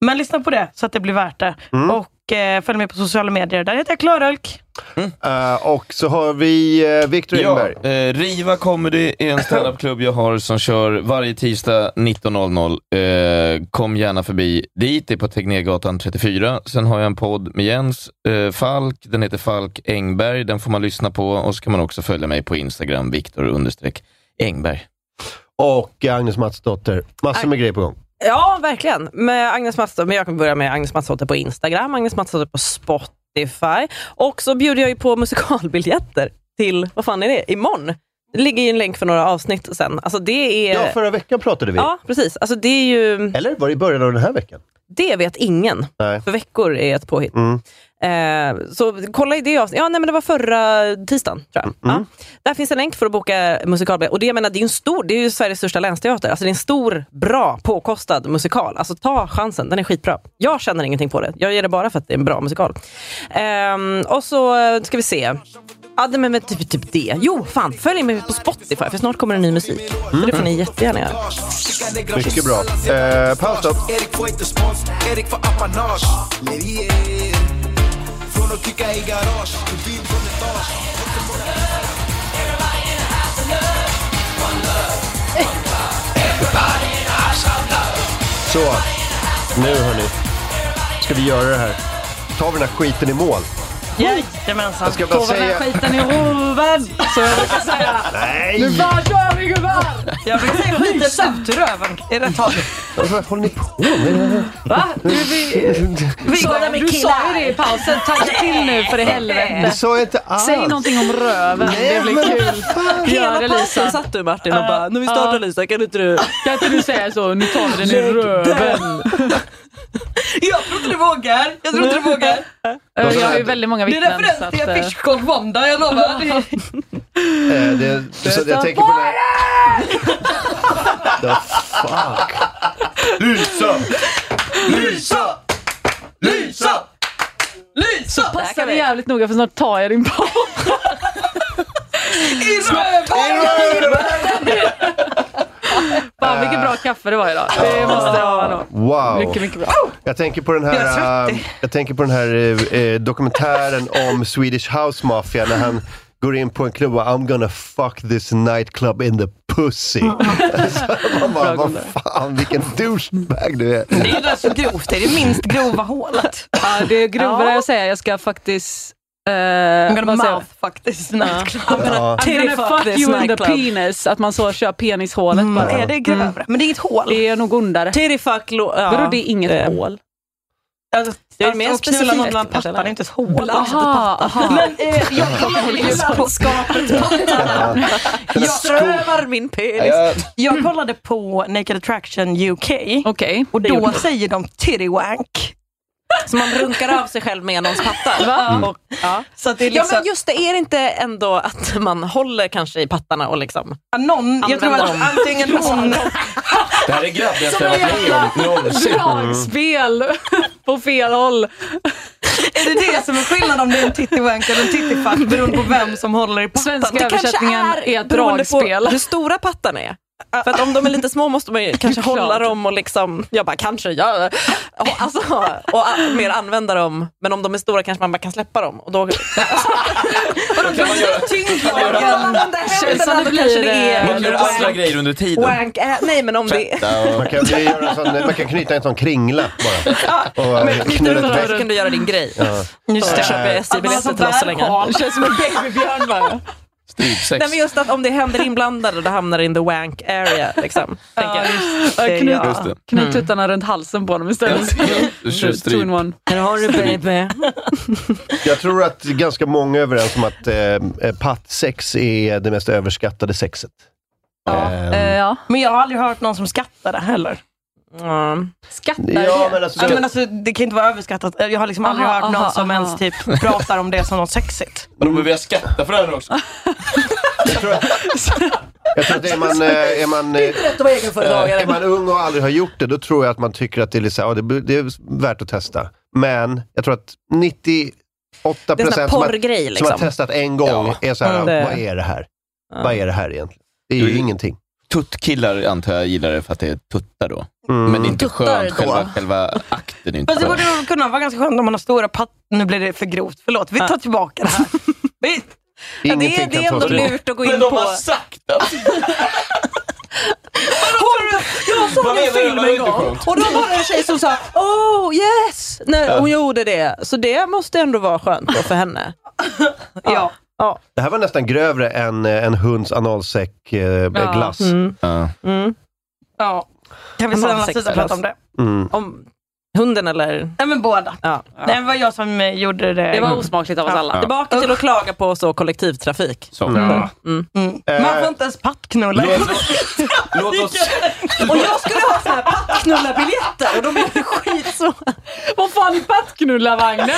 Speaker 5: Men lyssna på det så att det blir värt det. Och eh, följ mig på sociala medier. Där heter jag Klarölk.
Speaker 2: Eh, och så har vi eh, Victor
Speaker 3: Ja,
Speaker 2: Engberg.
Speaker 3: eh, Riva Comedy är en standupklubb jag har som kör varje tisdag 19.00. Eh, kom gärna förbi dit. Det är på Tegnérgatan 34. Sen har jag en podd med Jens eh, Falk. Den heter Falk Engberg. Den får man lyssna på och så kan man också följa mig på Instagram, Viktor understreck Engberg.
Speaker 2: Och Agnes Mattsdotter. Massor med grejer på gång.
Speaker 4: Ja, verkligen. Med Agnes Matsdotter, men jag kan börja med Agnes Matsdotter på Instagram, Agnes Matsdotter på Spotify. Och så bjuder jag ju på musikalbiljetter till, vad fan är det, imorgon. Det ligger ju en länk för några avsnitt sen. Alltså det är...
Speaker 2: Ja, förra veckan pratade vi.
Speaker 4: Ja, precis. Alltså det är ju...
Speaker 2: Eller var det i början av den här veckan?
Speaker 4: Det vet ingen.
Speaker 2: Nej.
Speaker 4: För veckor är ett påhitt.
Speaker 2: Mm.
Speaker 4: Eh, så kolla i det avsnittet. Ja, nej, men det var förra tisdagen, tror jag.
Speaker 2: Mm.
Speaker 4: Ja. Där finns en länk för att boka musikalbiljett. Och det, jag menar, det är ju en stor, det är ju Sveriges största länsteater. Alltså, det är en stor, bra, påkostad musikal. Alltså ta chansen, den är skitbra. Jag känner ingenting på det. Jag ger det bara för att det är en bra musikal. Ehm, och så eh, ska vi se. Ja, nej, men, men typ, typ det. Jo, fan, följ mig på Spotify för snart kommer det ny musik.
Speaker 2: Mm.
Speaker 4: Så det får ni jättegärna göra.
Speaker 2: Mycket bra. Eh, paus då.
Speaker 20: Erik får inte spons, Erik får apanage. Lerier. Från att kicka i garage till vin från etage.
Speaker 2: Så, nu hörni. Ska vi göra det här. Tar vi den här skiten i mål?
Speaker 5: Jajamensan.
Speaker 2: Jag ska bara
Speaker 5: Sova
Speaker 2: säga-
Speaker 5: med skiten i röven. Så jag brukar säga.
Speaker 2: Nej!
Speaker 5: Nu bara kör vi gubbar. Jag brukar säga skiten samt i röven. Är det tal?
Speaker 2: Vad håller ni på med?
Speaker 6: Va? Du, vi, vi
Speaker 5: Sådär med
Speaker 6: du sa ju det i pausen. Tagga till nu för i
Speaker 2: Det
Speaker 6: helvete.
Speaker 2: sa jag inte alls.
Speaker 6: Säg någonting om röven. Det blir kul. Gör det
Speaker 4: Hela pausen
Speaker 6: Lisa.
Speaker 4: satt du Martin och bara, nu vi startar Lisa, kan inte du...
Speaker 6: Kan inte du säga så? Nu tar vi den i röven.
Speaker 5: <laughs> Jag tror inte du vågar. Jag tror inte du vågar.
Speaker 6: Eh, Jag har ju väldigt många
Speaker 5: Det är
Speaker 6: vittnen. så
Speaker 5: referens
Speaker 6: att,
Speaker 5: till
Speaker 6: eh,
Speaker 5: affischkock måndag, jag lovar. Det-
Speaker 2: Eh, det, så jag tänker på det här. The fuck?
Speaker 3: Lysa!
Speaker 5: Lysa! Lysa! Lysa!
Speaker 6: Passa dig jävligt noga för snart tar jag din paus.
Speaker 5: I röven!
Speaker 6: Fan vilket bra kaffe det var idag. Det måste jag ha nog.
Speaker 2: Wow.
Speaker 6: Mycket, mycket bra.
Speaker 2: Jag tänker på den här, eh, jag tänker på den här eh, eh, dokumentären om Swedish House Mafia när han går in på en klubb och I'm gonna fuck this nightclub in the pussy. <laughs> Så man bara, vad fan vilken douchebag du är.
Speaker 5: Det är det så grovt. Det är det minst grova hålet.
Speaker 6: Ja, det är grovare att säga. Jag ska faktiskt... Uh,
Speaker 5: I'm gonna mouth faktiskt.
Speaker 2: Ja.
Speaker 6: I'm gonna fuck you in the Mm. penis. Att man så kör penishålet bara.
Speaker 5: Är det grövre? Men det är inget hål.
Speaker 6: Det är nog ondare.
Speaker 4: Titty fuck... lo- Ja.
Speaker 6: Vadå det är inget
Speaker 4: Eh,
Speaker 6: hål?
Speaker 5: Alltså,
Speaker 4: Det är mer
Speaker 5: att knulla någon
Speaker 4: specifikt,
Speaker 5: bland
Speaker 4: kanske,
Speaker 5: pattarna är inte ens hål.
Speaker 4: Aha, aha.
Speaker 5: Men eh, jag kollar
Speaker 4: Liksom
Speaker 5: på...
Speaker 4: Jag strövar min penis.
Speaker 5: Jag kollade på Naked Attraction UK och
Speaker 4: det gjorde
Speaker 5: då
Speaker 4: du.
Speaker 5: säger de titty wank.
Speaker 4: Så man runkar av sig själv med någons pattar.
Speaker 5: Va? Mm.
Speaker 4: Och, ja.
Speaker 5: Så att det är liksom-
Speaker 4: ja men just det, är det inte ändå att man håller kanske i pattarna och liksom
Speaker 5: Någon, <laughs> jag tror
Speaker 4: använder
Speaker 5: att
Speaker 4: dem?
Speaker 5: antingen någon...
Speaker 3: Det här är grabbigaste jag har varit med om
Speaker 6: <laughs>
Speaker 3: någonsin. Mm.
Speaker 6: Dragspel <laughs> på fel håll.
Speaker 5: Är det det som är skillnaden om det är en titty wank eller en titty fuck beroende på vem som håller i pattan?
Speaker 6: Svenska översättningen är, ett
Speaker 4: beroende
Speaker 6: dragspel.
Speaker 4: på hur stora pattarna är. För att om de är lite små måste man ju kanske hålla dem och liksom, jag bara kanske, ja. Och, alltså, och a- mer använda dem. Men om de är stora kanske man bara kan släppa dem. Och då,
Speaker 3: Kan man göra-
Speaker 4: känns som det blir...
Speaker 3: Man kan göra andra grejer under tiden.
Speaker 4: Wank, äh, nej men om det
Speaker 2: Man kan, ju göra en sån, man kan knyta en sån kringla bara. Och eh, knulla ett
Speaker 4: Så
Speaker 2: väck.
Speaker 4: kan du göra din grej.
Speaker 2: Ja.
Speaker 4: Just det. Köper jag SJ-biljetter till oss så länge.
Speaker 6: Det känns som en babybjörn Alltså, bara.
Speaker 3: Typ
Speaker 4: Nej men just att om det händer inblandade då hamnar det in the wank area. Liksom, tänker jag.
Speaker 6: Ja, Knut,
Speaker 3: Just det.
Speaker 6: knut tuttarna runt halsen på dem
Speaker 3: alltså,
Speaker 6: istället.
Speaker 3: Du kör
Speaker 6: Two in
Speaker 3: stryp.
Speaker 6: one.
Speaker 4: Här har du baby.
Speaker 2: Jag tror att ganska många är överens om att eh, eh, pattsex är det mest överskattade sexet. Ehm,
Speaker 6: Eh,
Speaker 5: Men jag har aldrig hört någon som skattar det heller.
Speaker 6: Skattar
Speaker 2: Ja, men alltså-
Speaker 5: Ja, men alltså, det kan inte vara överskattat. Jag har liksom aldrig
Speaker 6: Aha,
Speaker 5: hört någon
Speaker 6: aha,
Speaker 5: som
Speaker 6: aha.
Speaker 5: ens typ pratar om det som något sexigt.
Speaker 3: Men vi har skattat för det här också.
Speaker 2: Jag tror att är man, eh, är, man, eh, är man ung och aldrig har gjort det, då tror jag att man tycker att det är, lite så här, ja, det, bu- det är värt att testa. Men jag tror att 98
Speaker 4: Det är en sån här
Speaker 2: procent som, har-
Speaker 4: porrgrej,
Speaker 2: som har
Speaker 4: liksom.
Speaker 2: testat en gång är så här,
Speaker 4: Mm, det-
Speaker 2: vad är det här? Vad är det här egentligen? Det är ju
Speaker 3: Mm.
Speaker 2: ingenting.
Speaker 3: Tuttkillar antar jag gillar det för att det är tuttar då.
Speaker 2: Mm.
Speaker 3: Men det är inte
Speaker 4: Tuttar
Speaker 3: skönt,
Speaker 4: då?
Speaker 3: själva, själva akten är inte
Speaker 5: Fast det
Speaker 3: skön.
Speaker 5: borde nog kunna vara ganska skönt om man har stora patt... Nu blir det för grovt, förlåt. Vi tar tillbaka det
Speaker 4: <laughs>
Speaker 5: här. Vi...
Speaker 2: Ingenting
Speaker 4: det är,
Speaker 2: kan
Speaker 4: det är ändå
Speaker 2: tas bort.
Speaker 4: lurt att gå in på.
Speaker 3: sagt att...
Speaker 5: Jag såg
Speaker 3: Vad
Speaker 5: en
Speaker 3: menar du?
Speaker 5: film
Speaker 3: Var det
Speaker 5: en
Speaker 3: inte
Speaker 5: gång
Speaker 3: skönt?
Speaker 5: och då var det en tjej som sa
Speaker 4: Oh yes! När hon gjorde det. Så det måste ändå vara skönt då för henne.
Speaker 5: ja.
Speaker 2: Det här var nästan grövre än eh, en hunds analsäck eh,
Speaker 5: Ja.
Speaker 2: glass.
Speaker 4: Mm.
Speaker 3: Ja.
Speaker 5: ja. Kan vi
Speaker 4: Om man
Speaker 5: snälla
Speaker 4: har sex
Speaker 5: sluta
Speaker 4: eller
Speaker 5: prata om det?
Speaker 2: Mm.
Speaker 4: Om hunden eller?
Speaker 5: Nej men båda.
Speaker 4: Ja.
Speaker 5: Nej, det var jag som eh, gjorde det.
Speaker 4: Det var
Speaker 6: osmakligt av oss alla.
Speaker 4: Tillbaka till att klaga på så kollektivtrafik.
Speaker 3: Så.
Speaker 2: Ja.
Speaker 5: Mm.
Speaker 2: Eh,
Speaker 5: Man får inte ens pattknulla.
Speaker 3: <laughs> Låt oss... Låt oss...
Speaker 4: <laughs> Och jag skulle ha såna här pattknullarbiljetter och de är ju skitsvåra.
Speaker 6: Vad fan är pattknullarvagnen?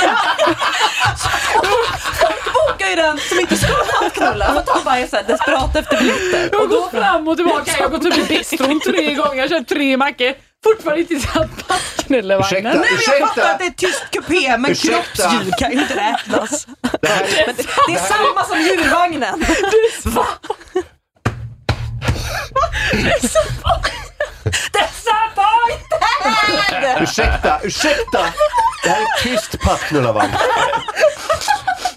Speaker 4: bokar ju den som inte ska pattknulla. För att de bara är så här desperata efter biljetter.
Speaker 6: Jag går fram och tillbaka, jag har gått upp i bistron tre gånger, jag har köpt tre mackor. Fortfarande inte satt pattknullevagnen.
Speaker 2: Ursäkta,
Speaker 5: Jag fattar
Speaker 2: ursäkta!
Speaker 5: att det är tyst kupé, men
Speaker 2: Ursäkta.
Speaker 5: kroppsdjur kan ju inte räknas.
Speaker 2: Det här,
Speaker 4: Men det, det är samma som djurvagnen. Va?
Speaker 2: ursäkta, ursäkta! Det här är tyst <laughs> pattknullarvagn.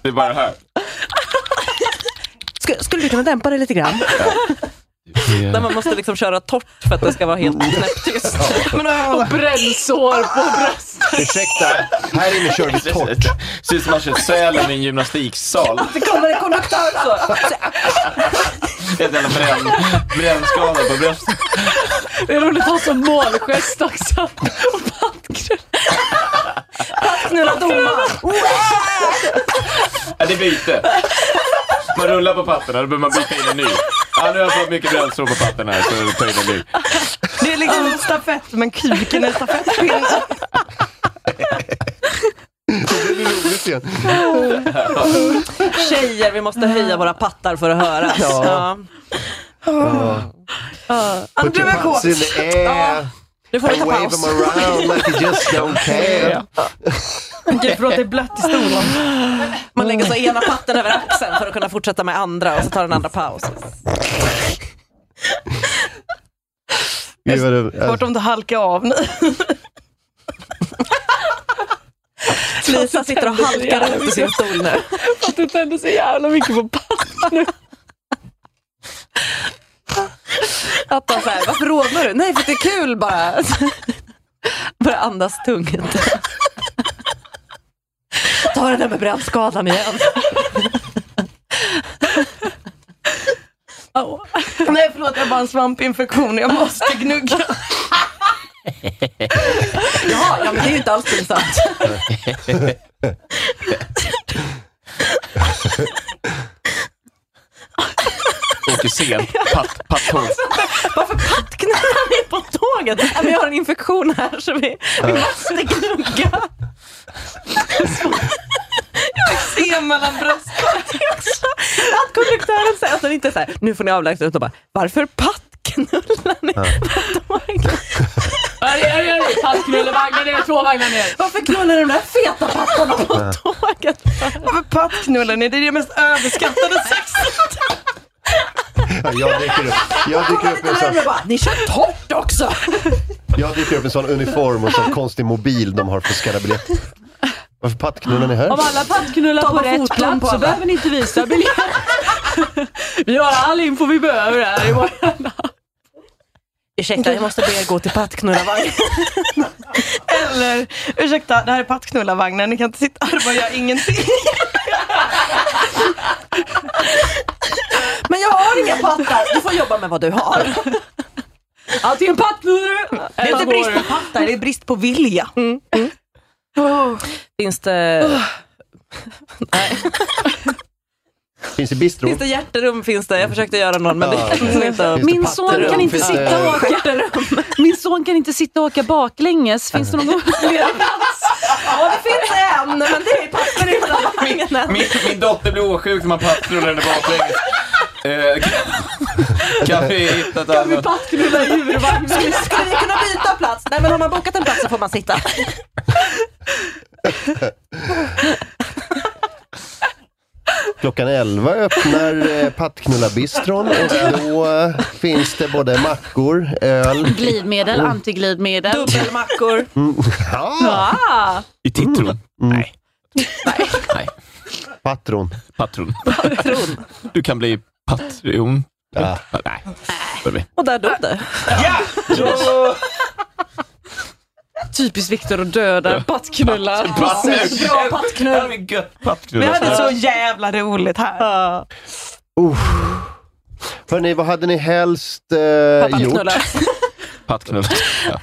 Speaker 3: Det är bara här.
Speaker 4: Sk- skulle du kunna dämpa det lite grann? Där man måste liksom köra torrt för att det ska vara helt knäpptyst.
Speaker 6: Och brännsår på bröstet.
Speaker 2: Ursäkta, här inne kör vi torrt.
Speaker 3: Ser ut som man kör Sälen i en gymnastiksal.
Speaker 4: Det kommer en konduktör så.
Speaker 3: <laughs> Ett jävla bränn, brännskada på bröstet.
Speaker 6: Det är roligt att ha som målgest också.
Speaker 5: Pattknulla domaren.
Speaker 3: Ja, det är byte. Man rullar på patterna, då behöver man byta in en ny. Ja, nu har jag fått mycket brännskador på patterna här, så ta in en ny.
Speaker 5: Det är liksom en stafett, men kuken är stafettpinne.
Speaker 2: Det blir roligt igen.
Speaker 4: Tjejer, vi måste höja våra pattar för att höras.
Speaker 2: Ja.
Speaker 4: Ja.
Speaker 2: Put your pants in the air.
Speaker 4: Nu får vi
Speaker 2: and
Speaker 4: ta
Speaker 2: wave them
Speaker 4: paus.
Speaker 2: around like you just don't care.
Speaker 5: Gud, förlåt, det är blött i stolen.
Speaker 4: Man lägger så ena patten över axeln för att kunna fortsätta med andra och så tar den andra paus.
Speaker 2: Gud, vad det-
Speaker 5: Vart om du halkar av nu.
Speaker 4: Lisa sitter och halkar runt i sin stol nu.
Speaker 6: Att du tände så jävla mycket på
Speaker 4: Att de så här, varför rodnar du? Nej, för att det är kul bara. Börjar andas tungt. Ta den där med brännskadan igen.
Speaker 5: Nej, förlåt, jag har bara en svampinfektion. Jag måste gnugga.
Speaker 4: Jag har Jaha, ja, men det är ju inte alls pinsamt.
Speaker 3: Åker sent. Patt, patthål.
Speaker 4: Varför pattknullar han mig på tåget? Ja, men jag har en infektion här så vi, vi måste gnugga. Jag har eksem mellan bröstkorgen också. Att konduktören säger, alltså inte så här, nu får ni avlägsna ut och bara, varför pattknullar ni?
Speaker 6: Arg, arg, arg! Pattknullevagnen ner, två vagnar ner.
Speaker 4: <laughs> Varför knullar de där feta pattarna på tåget?
Speaker 5: Varför pattknullar ni? Det är det mest överskattade sexet.
Speaker 2: Ja, Jag dyker upp, jag dyker upp med en sån,
Speaker 4: Ni kör torrt också!
Speaker 2: jag dyker upp med en sån uniform och en sån konstig mobil de har på Skarabiljett. Varför pattknullar ni här?
Speaker 6: Om alla pattknullar
Speaker 4: Ta
Speaker 6: på
Speaker 4: bara
Speaker 6: rätt
Speaker 4: fotboll
Speaker 6: plats
Speaker 4: på
Speaker 6: så
Speaker 4: alla.
Speaker 6: behöver ni inte visa biljett. <laughs> vi har all info vi behöver här i vår...
Speaker 4: Ursäkta, jag måste be er gå till pattknullarvagnen.
Speaker 5: Eller, ursäkta, det här är pattknullarvagnen, ni kan inte sitta här och bara göra ingenting.
Speaker 4: Men jag har inga pattar, du får jobba med vad du har.
Speaker 6: Antingen pattknullare
Speaker 5: Det är
Speaker 6: eller
Speaker 5: inte
Speaker 6: så
Speaker 5: brist
Speaker 6: går
Speaker 5: på
Speaker 6: du.
Speaker 5: pattar, det är brist på vilja.
Speaker 4: Finns det,
Speaker 2: Finns i bistron?
Speaker 4: finns det hjärterum? Finns det? Jag försökte göra någon men
Speaker 6: <laughs>
Speaker 4: det
Speaker 2: Ja.
Speaker 4: hjälpte inte.
Speaker 2: Finns det
Speaker 6: Min
Speaker 2: patterum?
Speaker 6: son kan inte
Speaker 2: Finns
Speaker 6: sitta
Speaker 2: det-
Speaker 6: och åka. Min son kan inte sitta och åka baklänges. Finns det någon
Speaker 4: Ja, det finns en, men det
Speaker 5: <laughs>
Speaker 4: är pattknullarvagnen.
Speaker 3: Min, min dotter blir åsjuk när man pattknullar henne baklänges. Eh, kan- Kan vi hitta ett annat?
Speaker 6: pattknulla djurvagn?
Speaker 4: Skulle, skulle vi kunna byta plats? Nej men har man bokat en plats så får man sitta.
Speaker 2: Klockan 11 öppnar eh, pattknullarbistron och då eh, finns det både mackor, öl...
Speaker 11: Glidmedel,
Speaker 6: Mm.
Speaker 11: antiglidmedel.
Speaker 4: Dubbelmackor.
Speaker 2: Mm. Ja,
Speaker 4: Ah,
Speaker 3: I titron? Nej. Nej.
Speaker 2: patron.
Speaker 3: Patron. Du kan bli patron.
Speaker 2: Ja.
Speaker 3: Nej. Baby.
Speaker 4: och där dog det.
Speaker 6: Typiskt Viktor att döda pattknullar.
Speaker 3: Precis.
Speaker 4: Bra pattknull.
Speaker 3: Gött
Speaker 5: Vi
Speaker 3: pattknull.
Speaker 5: hade så jävla roligt här.
Speaker 2: Hörni, vad hade ni helst eh, gjort?
Speaker 4: Pattknullar.
Speaker 3: Pattknull. Ja.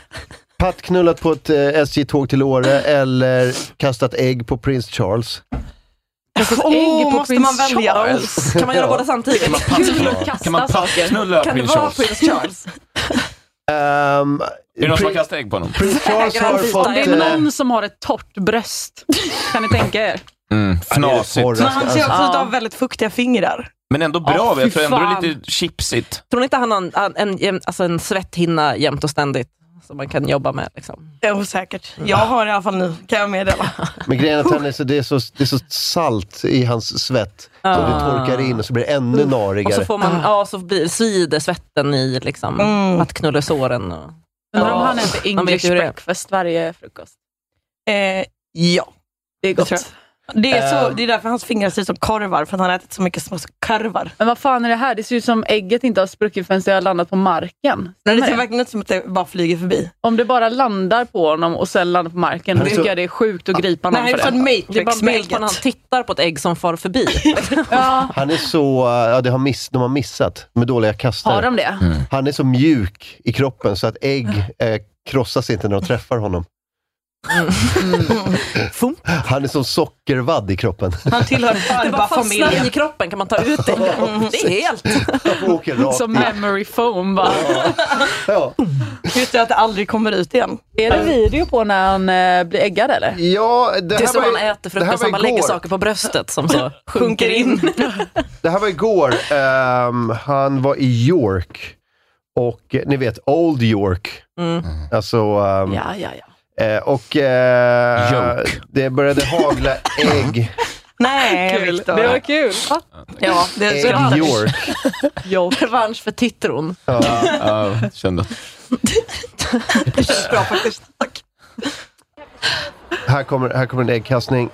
Speaker 2: Pattknullat på ett eh, SJ-tåg till Åre eller kastat ägg på Prins Charles?
Speaker 5: Åh,
Speaker 6: på
Speaker 5: måste man
Speaker 6: Prince
Speaker 5: välja?
Speaker 4: Kan man göra båda samtidigt?
Speaker 5: <laughs>
Speaker 3: Pattknull. Kan man pattknulla
Speaker 4: Kan det
Speaker 3: prins
Speaker 4: vara
Speaker 3: Charles?
Speaker 4: prins Charles?
Speaker 2: Ehm,
Speaker 3: Är det någon som har
Speaker 2: Prin-
Speaker 3: kastat ägg på honom?
Speaker 2: Prins Charles har
Speaker 4: Garanti.
Speaker 2: fått...
Speaker 6: Det
Speaker 2: eh,
Speaker 6: är någon som har ett torrt bröst. Kan ni tänka er?
Speaker 3: Mm,
Speaker 2: det
Speaker 3: fnasigt.
Speaker 2: är det
Speaker 5: Men han ser också
Speaker 2: torraste.
Speaker 5: ut att ha väldigt fuktiga fingrar.
Speaker 3: Men ändå bra,
Speaker 6: Ja,
Speaker 3: ja, jag
Speaker 6: fy
Speaker 3: tror ändå det är
Speaker 6: fan.
Speaker 3: lite chipsigt.
Speaker 4: Tror ni inte han har en, en, en, alltså en svetthinna jämt och ständigt? Som man kan jobba med. Liksom.
Speaker 5: Det är osäkert. Jag har i alla fall nu, kan jag meddela.
Speaker 2: Men grejen är att han är så, det, är så, det är så salt i hans svett. Så det
Speaker 6: Ah.
Speaker 2: torkar Ah. in och så blir det ännu
Speaker 4: Och Ah. så
Speaker 2: narigare.
Speaker 4: får man, ja, så blir, svider svetten i
Speaker 5: <laughs>
Speaker 4: liksom,
Speaker 5: Mm.
Speaker 4: pattknullesåren. Och...
Speaker 6: Undrar om
Speaker 4: Ja.
Speaker 6: han äter
Speaker 4: Man vet
Speaker 6: English
Speaker 4: ju hur det är.
Speaker 6: breakfast varje frukost.
Speaker 5: Eh, ja,
Speaker 6: Det är
Speaker 5: det tror
Speaker 6: gott.
Speaker 5: jag. Det är, så,
Speaker 4: Eh.
Speaker 2: Ehm.
Speaker 5: det är därför hans fingrar ser ut som korvar, för att han har ätit så mycket små korvar.
Speaker 6: Men vad fan är det här? Det ser ut som ägget inte har spruckit förrän det har landat på marken.
Speaker 5: Nej, det
Speaker 6: Stämmer
Speaker 5: ser
Speaker 6: det?
Speaker 5: verkligen ut som att det bara flyger förbi.
Speaker 6: Om det bara landar på honom och sen landar på marken, då
Speaker 2: Men så-
Speaker 6: tycker jag det är sjukt att gripa någon
Speaker 5: Nej,
Speaker 6: för
Speaker 5: det är
Speaker 6: det.
Speaker 5: från
Speaker 4: Det är bara en bild
Speaker 5: Matrix-mälket.
Speaker 4: på när han tittar på ett ägg som far förbi.
Speaker 6: Ja,
Speaker 2: Han är så... eh, Ja, det har miss, de har missat med dåliga kastare.
Speaker 6: har de det?
Speaker 2: Han är så mjuk i kroppen så att ägg eh, krossas inte när de träffar honom.
Speaker 4: Fum.
Speaker 2: <laughs> Han är som sockervadd i kroppen. <laughs>
Speaker 5: Han tillhör
Speaker 4: <laughs> Det bara fastnar
Speaker 5: farbarfamiljen.
Speaker 4: i kroppen, kan man ta ut det? Det är helt...
Speaker 2: Han åker rakt
Speaker 6: Som
Speaker 2: in.
Speaker 6: memory foam bara.
Speaker 2: ja.
Speaker 5: Just det, att det aldrig kommer ut igen.
Speaker 6: Är det video på när han eh, blir äggad eller?
Speaker 2: ja, det
Speaker 4: Det är
Speaker 2: här
Speaker 4: som man
Speaker 2: var,
Speaker 4: äter
Speaker 2: det här
Speaker 4: frukost,
Speaker 2: var
Speaker 4: man lägger
Speaker 2: igår.
Speaker 4: saker på bröstet som så
Speaker 5: Sjunker
Speaker 4: sjunker in.
Speaker 5: in.
Speaker 2: det här var igår. Ehm, han var i York. Och eh, ni vet, Old York.
Speaker 4: Mm.
Speaker 2: Alltså, ehm,
Speaker 6: Ja, ja, ja.
Speaker 2: eh, och eh,
Speaker 3: York.
Speaker 2: det började hagla ägg.
Speaker 5: Nej,
Speaker 6: Kul.
Speaker 5: Viktor.
Speaker 6: Det var kul. Va?
Speaker 5: Ja, det
Speaker 2: ägg
Speaker 5: ska
Speaker 2: i
Speaker 5: jag
Speaker 2: York.
Speaker 6: <laughs>
Speaker 4: Revansch för titron.
Speaker 3: Ja, ja, kände. att-
Speaker 5: Det känns bra faktiskt. Tack.
Speaker 2: Här kommer, här kommer en äggkastning.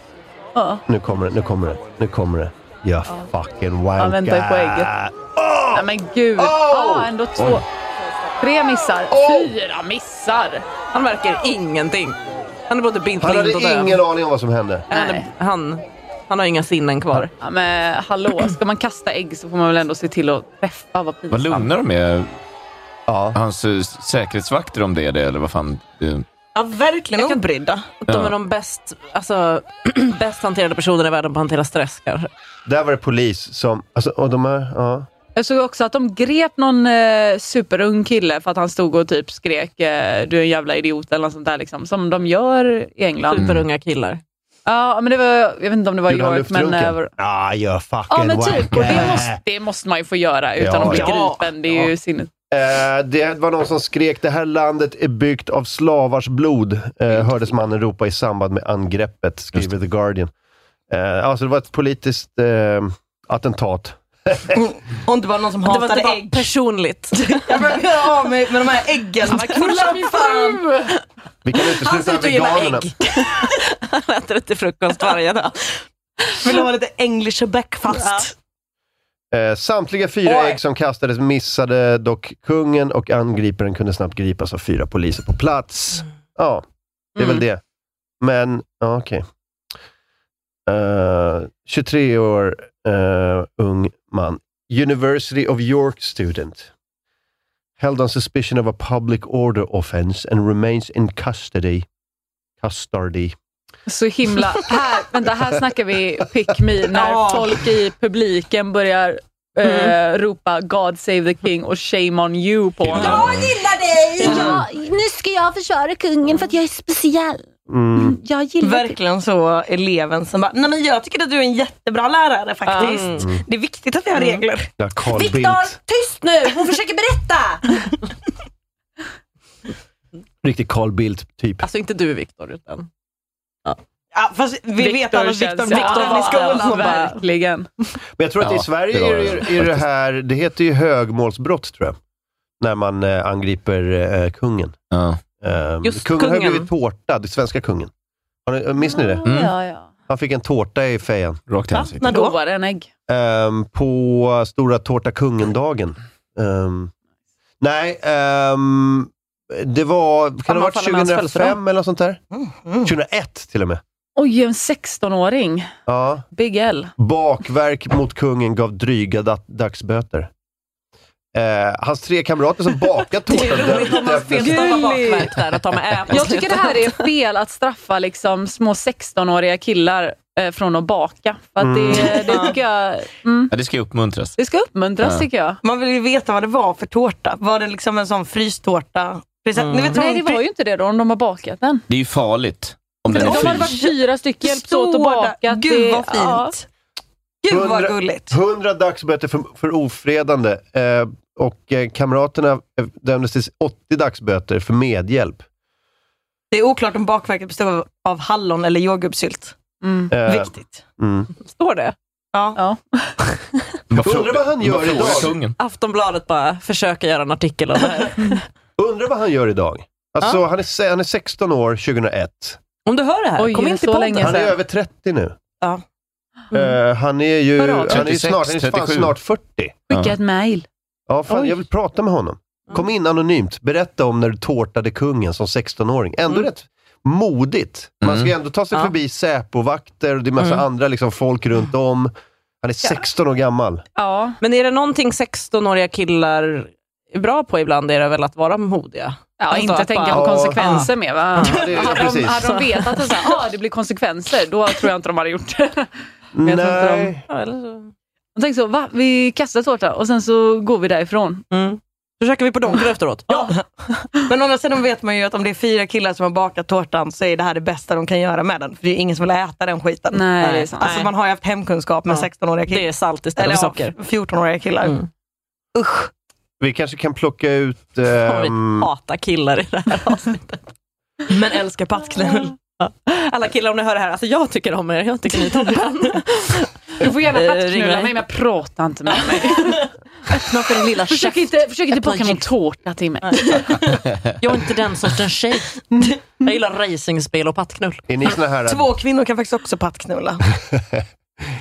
Speaker 6: Ja.
Speaker 2: Nu kommer det, nu kommer det, nu kommer det. Jag fucking wanka.
Speaker 6: väntar ju på ägget. Nej men gud. Ah, ändå två. Tre missar. Fyra missar.
Speaker 4: Han verkar ingenting. Han är både blind
Speaker 2: Han
Speaker 4: blind och
Speaker 2: hade
Speaker 4: döv.
Speaker 2: ingen aning om vad som hände.
Speaker 4: Han, är-
Speaker 6: Nej.
Speaker 4: han, han har inga sinnen kvar.
Speaker 6: Ja, men hallå, ska man kasta ägg så får man väl ändå se till att träffa. Vad
Speaker 3: Vad
Speaker 6: pinsamt.
Speaker 3: lugna de är,
Speaker 2: Ja.
Speaker 3: hans eh, säkerhetsvakter, om det är det, eller vad fan. eh,
Speaker 5: Ja,
Speaker 4: Ja, verkligen obrydda. De är de bäst, alltså, <clears throat> bäst hanterade personerna i världen på att hantera stress kanske.
Speaker 2: Där var det polis som... Alltså, och de här, ja.
Speaker 6: Jag såg också att de grep någon eh, superung kille för att han stod och typ skrek eh, du är en jävla idiot eller något sånt där. Liksom, som de gör i England.
Speaker 2: Mm.
Speaker 4: Superunga killar.
Speaker 6: Ja, men det var, jag vet inte om det var i
Speaker 2: Gjorde han
Speaker 6: York, men...
Speaker 2: luftrunken?
Speaker 6: eh,
Speaker 2: Ah, you're fucking
Speaker 6: Ja, men
Speaker 2: white
Speaker 6: typ. Och det
Speaker 2: man.
Speaker 6: måste, det måste man ju få göra utan
Speaker 2: Ja,
Speaker 6: att bli
Speaker 2: ja.
Speaker 6: gripen. Det är ju sinnet.
Speaker 2: Eh, det var någon som skrek det här landet är byggt av slavars blod, eh, hördes mannen ropa i samband med angreppet, skriver The Guardian. Eh, alltså det var ett politiskt eh, attentat.
Speaker 5: Om det var någon som
Speaker 4: Det var
Speaker 5: hatade
Speaker 4: inte bara
Speaker 5: ägg.
Speaker 4: personligt. <laughs>
Speaker 5: Jag börjar göra av mig med de här äggen. Kolla min fan!
Speaker 2: Vi kan
Speaker 4: Han
Speaker 2: utesluta
Speaker 4: ser ut att gilla
Speaker 2: veganerna.
Speaker 4: ägg. Han äter det till frukost varje dag.
Speaker 5: Vill du ha lite english breakfast?
Speaker 2: Eh, samtliga fyra ägg som kastades missade dock kungen och angriparen kunde snabbt gripas av fyra poliser på plats. Ja, det är väl det. Men, ja okej. Eh, 23 år eh, ung man. University of York student. Held on suspicion of a public order offense and remains in custody. Custody.
Speaker 6: Så himla... Här, vänta, här snackar vi pick me när
Speaker 2: Ja.
Speaker 6: folk i publiken börjar eh,
Speaker 5: Mm.
Speaker 6: ropa God save the king och shame on you på honom.
Speaker 7: Jag gillar dig! Ja, nu ska jag försvara kungen för att jag är speciell.
Speaker 2: Mm.
Speaker 7: Jag gillar
Speaker 5: Verkligen så eleven som bara, nej men jag tycker att du är en jättebra lärare faktiskt.
Speaker 2: Mm.
Speaker 5: Det är viktigt att vi har regler.
Speaker 2: Ja, Carl
Speaker 5: Viktor,
Speaker 2: Bildt.
Speaker 5: tyst nu! Hon försöker berätta!
Speaker 2: Riktig Carl typ. Bildt-typ.
Speaker 4: Alltså inte du Viktor, utan...
Speaker 5: Ja, fast vi vet alla att Viktor Viktor i skolan. bara-
Speaker 6: Verkligen.
Speaker 2: Men jag tror att
Speaker 3: Ja,
Speaker 2: i Sverige
Speaker 3: det var
Speaker 2: är,
Speaker 3: det
Speaker 2: det- är det här, det heter ju högmålsbrott tror jag. När man eh, angriper eh, kungen. Ehm,
Speaker 3: Just
Speaker 2: kungen, har ju
Speaker 3: kungen.
Speaker 2: blivit tårtad, den svenska kungen. Har ni, minns ni det?
Speaker 5: Mm.
Speaker 6: Ja, ja.
Speaker 2: Han fick en tårta i fejan.
Speaker 3: Rakt i ansiktet.
Speaker 6: När då var det en ägg.
Speaker 2: Ehm, på Stora Tårta Kungen-dagen. Ehm, nej, ehm, det var, kan det ha varit
Speaker 6: Sammanfaller med hans
Speaker 2: 2005
Speaker 6: födelsedag. Mm,
Speaker 2: eller något sånt där? 2001 till och med.
Speaker 6: Oj, en 16-åring.
Speaker 2: Ja.
Speaker 6: Big L.
Speaker 2: Bakverk mot kungen gav dryga da- dagsböter. Eh, hans tre kamrater som bakat tårtan dömdes
Speaker 4: Felstava bakverk där och ta med ä på
Speaker 5: Alltså,
Speaker 6: Jag tycker det
Speaker 4: slutet.
Speaker 6: här är fel att straffa liksom små 16-åriga killar eh, från att baka. För att det,
Speaker 5: Mm.
Speaker 6: det tycker jag... Mm.
Speaker 3: Ja, det ska ju uppmuntras.
Speaker 6: Det ska uppmuntras
Speaker 3: Ja.
Speaker 6: tycker jag.
Speaker 5: Man vill ju veta vad det var för tårta. Var det liksom en sån frystårta? Precis,
Speaker 3: Mm.
Speaker 5: ni vet,
Speaker 6: Nej, det var ju inte det då om de har bakat den.
Speaker 3: Det är ju farligt om den
Speaker 6: De
Speaker 3: är
Speaker 6: hade varit
Speaker 3: fryst.
Speaker 6: fyra stycken, hjälpts åt att
Speaker 5: Står där.
Speaker 6: baka.
Speaker 5: Gud, vad
Speaker 6: Det- ja.
Speaker 5: fint. Gud vad gulligt.
Speaker 2: 100 dagsböter för, för ofredande eh, och eh, kamraterna eh, dömdes till 80 dagsböter för medhjälp.
Speaker 5: Det är oklart om bakverket består av- av hallon eller jordgubbssylt.
Speaker 2: Eh,
Speaker 5: Viktigt.
Speaker 2: Mm.
Speaker 4: Står det?
Speaker 5: Ja.
Speaker 2: Undrar vad han gör idag.
Speaker 4: Aftonbladet bara försöker göra en artikel om det här.
Speaker 2: Undrar vad han gör idag. Alltså, han, är, se- han är 16 år 2001.
Speaker 4: Om du hör det här,
Speaker 6: Oj,
Speaker 4: kom
Speaker 6: det
Speaker 4: in
Speaker 6: är
Speaker 4: till
Speaker 6: så
Speaker 4: podden. Mm.
Speaker 6: länge
Speaker 2: Han är
Speaker 6: sedan.
Speaker 2: över 30 nu.
Speaker 4: Ja.
Speaker 2: Eh, han är ju,
Speaker 6: Hör av
Speaker 2: han
Speaker 6: dig.
Speaker 2: är ju
Speaker 3: 36,
Speaker 2: snart, han är fan
Speaker 3: 37.
Speaker 2: snart 40.
Speaker 6: Skicka ett mail.
Speaker 2: Ja, fan, jag vill prata med honom. Kom in anonymt, berätta om när du tårtade kungen som 16-åring. Ändå rätt modigt. Man ska ju ändå ta sig
Speaker 4: Ja.
Speaker 2: förbi Säpovakter och det är massa andra liksom, folk runt om. Han är 16 år gammal.
Speaker 6: Ja.
Speaker 4: Men är det någonting 16-åriga killar är bra på ibland är det väl att vara modiga.
Speaker 6: Ja,
Speaker 4: Alltså
Speaker 6: inte
Speaker 4: att
Speaker 6: tänka
Speaker 4: bara-
Speaker 6: på
Speaker 2: Ja.
Speaker 6: konsekvenser mer va?
Speaker 2: Ja, det-
Speaker 6: hade, de,
Speaker 2: precis.
Speaker 6: hade de vetat att så här, ah, det blir konsekvenser, då tror jag inte de hade gjort det. Jag tror inte de-
Speaker 2: Nej.
Speaker 4: Ja, eller så.
Speaker 6: De tänkte så, va? Vi kastar tårta och sen så går vi därifrån.
Speaker 4: Försöker vi på Donken efteråt? Ja.
Speaker 5: Men å andra sidan vet man ju att om det är fyra killar som har bakat tårtan så är det här det bästa de kan göra med den. För det är ingen som vill äta den skiten.
Speaker 6: Nej, det är sant.
Speaker 5: Alltså man har ju haft hemkunskap med
Speaker 4: Ja.
Speaker 5: 16-åriga killar.
Speaker 4: Det är salt istället
Speaker 5: Eller
Speaker 4: för
Speaker 5: ja,
Speaker 4: socker.
Speaker 5: 14-åriga killar.
Speaker 4: Mm.
Speaker 5: Usch.
Speaker 2: Vi kanske kan plocka ut...
Speaker 4: Fan,
Speaker 2: ehm,
Speaker 4: vi hatar killar i det här avsnittet.
Speaker 5: Men älskar pattknull.
Speaker 4: Ja. Alla killar om ni hör det här, alltså jag tycker om er, jag tycker ni är toppen.
Speaker 6: Du får
Speaker 4: Eh,
Speaker 6: gärna
Speaker 4: ring
Speaker 6: pattknulla
Speaker 4: mig.
Speaker 6: mig men prata inte med mig.
Speaker 4: Öppna för din lilla
Speaker 6: Försök inte, försök inte baka någon tårta till mig.
Speaker 4: Jag är inte den sortens tjej. Jag gillar racingspel och pattknull.
Speaker 2: är ni såna här,
Speaker 5: Två kvinnor kan faktiskt också
Speaker 4: <laughs>
Speaker 5: pattknulla.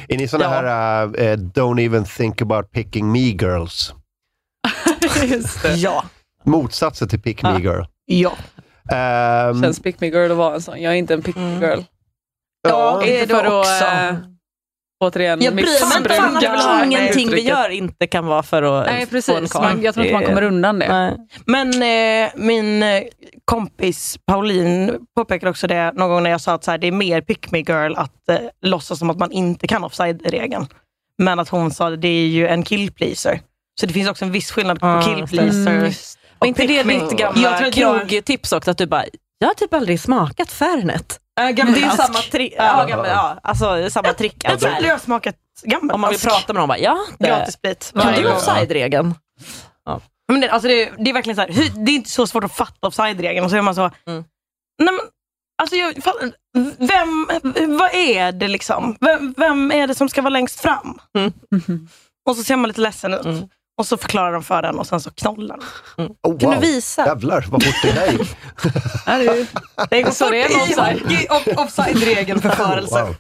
Speaker 2: är ni såna här eh, “Don't even think about picking me girls”?
Speaker 6: <laughs> Just det.
Speaker 5: ja.
Speaker 2: Motsatsen till pick me girl.
Speaker 5: Ja.
Speaker 2: Ehm,
Speaker 6: Känns pick me girl att vara en sån. Jag är inte en pick me girl.
Speaker 2: ja,
Speaker 6: Inte
Speaker 5: det var
Speaker 6: för att,
Speaker 5: också.
Speaker 6: eh, återigen,
Speaker 4: Jag bryr mig inte. Fan,
Speaker 6: missbrukar
Speaker 4: att ingenting vi
Speaker 6: uttrycket.
Speaker 4: gör inte kan vara för att
Speaker 6: Nej,
Speaker 4: få en
Speaker 6: precis.
Speaker 4: karl.
Speaker 6: Man- jag tror inte man kommer undan det.
Speaker 5: Men eh, min eh, kompis Pauline påpekade också det någon gång när jag sa att så här, det är mer pick me girl att eh, låtsas som att man inte kan offside-regeln. Men att hon sa att det är ju en kill pleaser. Så det finns också en viss skillnad på
Speaker 4: Ah,
Speaker 5: kill
Speaker 4: just det. Mm,
Speaker 5: pleasers.
Speaker 4: just Och inte det ditt
Speaker 5: Jag tror
Speaker 4: gamla
Speaker 5: att jag-
Speaker 4: krogtips också, att du bara, jag har typ aldrig smakat Fernet.
Speaker 5: Äh,
Speaker 4: Men det är ju samma, tri- ja.
Speaker 5: Ja.
Speaker 4: gammal, ja, alltså, samma trick.
Speaker 5: Jag tror aldrig jag har smakat gammal
Speaker 4: Om man vill
Speaker 5: ask.
Speaker 4: prata med någon, bara, ja. det-
Speaker 5: Gratis sprit.
Speaker 4: Alltså, eh, Kan
Speaker 5: Varje
Speaker 4: du
Speaker 5: gång.
Speaker 4: offside-regeln?
Speaker 5: Men det, alltså det, det är verkligen så här, hur, det är inte så svårt att fatta offside-regeln. Och så är man så,
Speaker 4: Mm.
Speaker 5: nej men, alltså jag, fan, vem, vad är det liksom? Vem, vem är det som ska vara längst fram?
Speaker 4: Mm.
Speaker 5: Och så ser man lite ledsen ut. Och så förklarar de för den och sen så knollar de.
Speaker 2: Oh,
Speaker 5: Kan du visa?
Speaker 2: Jävlar vad fort det där gick.
Speaker 5: Det går
Speaker 2: Så
Speaker 5: fort
Speaker 2: det är en
Speaker 5: i
Speaker 2: offside.
Speaker 5: hockey och offside-regeln förförelse.
Speaker 2: Wow.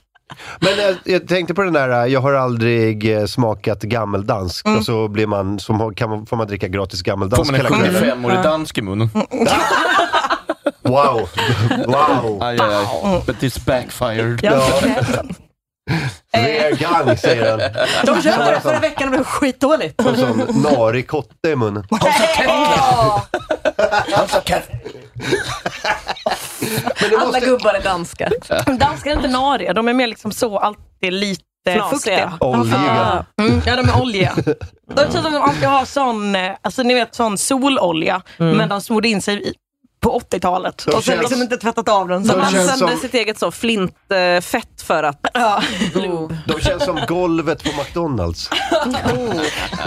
Speaker 2: Men jag, jag tänkte på den där, äh, jag har aldrig eh, smakat gammeldansk.
Speaker 4: Mm.
Speaker 2: Och så blir man, som, har- kan man, får man dricka gratis gammeldansk
Speaker 3: Får man en
Speaker 2: hela kvällen.
Speaker 3: 75-årig dansk i munnen?
Speaker 2: Wow! <laughs>
Speaker 4: <laughs>
Speaker 2: Wow!
Speaker 3: Aj, aj, aj. But this backfired.
Speaker 2: Ja. Rare gang, säger han.
Speaker 4: De
Speaker 2: Han
Speaker 4: körde
Speaker 2: har
Speaker 4: det förra
Speaker 2: sån-
Speaker 4: veckan och det blev skitdåligt.
Speaker 2: En sån narig kotte i munnen.
Speaker 4: Alla gubbar är danska.
Speaker 5: Danskar är inte nariga, de är mer liksom så alltid lite
Speaker 4: Flasiga.
Speaker 5: fuktiga.
Speaker 2: Oljiga.
Speaker 5: Mm, ja, de är oljiga. Det känns som de alltid har sån, eh, alltså, ni vet, sån sololja,
Speaker 4: Mm.
Speaker 5: men de smorde in sig i, på 80-talet
Speaker 2: De
Speaker 5: och sen
Speaker 2: känns-
Speaker 5: liksom inte tvättat av den.
Speaker 4: De
Speaker 5: man
Speaker 2: känns
Speaker 5: sände
Speaker 2: som-
Speaker 5: sitt-
Speaker 4: Sitt eget så flintfett för att...
Speaker 5: Ja.
Speaker 2: De känns som golvet på McDonalds.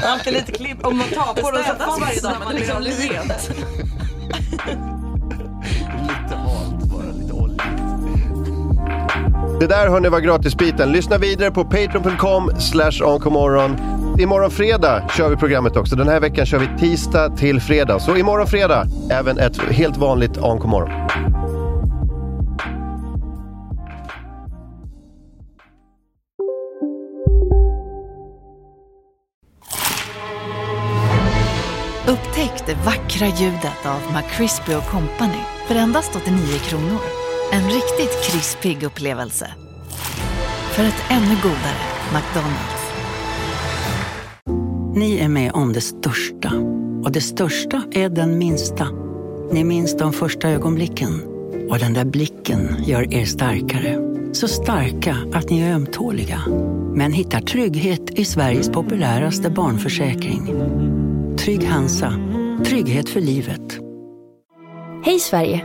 Speaker 5: Alltid lite klipp. Om man tar på den så
Speaker 4: Städas varje dag, men
Speaker 5: fastnar man
Speaker 4: det
Speaker 5: liksom
Speaker 4: blir
Speaker 5: lite.
Speaker 2: Det där hörni var gratisbiten. Lyssna vidare på patreon.com slash onkomorron. Imorgon fredag kör vi programmet också. Den här veckan kör vi tisdag till fredag. Så imorgon fredag, även ett helt vanligt onkomorron.
Speaker 12: Upptäck det vackra ljudet av McCrispy Company för endast 89 kronor. En riktigt krispig upplevelse. För ett ännu godare McDonalds.
Speaker 18: Ni är med om det största. Och det största är den minsta. Ni minns de första ögonblicken. Och den där blicken gör er starkare. Så starka att ni är ömtåliga. Men hittar trygghet i Sveriges populäraste barnförsäkring. Trygg Hansa. Trygghet för livet.
Speaker 21: Hej Sverige!